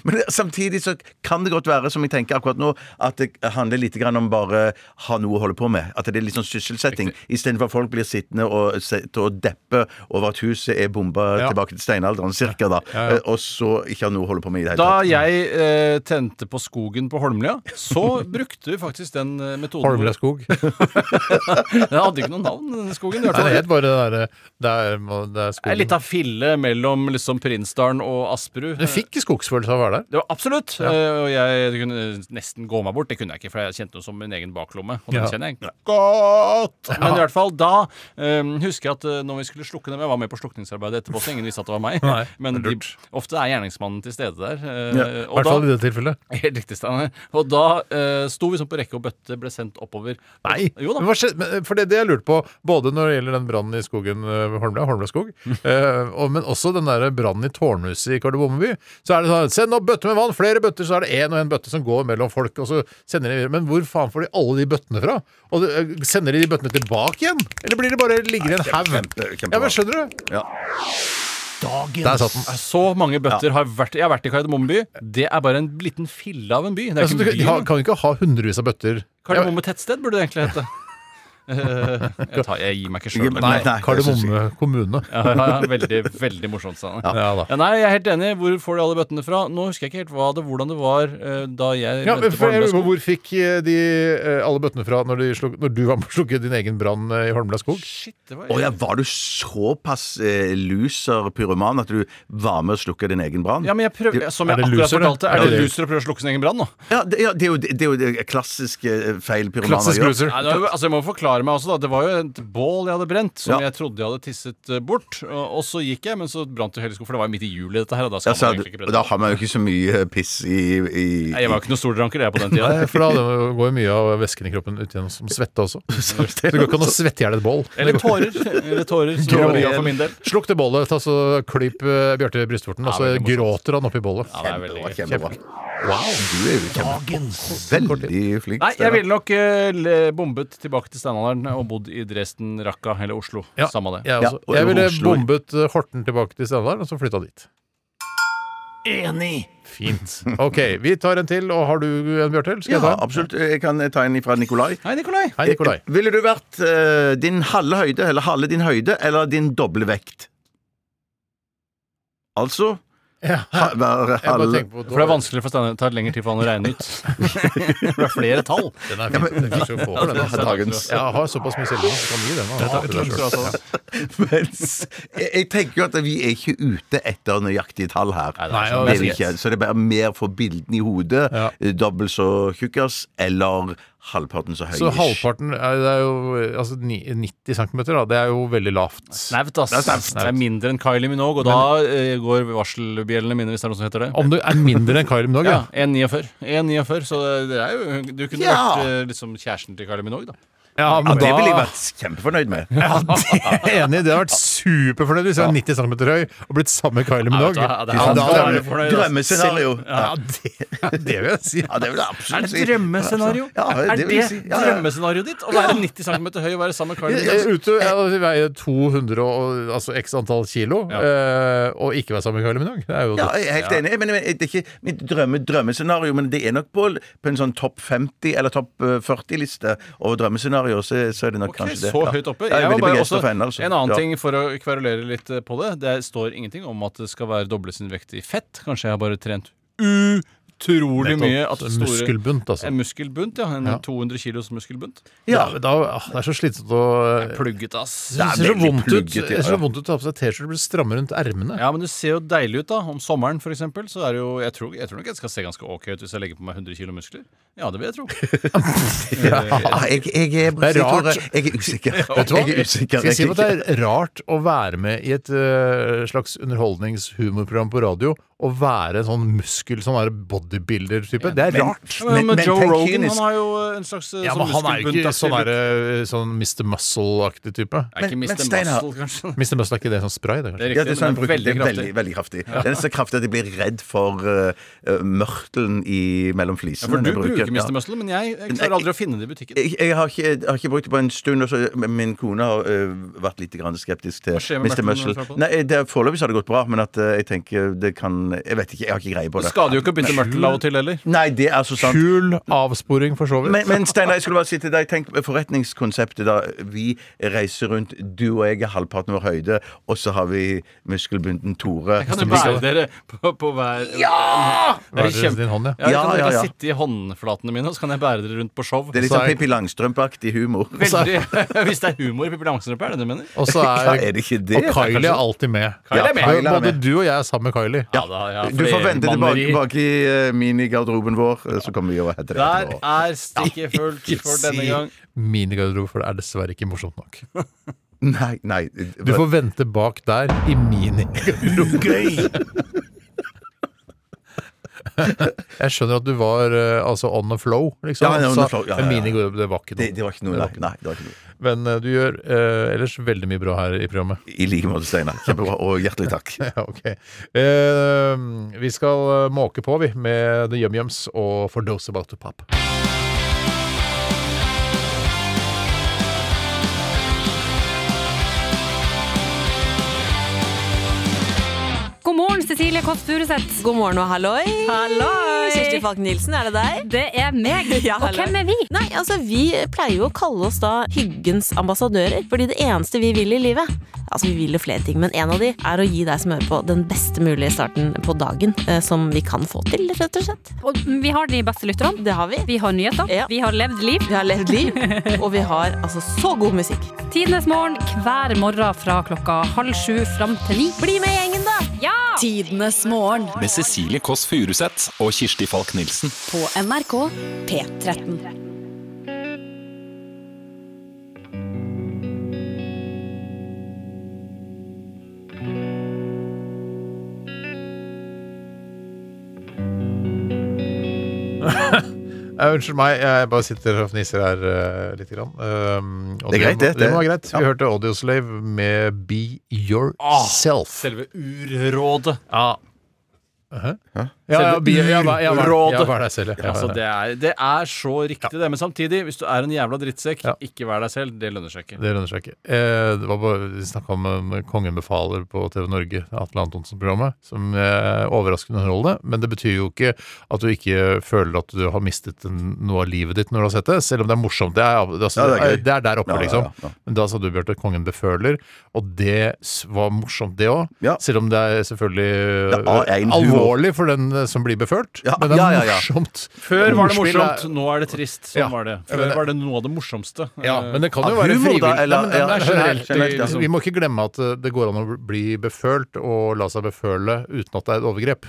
Speaker 9: Men samtidig så kan det godt være, som jeg tenker akkurat nå, at det handler litt grann om bare ha noe å holde på med. At det er litt sånn sysselsetting. Istedenfor at folk blir sittende og, sitte og deppe over at huset er bomba
Speaker 8: Ja.
Speaker 9: tilbake til steinalderen, cirka, da. Eh,
Speaker 8: Ja, ja.
Speaker 9: Og så ikke ha noe å holde på med i det hele
Speaker 8: Da
Speaker 9: tatt.
Speaker 8: jeg eh, tente på skogen på Holmlia, så brukte vi faktisk den eh, metoden
Speaker 6: Holmlia skog.
Speaker 8: Den hadde ikke noe navn, denne skogen. i hvert
Speaker 6: Nei, det
Speaker 8: fall.
Speaker 6: het bare det derre Det er, det er
Speaker 8: Det er
Speaker 6: skogen.
Speaker 8: litt av fille mellom liksom Prinsdalen og Asperud.
Speaker 6: Du fikk skogsfølelse av å være der.
Speaker 8: Det var absolutt. eh, Og jeg kunne nesten gå meg bort. Det kunne jeg ikke, for jeg kjente noe som min egen baklomme. Og den
Speaker 6: Ja.
Speaker 8: kjenner jeg godt. Men i hvert fall da eh, husker jeg at eh, når vi skulle slukke dem. Jeg var med på slukningsarbeidet etterpå, så ingen visste at det var meg.
Speaker 6: Nei,
Speaker 8: Men de, ofte er gjerningsmannen til stede der. eh,
Speaker 6: Ja, i
Speaker 8: og
Speaker 6: hvert
Speaker 8: da-
Speaker 6: fall i dette tilfellet.
Speaker 8: Helt riktig, Steinar. Og da eh, sto vi sånn på rekke og bøtte, ble sendt oppover.
Speaker 6: Nei!
Speaker 8: Jo da.
Speaker 6: Men hva skjedde- men, eh, for det, det jeg lurte på, både når det gjelder den brannen i skogen eh, ved Holmlia, Holmlia skog, eh, og, men også den der brannen i tårnhuset i Kardemommeby, så er det sånn Send opp bøtter med vann! Flere bøtter, så er det én og én bøtte som går mellom folk, og så sender de videre. Men hvor faen får de alle de bøttene fra? Og det, eh, Sender de de bøttene tilbake igjen? Eller blir det bare ligger i en haug? Ja, men skjønner du?
Speaker 8: Dagens.
Speaker 6: Der satt den.
Speaker 8: Så mange bøtter har vært Jeg har vært i Kardemomme by. Det er bare en liten fille av en by. Det er
Speaker 6: Altså,
Speaker 8: ikke
Speaker 6: du,
Speaker 8: en by.
Speaker 6: ja, kan vi ikke ha hundrevis av bøtter?
Speaker 8: Kardemomme tettsted burde det egentlig hete. Eh, jeg, tar, jeg gir meg ikke sjøl.
Speaker 6: Nei, Kardemomme kommune.
Speaker 8: Ja, ja, ja, veldig veldig morsomt. Sanne.
Speaker 6: Ja. Ja, da.
Speaker 8: nei, jeg er helt enig. Hvor får de alle bøttene fra? Nå husker jeg ikke helt hva det, hvordan det var eh, da jeg
Speaker 6: Ja, men
Speaker 8: rømte
Speaker 6: for,
Speaker 8: Holmlia
Speaker 6: jeg,
Speaker 8: skog.
Speaker 6: lurer på, hvor fikk eh, de eh, alle bøttene fra når, de sluk, når du var med å slukke din egen brann eh, i Holmlia skog?
Speaker 9: Å ja, var du såpass eh, loser pyroman at du var med å slukke din egen brann?
Speaker 8: Ja, men jeg prøv, som jeg akkurat fortalte, er det loser å prøve å slukke sin egen brann nå?
Speaker 9: Ja, det, ja, det er jo det, er jo det klassiske eh, feil pyromaner
Speaker 8: Nei, det var, jo- altså, jeg må forklare meg også, da. Det var jo et bål jeg hadde brent, som
Speaker 9: Ja.
Speaker 8: jeg trodde jeg hadde tisset eh, bort. Og, og så gikk jeg, men så brant det hele skolen, for det var jo midt i juli, dette her. Og da skal
Speaker 9: Ja, så
Speaker 8: man
Speaker 9: er
Speaker 8: egentlig
Speaker 9: det-
Speaker 8: ikke
Speaker 9: og
Speaker 8: brenne.
Speaker 9: da har man jo ikke så mye eh, piss i, i, i
Speaker 8: Nei, jeg var jo ikke noe stordranker, jeg, på den tida.
Speaker 6: Nei, for da det går jo mye av væsken i kroppen ut igjen som svette også. Så det går ikke an å svette i hjel et bål.
Speaker 8: altså. Eller tårer. Eller tårer, som det var mye av for min del.
Speaker 6: Slukk det bålet, ta så klyp eh, Bjarte i brystvorten, og så
Speaker 8: veldig morsomt.
Speaker 6: gråter han oppi bålet.
Speaker 8: Ja, det er veldig gøy.
Speaker 9: Kjempebra.
Speaker 6: Wow.
Speaker 9: Du er jo kjempedagens Veldig flink.
Speaker 8: Nei, jeg
Speaker 9: Steinar.
Speaker 8: ville nok eh, le- bombet tilbake til steinalderen og bodd i Dresden, Raqqa eller Oslo.
Speaker 6: Ja,
Speaker 8: Samme det.
Speaker 6: Jeg, også. jeg ville bombet eh, Horten tilbake til Stendal, og så flytta dit.
Speaker 3: Enig.
Speaker 6: Fint. OK, vi tar en til, og har du en, Bjarte? eller Skal
Speaker 9: Ja,
Speaker 6: jeg ta en?
Speaker 9: absolutt. Eh, Jeg kan ta en fra Nikolai.
Speaker 8: Hei, Nikolai.
Speaker 6: Hei, Nikolai.
Speaker 9: Eh, Ville du vært eh, din halve høyde, eller halve din høyde, eller din doble vekt? Altså ha- være halve
Speaker 8: For det er vanskeligere for Steinar. Det tar lengre tid for han å regne ut. det er flere tall.
Speaker 6: Den er fin. Den er så få for den, altså. Ja, Jeg har såpass mye selv nå, så kan gi den.
Speaker 8: Det
Speaker 6: og
Speaker 8: tar-
Speaker 6: ha til deg selv. Ja.
Speaker 9: Mens jeg, jeg tenker jo at vi er ikke ute etter nøyaktige tall her.
Speaker 6: Nei, det er
Speaker 9: det er vi
Speaker 6: sant.
Speaker 9: ikke. Så det er bare mer for bildene i hodet. eh, Dobbelt så tjukkas, eller halvparten så høy.
Speaker 6: Så halvparten er, det er jo eh, altså, ni- 90 cm, da. Det er jo veldig lavt.
Speaker 8: Snaut, ass. Det er mindre enn Kylie Minogue, og da eh, går varselbjellene mine, hvis det er noe som heter det.
Speaker 6: Om du er mindre enn Kylie Minogue,
Speaker 8: Ja,
Speaker 6: ja.
Speaker 8: 1,49. 1,49, så det er jo Du kunne
Speaker 6: Ja.
Speaker 8: vært eh, liksom kjæresten til Kylie Minogue, da.
Speaker 6: Ja, men da-
Speaker 9: kjempefornøyd med.
Speaker 6: Ja, det er jeg enig i. Det hadde vært superfornøyd hvis jeg var 90 cm høy og blitt sammen med Kylie Minogue.
Speaker 8: Ja, vet du hva, det er
Speaker 6: Ja,
Speaker 8: han
Speaker 6: da-
Speaker 8: som er fornøyd,
Speaker 6: altså.
Speaker 8: ass.
Speaker 9: Drømmescenario.
Speaker 8: Ja.
Speaker 6: det, det vil jeg si.
Speaker 9: Ja, det vil jeg absolutt
Speaker 8: Er det
Speaker 9: si.
Speaker 8: drømmescenario?
Speaker 9: Ja,
Speaker 8: er det
Speaker 9: det vil jeg si. Ja, ja.
Speaker 8: drømmescenarioet ditt? Å være 90 cm høy og være sammen med Kylie
Speaker 6: Jeg er
Speaker 8: Minogue?
Speaker 6: Ute jeg veier 200 og altså x antall kilo, eh, og ikke være sammen med Kylie Minogue. Det er jo
Speaker 9: Ja, jeg er helt enig. Men, men, det er ikke mitt drømme, drømmescenario, men det er nok på, på en sånn topp 50 eller topp 40-liste over drømmescenarioer, så, så er det nok kanskje det.
Speaker 8: Så
Speaker 9: Ja.
Speaker 8: høyt oppe.
Speaker 9: Ja, jeg er
Speaker 8: var
Speaker 9: veldig
Speaker 8: bare
Speaker 9: begeistret
Speaker 8: også,
Speaker 9: for henne, altså.
Speaker 8: En annen
Speaker 9: Ja.
Speaker 8: ting for å kverulere litt eh, på det. Det står ingenting om at det skal være doble sin vekt i fett. Kanskje jeg har bare trent utrolig
Speaker 6: Nettopp.
Speaker 8: mye. At store,
Speaker 6: Muskelbunt, altså.
Speaker 8: En muskelbunt, ja. En
Speaker 6: Ja.
Speaker 8: 200 kilos muskelbunt.
Speaker 6: Ja, men da, ah, det er så slitsomt å eh,
Speaker 8: Plugget, ass.
Speaker 6: Det ser så vondt ut.
Speaker 8: plugget, ja,
Speaker 6: Det ser så
Speaker 8: ja.
Speaker 6: vondt ut å ta på seg T-skjorte og bli stramme rundt ermene.
Speaker 8: Ja, men du ser jo deilig ut, da. Om sommeren, for eksempel, så er det jo Jeg tror, jeg tror nok jeg skal se ganske OK ut hvis jeg legger på meg 100 kilo muskler. Ja, det vil jeg tro.
Speaker 9: Ah, jeg, jeg er
Speaker 6: Det er rart.
Speaker 9: Jeg er usikker.
Speaker 6: Vet du hva?
Speaker 9: Jeg er usikker.
Speaker 6: Skal jeg si
Speaker 9: Jeg-
Speaker 6: at det er rart å være med i et eh, slags underholdningshumorprogram på radio og være sånn muskel, sånn der bodybuilder-type? Det er
Speaker 8: Men-
Speaker 6: rart.
Speaker 8: Ja, men, men, Joe Rogan han har jo eh, en slags eh,
Speaker 6: ja,
Speaker 8: sånn
Speaker 6: men han er jo ikke
Speaker 8: muskelbunt-aktig
Speaker 6: sånn,
Speaker 8: look.
Speaker 6: der, eh, sånn Mr. Muscle-aktig type.
Speaker 8: Er ikke Mr. Muscle, kanskje?
Speaker 6: Mr. Muscle er ikke det sånn spray? Det, kanskje?
Speaker 8: Det er
Speaker 9: Ja, det er sånn
Speaker 8: men
Speaker 9: bruker, det er
Speaker 8: veldig
Speaker 9: veldig, veldig kraftig.
Speaker 8: Ja.
Speaker 9: Den er så kraftig at jeg blir redd for eh, eh, mørtelen i, mellom
Speaker 8: Ja,
Speaker 9: flisene.
Speaker 8: for du
Speaker 9: jeg
Speaker 8: bruker
Speaker 9: sånn Ja.
Speaker 8: Mr. Muscle, men jeg, jeg klarer aldri å finne det i butikken.
Speaker 9: Jeg, jeg, har ikke, jeg har ikke brukt det på en stund. og så- men min kone har øh, vært litt grann skeptisk til
Speaker 8: Hva skjer med
Speaker 9: Mr.
Speaker 8: Merton
Speaker 9: Muscle.
Speaker 8: når du tar på den?
Speaker 9: Nei, det- Foreløpig så har det gått bra, men at øh, jeg tenker det kan Jeg vet ikke, jeg har ikke greie på
Speaker 8: Det
Speaker 9: det.
Speaker 8: skader jo ikke å bytte mørtel av og til heller.
Speaker 9: Nei, det er så sant.
Speaker 6: Kul avsporing, for så vidt.
Speaker 9: Men, men Steinar, jeg skulle bare si til deg, tenk på forretningskonseptet da vi reiser rundt, du og jeg er halvparten vår høyde, og så har vi muskelbunden Tore.
Speaker 8: Kan du
Speaker 9: som
Speaker 8: bære
Speaker 9: ligger-
Speaker 8: dere på, på hver Ja!
Speaker 9: Hver deres din hånd, ja.
Speaker 8: ja, kan
Speaker 9: Ja, ja,
Speaker 8: dere
Speaker 9: ja.
Speaker 8: kan sitte i håndflatene mine, og så kan jeg bære dere rundt på show.
Speaker 9: Det er litt sånn Pippi Langstrømpe-aktig humor.
Speaker 8: Veldig, Hvis det er humor i Pippi Langstrømpe, er det det du mener?
Speaker 6: Og så
Speaker 9: Ja,
Speaker 6: er,
Speaker 9: er det ikke det?
Speaker 6: Og Kylie er alltid med.
Speaker 8: Kylie er med.
Speaker 6: Ja,
Speaker 8: Kylie er
Speaker 6: Både
Speaker 8: med.
Speaker 6: du og jeg er sammen med Kylie.
Speaker 8: Ja, da, ja,
Speaker 9: Du får
Speaker 8: flere
Speaker 9: vente tilbake,
Speaker 8: manneri.
Speaker 9: tilbake i eh, minigarderoben vår, eh, så kommer vi og heter det.
Speaker 8: Der
Speaker 9: etterpå.
Speaker 8: er stikket fullt for denne gang.
Speaker 6: Minigarderobe, for det er dessverre ikke morsomt nok.
Speaker 9: Nei, nei.
Speaker 6: Du får vente bak der i minigarderoben. Jeg skjønner at du var eh, altså on the flow, liksom.
Speaker 9: Ja, ja, on the
Speaker 6: Så
Speaker 9: flow, ja, ja, ja.
Speaker 6: en minigarderobe, det var ikke noe.
Speaker 9: Det, det var ikke noe, nei. nei det var ikke noe.
Speaker 6: Men eh, du gjør eh, ellers veldig mye bra her i programmet.
Speaker 9: I like måte, Steinar. Kjempebra, og hjertelig takk.
Speaker 6: Ja, ok. Eh, vi skal eh, måke på, vi, med The Yum Yums og For Those About To Pop.
Speaker 14: God morgen, Cecilie Kåss Furuseth.
Speaker 15: God morgen og halloi.
Speaker 14: Halloi.
Speaker 15: Kirsti Falk Nilsen, er det deg?
Speaker 14: Det er meg.
Speaker 15: Ja,
Speaker 14: og
Speaker 15: halloi.
Speaker 14: hvem er vi?
Speaker 15: Nei, altså Vi pleier jo å kalle oss da hyggens ambassadører, fordi det eneste vi vil i livet Altså Vi vil jo flere ting, men en av de er å gi deg som hører på, den best mulige starten på dagen eh, som vi kan få til, rett og slett.
Speaker 14: Og vi har de beste lytterne.
Speaker 15: Det har vi.
Speaker 14: Vi har nyheter. Vi har levd liv.
Speaker 15: Vi har levd liv, og vi har altså så god musikk.
Speaker 14: Tidenes morgen hver morgen fra klokka halv sju fram til ni.
Speaker 15: Bli med i gjengen, da!
Speaker 14: Ja!
Speaker 10: Tidenes morgen
Speaker 13: Med Cecilie Kåss Furuseth og Kirsti Falk Nilsen.
Speaker 10: på NRK P13.
Speaker 6: Eh, unnskyld meg, jeg bare sitter og fniser her eh, lite grann. Um, og
Speaker 9: Det er greit, det,
Speaker 6: Det
Speaker 9: det-
Speaker 6: var greit. Vi
Speaker 9: ja.
Speaker 6: hørte Audioslave med Be Yourself.
Speaker 9: Ah,
Speaker 8: Selve urrådet.
Speaker 6: Ja. Ja, ja, bi- ja, hva- ja, hva- ja, vær deg selv, ja.
Speaker 8: Altså, det, er, det er så riktig, det. Men samtidig, hvis du er en jævla drittsekk, ikke vær deg selv. Det lønner seg ikke.
Speaker 6: Det lønner seg ikke. Eh, det var bare, vi snakka om eh, Kongen befaler på TV Norge, Atle Antonsen-programmet, som eh, overraskende underholdende. Men det betyr jo ikke at du ikke føler at du har mistet en, noe av livet ditt når du har sett det, selv om det er morsomt. Det er, altså,
Speaker 9: Ja,
Speaker 6: det
Speaker 9: det er
Speaker 6: er,
Speaker 9: gøy.
Speaker 6: der oppe,
Speaker 9: Ja, ja,
Speaker 6: liksom.
Speaker 9: ja, ja.
Speaker 6: Men da sa du, Bjarte, Kongen beføler, og det s- var morsomt, det òg. Selv om det er selvfølgelig
Speaker 9: Det er
Speaker 6: eh,
Speaker 9: A1 humor.
Speaker 6: alvorlig for den eh, som blir befølt, men det er
Speaker 9: ja, ja, ja.
Speaker 6: morsomt.
Speaker 8: Før var det
Speaker 6: Ordspill er-
Speaker 8: morsomt, nå er det trist. Sånn
Speaker 6: Ja.
Speaker 8: var det.
Speaker 6: Ja, men-
Speaker 8: Før var det noe av det morsomste.
Speaker 6: Ja,
Speaker 8: Eh,
Speaker 6: men det kan jo være frivillig. Nei, men, det er generelt, vi-
Speaker 8: generelt, ja.
Speaker 6: vi må ikke glemme at eh, det går an å bli befølt og la seg beføle uten at det er et overgrep.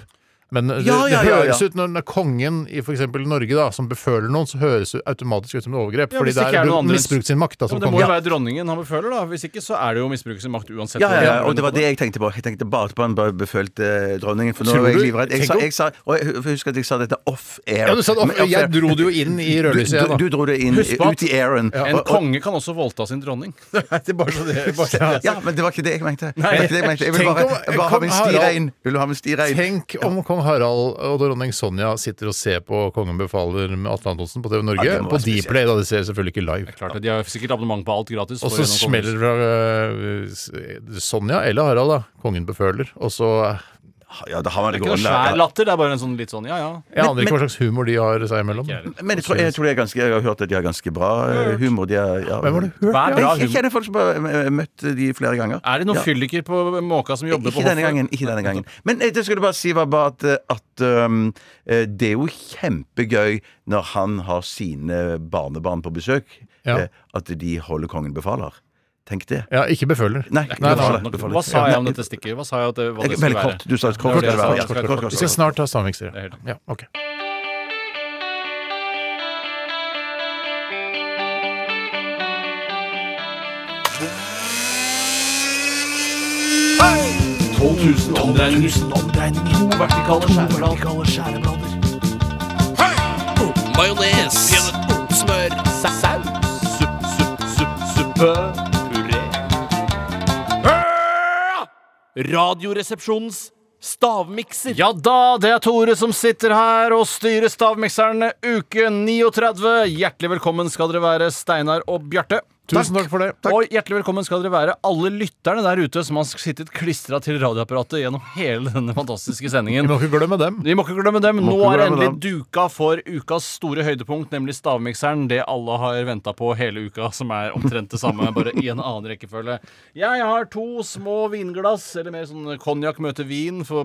Speaker 6: Men eh, det,
Speaker 9: Ja, ja,
Speaker 6: det
Speaker 9: ja,
Speaker 6: høres
Speaker 9: ja.
Speaker 6: ut når den er kongen i f.eks. Norge da, som beføler noen, så høres det automatisk ut som et overgrep.
Speaker 8: Ja,
Speaker 6: fordi
Speaker 8: hvis det
Speaker 6: det
Speaker 8: ikke
Speaker 6: er
Speaker 8: er noen andre-
Speaker 6: misbrukt sin makt da,
Speaker 8: Ja,
Speaker 6: som
Speaker 8: men det må jo
Speaker 6: konge.
Speaker 8: være dronningen han beføler, da. Hvis ikke så er det jo misbruk sin makt uansett.
Speaker 9: Ja, ja, ja,
Speaker 8: hva
Speaker 9: og det var det jeg tenkte på. Jeg tenkte bare på han bare befølte eh, dronningen. For nå
Speaker 8: Tror
Speaker 9: er jeg
Speaker 8: du?
Speaker 9: livredd. Jeg, sa,
Speaker 8: Tenk om-
Speaker 9: jeg sa, og jeg husker at jeg sa dette off air.
Speaker 6: Ja, du sa det off-
Speaker 9: Men
Speaker 6: jeg dro det jo inn i rødlyset, jeg,
Speaker 9: Du,
Speaker 6: da.
Speaker 9: du, du dro det inn
Speaker 6: Husk på at-
Speaker 9: ut i airen.
Speaker 8: En konge kan også voldta sin dronning.
Speaker 6: det er bare så det,
Speaker 9: Ja, men det var ikke det jeg mente. Det
Speaker 8: Nei.
Speaker 9: var ikke det jeg, mente. jeg vil
Speaker 6: Tenk
Speaker 9: bare,
Speaker 6: om-
Speaker 9: jeg vil bare ha min
Speaker 6: Kong
Speaker 9: sti
Speaker 6: Harald-
Speaker 9: rein. Vil du ha min sti rein?
Speaker 6: Tenk om kong Harald og dronning Sonja sitter og ser på Kongen befaler med Atle Antonsen på TV Norge.
Speaker 8: Ja, det må
Speaker 6: på
Speaker 8: være spesielt.
Speaker 6: Dplay, da. De ser selvfølgelig ikke live.
Speaker 8: Klart det, De har sikkert abonnement på alt gratis.
Speaker 6: Og
Speaker 8: for
Speaker 6: så
Speaker 8: gjennom
Speaker 6: smeller det fra øh, s- Sonja eller Harald, da. Kongen beføler. Og så eh,
Speaker 9: Ja, da har man
Speaker 8: Det er ikke noe svær latter, det er bare en sånn litt sånn ja, ja.
Speaker 6: Jeg aner ikke hva slags humor de har seg imellom.
Speaker 9: Men jeg tror, jeg, tror de er ganske, jeg har hørt at de har ganske bra eh, humor. De er, ja.
Speaker 6: Hvem har du hørt?
Speaker 9: Hva er
Speaker 8: Ja.
Speaker 9: bra humor? Jeg kjenner folk som har eh, møtt de flere ganger.
Speaker 8: Er det noen
Speaker 9: Ja.
Speaker 8: fylliker på måka som jobber på
Speaker 9: Ikke denne gangen. ikke denne gangen Men eh, det skulle jeg bare si var bare at, eh, at um, eh, det er jo kjempegøy når han har sine barnebarn på besøk,
Speaker 6: Ja.
Speaker 9: eh, at de holder kongen befaler. Tenk det.
Speaker 6: Ja, ikke beføler.
Speaker 9: Nei, ikke befaler, befaler.
Speaker 8: Hva sa
Speaker 9: Ja,
Speaker 8: jeg om
Speaker 9: nei,
Speaker 8: dette stikket? Hva sa jeg at det, hva det
Speaker 9: Veldig
Speaker 8: skulle være?
Speaker 9: kort. Du sa et
Speaker 8: Det var det
Speaker 9: kort,
Speaker 8: jeg
Speaker 9: kort,
Speaker 8: sa.
Speaker 9: ja,
Speaker 8: Jeg
Speaker 9: kort,
Speaker 8: skal-
Speaker 9: kort, kort.
Speaker 6: Vi skal snart ta stavmikser.
Speaker 8: Det
Speaker 6: Ja.
Speaker 8: er helt
Speaker 6: Ja, ok.
Speaker 13: Hei! 12 000 omdreininger. To vertikale skjæreblader. Hei! Majones. Smør. Saus. Supp, supp, supp, suppe. Puré.
Speaker 8: Radioresepsjonens stavmikser. Ja da, det er Tore som sitter her og styrer stavmikserne uke 39. Hjertelig velkommen skal dere være, Steinar og Bjarte.
Speaker 6: Tusen takk for det.
Speaker 8: Og hjertelig velkommen skal dere være alle lytterne der ute som har sittet klistra til radioapparatet gjennom hele denne fantastiske sendingen.
Speaker 6: Vi må ikke glemme dem.
Speaker 8: Vi må ikke glemme dem.
Speaker 6: Må
Speaker 8: Nå
Speaker 6: ikke
Speaker 8: er
Speaker 6: glemme
Speaker 8: endelig
Speaker 6: dem.
Speaker 8: duka for ukas store høydepunkt, nemlig stavmikseren. Det alle har venta på hele uka, som er omtrent det samme, bare i en annen rekkefølge. Jeg har to små vinglass, eller mer sånn konjakk møter vin for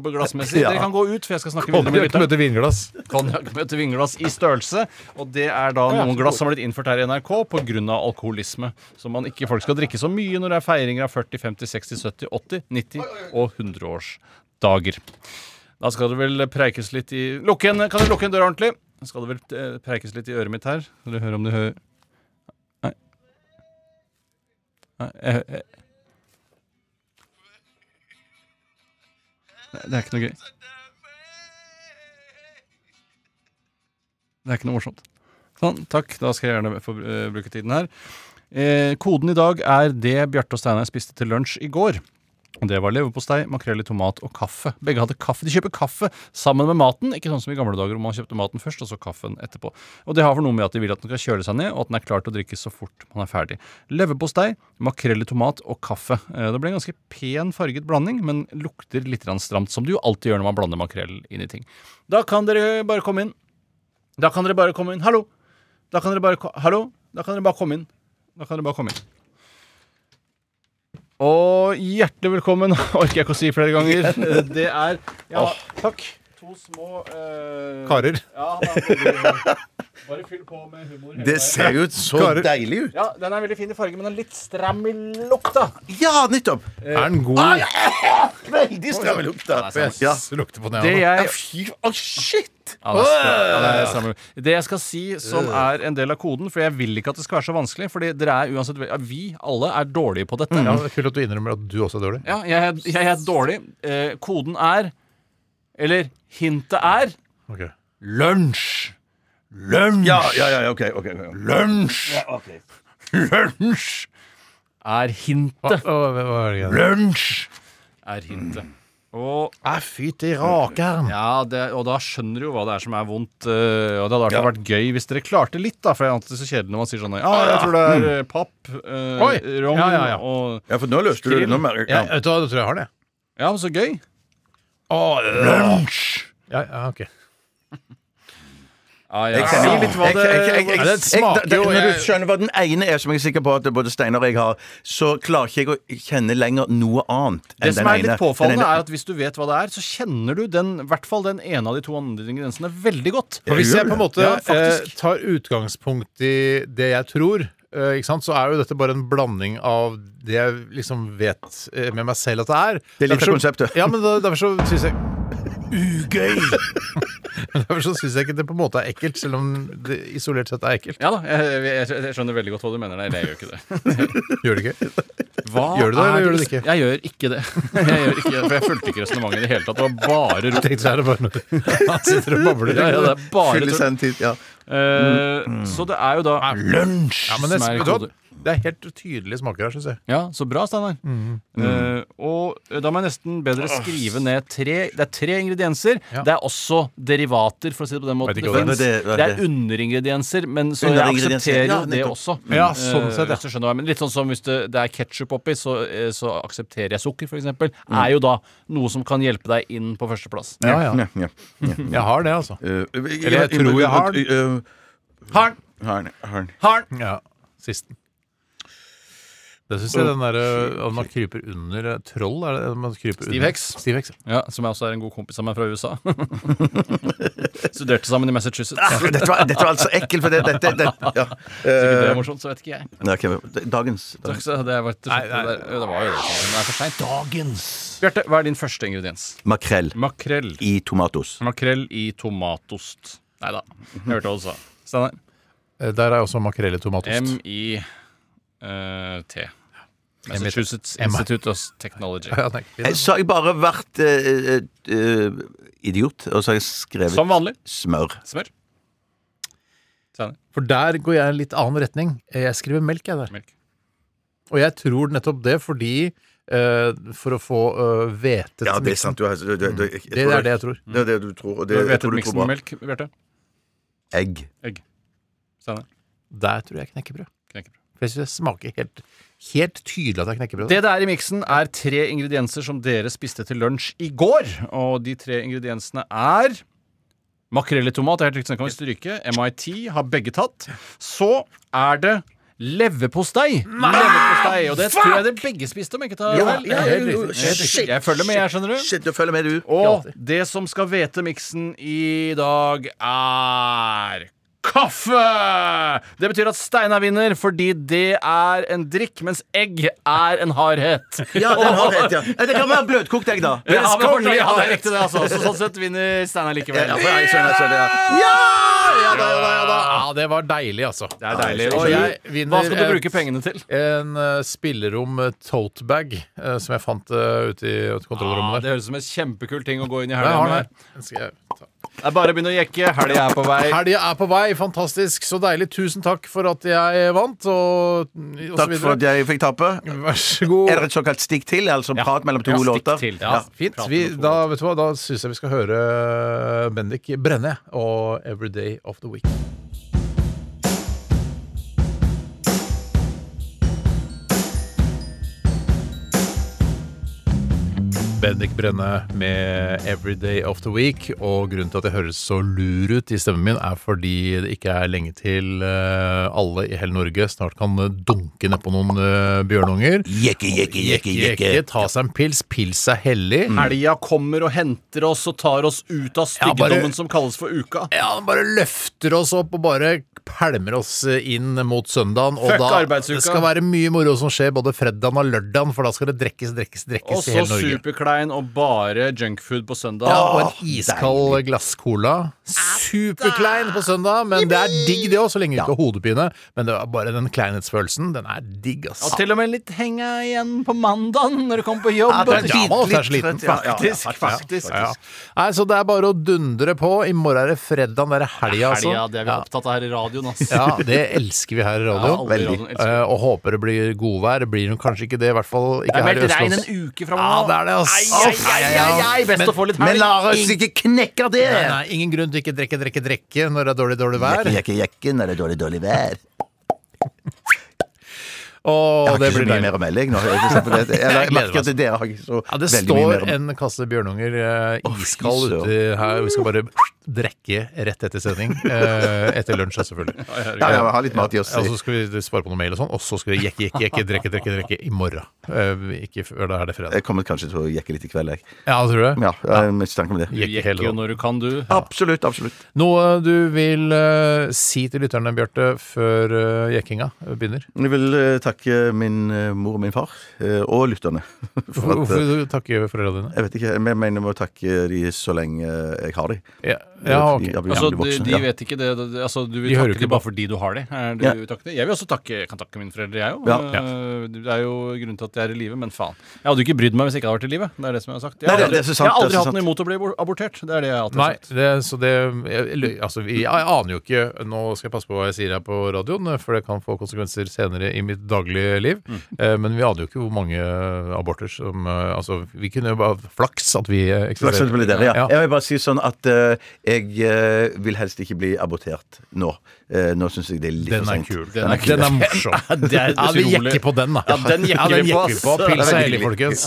Speaker 8: glassmessig.
Speaker 6: Ja.
Speaker 8: Dere kan gå ut, for jeg skal snakke videre med
Speaker 6: Konjakk
Speaker 8: lytteren.
Speaker 6: møter vinglass.
Speaker 8: Konjakk møter vinglass i størrelse, og det er da
Speaker 6: Ja, ja.
Speaker 8: noen glass som har blitt innført her i NRK pga. alkoholisme. Så man ikke folk skal drikke så mye når det er feiringer av 40, 50, 60, 70, 80, 90 og 100-årsdager. Da skal det vel preikes litt i Lukk igjen, Kan du lukke en dør ordentlig? Da skal det vel eh, preikes litt i øret mitt her. Skal du høre om du hører Nei. Nei, jeg, jeg. Nei, Det er ikke noe gøy. Det er ikke noe morsomt. Sånn, takk. Da skal jeg gjerne få eh, bruke tiden her. Eh, koden i dag er det Bjarte og Steinar spiste til lunsj i går. Og Det var leverpostei, makrell i tomat og kaffe. Begge hadde kaffe. De kjøper kaffe sammen med maten, ikke sånn som i gamle dager hvor man kjøpte maten først og så kaffen etterpå. Og Det har for noe med at de vil at den skal kjøle seg ned, og at den er klar til å drikkes så fort man er ferdig. Leverpostei, makrell i tomat og kaffe. Eh, Det ble en ganske pen farget blanding, men lukter litt grann stramt, som det jo alltid gjør når man blander makrell inn i ting. Da kan dere bare komme inn. Da kan dere bare komme inn. Hallo! Da kan dere bare ko Hallo! Da kan dere bare komme inn. Da kan dere bare komme inn. Og hjertelig velkommen, orker jeg ikke å si flere ganger. Eh, Det er Ja, takk. To små eh,
Speaker 6: Karer.
Speaker 8: Ja, da får vi- bare fyll på med humor. hele
Speaker 9: Det
Speaker 8: veien.
Speaker 9: ser jo så Karer. deilig ut.
Speaker 8: Ja, Den er veldig fin i farge, men den er litt stram i lukta.
Speaker 9: Ja, nettopp!
Speaker 8: Eh,
Speaker 6: Er den god? Ah,
Speaker 9: Ah, ja, veldig stramme lukta. Ja.
Speaker 8: Det jeg-
Speaker 9: Ja, Fy, å, shit!
Speaker 8: Ja,
Speaker 9: Øh.
Speaker 8: det, skal, ja, det, stemmer. det jeg skal si som er en del av koden, for jeg vil ikke at det skal være så vanskelig Fordi dere er uansett ja, Vi alle er dårlige på dette.
Speaker 6: Ja,
Speaker 9: Mm.
Speaker 6: det er Kult at du innrømmer at du også er dårlig.
Speaker 8: Ja, jeg, er- jeg er dårlig. Eh, koden er Eller hintet er
Speaker 6: Ok.
Speaker 8: lunsj. Lunsj!
Speaker 9: Ja, ja, ja, ok, ok, ok.
Speaker 8: Lunsj!
Speaker 9: Ja, ok.
Speaker 8: Lunsj er
Speaker 6: Hva-
Speaker 8: hintet.
Speaker 6: hva- hva er det igjen?
Speaker 8: Lunsj er
Speaker 9: Mm.
Speaker 8: hintet. Og
Speaker 6: Fytti rakeren!
Speaker 8: ja, det, og da skjønner du jo hva det er som er vondt. øh, Og det hadde derfor vært gøy hvis dere klarte litt, da. For jeg er alltid så kjedelig når man sier sånn Ja, jeg tror det er øh, papp, øh,
Speaker 6: Oi!
Speaker 8: rogn
Speaker 6: Ja, ja, ja.
Speaker 8: og
Speaker 9: Ja, for nå løste du det. Nå mer-
Speaker 6: Ja,
Speaker 9: ja.
Speaker 6: vet du hva, da tror jeg jeg har det.
Speaker 8: Ja, men så gøy.
Speaker 6: Lunsj! Ja, ja, ok.
Speaker 9: Jeg kan si litt hva det
Speaker 6: Ja, det smaker jo
Speaker 9: Når du
Speaker 6: jeg-
Speaker 9: skjønner hva den ene er, som jeg er sikker på at både Steinar og jeg har, så klarer ikke jeg å kjenne lenger noe annet enn den ene.
Speaker 8: Det som er litt
Speaker 9: Den
Speaker 8: påfallende,
Speaker 9: ene-
Speaker 8: er at hvis du vet hva det er, så kjenner du den, i hvert fall den ene av de to andre ingrediensene veldig godt.
Speaker 6: For hvis jeg på en måte
Speaker 8: ja,
Speaker 6: eh,
Speaker 8: faktisk,
Speaker 6: tar utgangspunkt i det jeg tror, eh, ikke sant, så er jo dette bare en blanding av det jeg liksom vet eh, med meg selv at det er.
Speaker 9: Det liker
Speaker 6: Derfor så-
Speaker 9: konseptet.
Speaker 6: Ja, men da, derfor så syns jeg Ugøy! derfor så syns jeg ikke det på en måte er ekkelt, selv om det isolert sett er ekkelt.
Speaker 8: ja da, jeg, jeg, jeg skjønner veldig godt hva du mener. Nei, jeg gjør ikke det.
Speaker 6: Gjør det ikke?
Speaker 8: Hva
Speaker 6: Gjør du det,
Speaker 8: er
Speaker 6: eller gjør du det ikke?
Speaker 8: Jeg gjør ikke det. Jeg gjør ikke det, For jeg fulgte ikke resonnementet i det hele tatt. Det var bare rot.
Speaker 6: Tenkte så er det bare noe Han sitter og babler. Mm.
Speaker 8: Ja, ja, det er bare
Speaker 9: Fylle
Speaker 8: tull.
Speaker 9: seg en tid, ja.
Speaker 8: Eh, Så det er jo da
Speaker 9: lunsj
Speaker 6: Ja, men det,
Speaker 8: som er i
Speaker 6: vet du hva?
Speaker 8: kode.
Speaker 6: det er helt tydelige smaker her, syns jeg.
Speaker 8: Ja, så bra, Steinar.
Speaker 6: Mm.
Speaker 8: Eh, og da må jeg nesten bedre skrive ned tre Det er tre ingredienser. Det er også derivater, for å si det på den måten.
Speaker 6: Vet
Speaker 8: Det,
Speaker 6: ikke hva
Speaker 8: finnes.
Speaker 6: det
Speaker 9: er.
Speaker 8: det,
Speaker 9: Det er-
Speaker 8: er underingredienser, men så jeg
Speaker 9: Underingredienser.
Speaker 8: aksepterer jo
Speaker 9: Ja,
Speaker 8: det
Speaker 9: nettopp.
Speaker 8: også.
Speaker 6: Ja, sånn
Speaker 8: Eh,
Speaker 6: sett, ja.
Speaker 8: Hvis du skjønner hva jeg mener. Litt sånn som hvis det, det er ketsjup oppi, så, eh, så aksepterer jeg sukker, f.eks. eksempel
Speaker 6: Mm.
Speaker 8: Er jo da noe som kan hjelpe deg inn på førsteplass.
Speaker 6: Ja, ja.
Speaker 9: Ja, ja, ja.
Speaker 6: Jeg har det, altså.
Speaker 9: Eh,
Speaker 6: Eller jeg tror jeg har den.
Speaker 9: eh,
Speaker 8: Har den!
Speaker 9: Har den. Har den.
Speaker 8: Har den!
Speaker 6: Ja, sisten. Det syns jeg den derre At man kryper under eh, Troll, er det det man kryper under?
Speaker 8: Stiv heks.
Speaker 6: Stiv heks.
Speaker 8: Ja, som jeg også er en god kompis av meg fra USA. Studerte sammen i Massachusetts.
Speaker 9: Ah, dette, var, dette var altså ekkelt, for det, dette det, ja.
Speaker 8: Sikkert det
Speaker 9: Eh,
Speaker 8: er morsomt, så vet ikke jeg.
Speaker 9: nei, ok, dagens.
Speaker 8: Takk skal du ha. Det var,
Speaker 6: Nei, nei.
Speaker 8: det der- det var jo det. men Det er for seint.
Speaker 6: Dagens!
Speaker 8: Bjarte, hva er din første ingrediens?
Speaker 9: Makrell
Speaker 8: Makrell.
Speaker 9: i tomatos.
Speaker 8: Makrell i tomatost. Nei da, jeg hørte hva du sa. Steinar.
Speaker 6: Eh, Der er også makrell i tomatost.
Speaker 8: M-I-T. eh, Massachusetts
Speaker 6: M.I.T..
Speaker 8: Institute of Technology.
Speaker 6: Ja, nei,
Speaker 9: Jeg Eh, så har jeg bare vært eh, eh, eh, idiot, og så har jeg skrevet
Speaker 8: Som vanlig.
Speaker 9: smør.
Speaker 8: Smør. Steinar.
Speaker 6: For der går jeg i en litt annen retning. Eh, Jeg skriver melk, jeg, der.
Speaker 8: Melk.
Speaker 6: Og jeg tror nettopp det fordi eh, For å få eh, hvetet
Speaker 9: Ja, det er
Speaker 6: miksen.
Speaker 9: sant. Du, har- du, du, du, jeg, jeg
Speaker 6: Det
Speaker 9: tror
Speaker 6: er det jeg tror.
Speaker 9: Det er det du tror. Og
Speaker 8: Du
Speaker 9: det, jeg
Speaker 8: vet
Speaker 9: tror
Speaker 8: et
Speaker 9: du
Speaker 8: miksen med
Speaker 9: tror bra.
Speaker 8: melk, Bjarte?
Speaker 9: Egg.
Speaker 8: Egg. Steinar.
Speaker 6: Der tror jeg knekkebrød.
Speaker 8: Knekkebrød.
Speaker 6: For jeg syns det smaker helt, helt tydelig at det er knekkebrød.
Speaker 8: Det det er i miksen, er tre ingredienser som dere spiste til lunsj i går. Og de tre ingrediensene er makrell i tomat. det er helt riktig, den kan vi stryke. MIT har begge tatt. Så er det leverpostei. Leverpostei, Og det tror jeg dere begge spiste, om jeg ikke tar
Speaker 9: Ja,
Speaker 8: feil.
Speaker 9: ja,
Speaker 8: Helt
Speaker 9: jo, jo,
Speaker 8: riktig. Helt riktig.
Speaker 9: shit,
Speaker 8: Jeg følger med, jeg, skjønner du.
Speaker 9: Shit, du følger med, du.
Speaker 8: Og det som skal vete miksen i dag, er kaffe! Det betyr at Steinar vinner fordi det er en drikk, mens egg er en hardhet.
Speaker 9: Ja, den har rett, ja. Eh, Det kan være bløtkokt egg, da.
Speaker 8: Ja, men fortsatt- ja,
Speaker 9: Kongelig
Speaker 8: det er
Speaker 9: hardhet.
Speaker 8: riktig, det. altså Så Sånn sett vinner Steinar likevel.
Speaker 9: Ja, jeg skjønner, jeg skjønner, ja.
Speaker 8: Ja,
Speaker 6: da, ja, da, ja, da. Ah, ja, det var deilig, altså. Det
Speaker 8: er deilig.
Speaker 6: Og jeg vinner
Speaker 8: Hva skal du
Speaker 6: et-
Speaker 8: bruke pengene til?
Speaker 6: En eh, spillerom eh, totebag eh, som jeg fant eh, ute i ute i kontrollrommet der.
Speaker 8: Det høres ut som en kjempekul ting å gå inn i
Speaker 6: Jeg har
Speaker 8: helga
Speaker 6: den
Speaker 8: med.
Speaker 6: her. Den skal jeg ta.
Speaker 8: Det er bare å begynne å jekke. Helga er på vei.
Speaker 6: Helga er på vei. Fantastisk. Så deilig. Tusen takk for at jeg vant, og, og så
Speaker 9: Takk for
Speaker 6: videre.
Speaker 9: at jeg fikk tape.
Speaker 6: Vær så god.
Speaker 9: Er det et såkalt stikk til? Altså prat mellom to
Speaker 6: Ja, stikk
Speaker 9: låter?
Speaker 6: til. Ja, fint. Vi, da vet du hva, da syns jeg vi skal høre eh, Bendik Brenne og 'Every Day of the Week'. Bendik Brenne med 'Every Day of the Week'. Og grunnen til at jeg høres så lur ut i stemmen min, er fordi det ikke er lenge til eh, alle i hele Norge snart kan eh, dunke nedpå noen eh, bjørnunger.
Speaker 9: Jekke, jekke, jekke, Mm. jekke.
Speaker 6: Ta seg en pils. Pils er hellig.
Speaker 8: Helga kommer og henter oss og tar oss ut av
Speaker 6: Ja, bare-
Speaker 8: styggedommen som kalles for uka.
Speaker 6: Ja, den bare løfter oss opp og bare pælmer oss eh, inn mot søndagen. Og
Speaker 8: Fuck
Speaker 6: da,
Speaker 8: arbeidsuka.
Speaker 6: det skal være mye moro som skjer både fredagen og lørdagen, for da skal det drekkes, drekkes,
Speaker 8: Og
Speaker 6: drekkes i
Speaker 8: så
Speaker 6: hele Norge.
Speaker 8: superklein og bare junkfood på søndag.
Speaker 6: Ja, og en iskald glasscola. Superklein på søndag, men det er digg det òg, så lenge du ikke har hodepine. Men det er bare den kleinhetsfølelsen. Den er digg, ass.
Speaker 8: Ja, til og med litt henga igjen på mandagen når du kommer på jobb.
Speaker 6: Ja, det er da man også er sliten,
Speaker 8: Faktisk,
Speaker 6: ja,
Speaker 8: faktisk.
Speaker 6: ja, ja. Nei, så det er bare å dundre på. I morgen er det fredag, det er helga, altså.
Speaker 8: Helga, det er vi opptatt av her i radioen, ass.
Speaker 6: Ja, det elsker vi her i
Speaker 8: Ja,
Speaker 6: radioen.
Speaker 8: alle i radioen elsker
Speaker 6: Eh, og håper det blir godvær. Det blir jo kanskje ikke det, i hvert fall
Speaker 8: Det
Speaker 6: ikke
Speaker 8: er
Speaker 6: her i
Speaker 8: meldt regn
Speaker 6: Østlands.
Speaker 8: en uke framover.
Speaker 6: Ja, det er det, ass.
Speaker 8: Ai, ai, ai, ai, ai. Best å få litt helg.
Speaker 9: knekke det!
Speaker 6: Nei, nei, ingen grunn til ikke drikke, drikke, drikke når det er dårlig, dårlig vær.
Speaker 9: Jekke, jekke, jekke når det er dårlig, dårlig vær.
Speaker 6: Og
Speaker 9: Jeg har
Speaker 6: det
Speaker 9: ikke så
Speaker 6: blir
Speaker 9: mye
Speaker 6: deilig.
Speaker 9: mer å melde, jeg. Nå, jeg, jeg, jeg, jeg,
Speaker 6: Jeg gleder
Speaker 9: merker
Speaker 6: meg. altså.
Speaker 9: at dere har ikke så
Speaker 6: Ja, det
Speaker 9: veldig mye mer
Speaker 6: står
Speaker 9: å
Speaker 6: en kasse bjørnunger eh, iskald
Speaker 9: søren.
Speaker 6: uti her. og Vi skal bare drikke rett etter sending. Eh, etter lunsj, da, selvfølgelig.
Speaker 9: Ja, ja, ha litt mat i oss.
Speaker 6: Ja, så skal vi svare på noe mail og sånn, og så skal vi jekke, jekke, jekke, drikke, drikke, drikke i morgen. Eh, ikke før da er det fredag.
Speaker 9: Jeg kommer kanskje til å jekke litt i kveld, jeg.
Speaker 6: Ja, tror du det?
Speaker 9: Ja, jeg har en mistanke om det.
Speaker 8: Du jekker jo når du kan, du.
Speaker 9: Absolutt, absolutt.
Speaker 6: Noe du vil eh, si til lytterne, Bjarte, før eh, jekkinga begynner?
Speaker 9: Jeg vil eh, takke min eh, mor og min far, eh, og lytterne. For at,
Speaker 6: Hvorfor
Speaker 9: eh,
Speaker 6: vil du takke foreldrene dine?
Speaker 9: jeg vet ikke, jeg mener med å takke de så lenge eh, jeg har de.
Speaker 6: Ja, ja, ok.
Speaker 9: Jeg blir
Speaker 8: Altså,
Speaker 9: veldig
Speaker 8: de,
Speaker 9: voksen,
Speaker 8: de
Speaker 9: ja.
Speaker 8: vet ikke det. det- det- Altså, du vil
Speaker 6: De hører
Speaker 8: takke
Speaker 6: ikke
Speaker 8: dem
Speaker 6: på.
Speaker 8: bare fordi du har dem. Er det
Speaker 6: Ja.
Speaker 8: du vil takke det? Jeg vil også takke, jeg kan takke mine foreldre, jeg òg.
Speaker 6: Ja.
Speaker 8: Det er jo grunnen til at jeg er i live, men faen. Jeg hadde jo ikke brydd meg hvis jeg ikke hadde vært i live. Det er det som jeg har sagt. Jeg
Speaker 9: Nei,
Speaker 8: har
Speaker 9: det-
Speaker 8: aldri,
Speaker 9: det er så sant,
Speaker 8: jeg har
Speaker 9: det er
Speaker 8: aldri
Speaker 9: så
Speaker 8: hatt noe
Speaker 9: sant.
Speaker 8: imot å bli abor- abortert. Det er det jeg har alltid
Speaker 6: Nei,
Speaker 8: sagt.
Speaker 6: det, så det jeg, eller, altså, jeg, jeg aner jo ikke Nå skal jeg passe på hva jeg sier her på radioen, eh, for det kan få konsekvenser senere i mitt daglige liv.
Speaker 9: Mm.
Speaker 6: Eh, men vi aner jo ikke hvor mange aborter som eh, Altså, vi kunne jo bare Flaks at vi eh,
Speaker 9: Flaks at
Speaker 6: eksisterer.
Speaker 9: det ble dere, ja. Jeg vil bare si sånn at eh, jeg eh, vil helst ikke bli abortert nå. Eh, nå syns jeg det er litt
Speaker 6: Den
Speaker 9: for
Speaker 6: er
Speaker 9: sent.
Speaker 6: kul. Den er, den er morsom.
Speaker 8: Det er
Speaker 6: ja, vi
Speaker 8: utrolig.
Speaker 6: jekker på den, da.
Speaker 8: Ja, den jekker vi på,
Speaker 6: vi på.
Speaker 8: ass.
Speaker 6: Pils er
Speaker 8: Det er
Speaker 6: hellig,
Speaker 8: veldig
Speaker 6: folkens.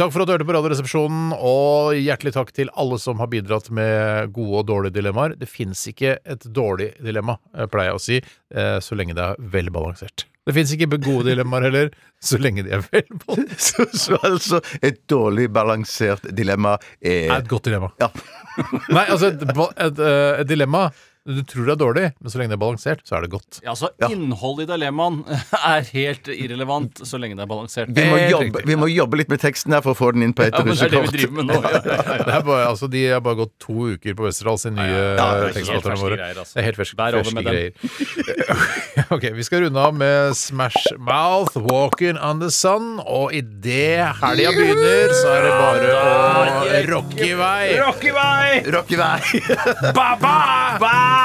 Speaker 6: Takk for at du hørte på Radioresepsjonen, og hjertelig takk til alle som har bidratt med gode og dårlige dilemmaer. Det fins ikke et dårlig dilemma, eh, pleier jeg å si, eh, så lenge det er vel balansert. Det fins ikke gode dilemmaer heller, så lenge de er vel balansert.
Speaker 9: Så, så altså, et dårlig balansert dilemma er
Speaker 6: er et godt dilemma.
Speaker 9: Ja.
Speaker 6: Nei, altså, et, ba- et, eh, et dilemma du tror det er dårlig, men så lenge det er balansert, så er det godt.
Speaker 8: Ja, altså, Innholdet i dilemmaen er helt irrelevant så lenge det er balansert.
Speaker 9: Vi må, jobbe, vi må jobbe litt med teksten her for å få den inn på et
Speaker 8: Ja, men det er det vi
Speaker 9: russekort.
Speaker 8: driver med nå. Ja, ja, ja.
Speaker 6: Det er bare, altså, de har bare gått to uker på Westerdals, de nye
Speaker 8: det er
Speaker 6: ja,
Speaker 8: helt ferske
Speaker 6: våre.
Speaker 8: greier, altså.
Speaker 6: Det er helt ferske,
Speaker 8: Bær over
Speaker 6: ferske
Speaker 8: med dem.
Speaker 6: greier. ok, Vi skal runde av med Smash Mouth, Walking on the Sun, og idet helga begynner, så er det bare å rocke i vei.
Speaker 8: Rock i vei!
Speaker 9: Rock i vei!
Speaker 8: Bye-bye!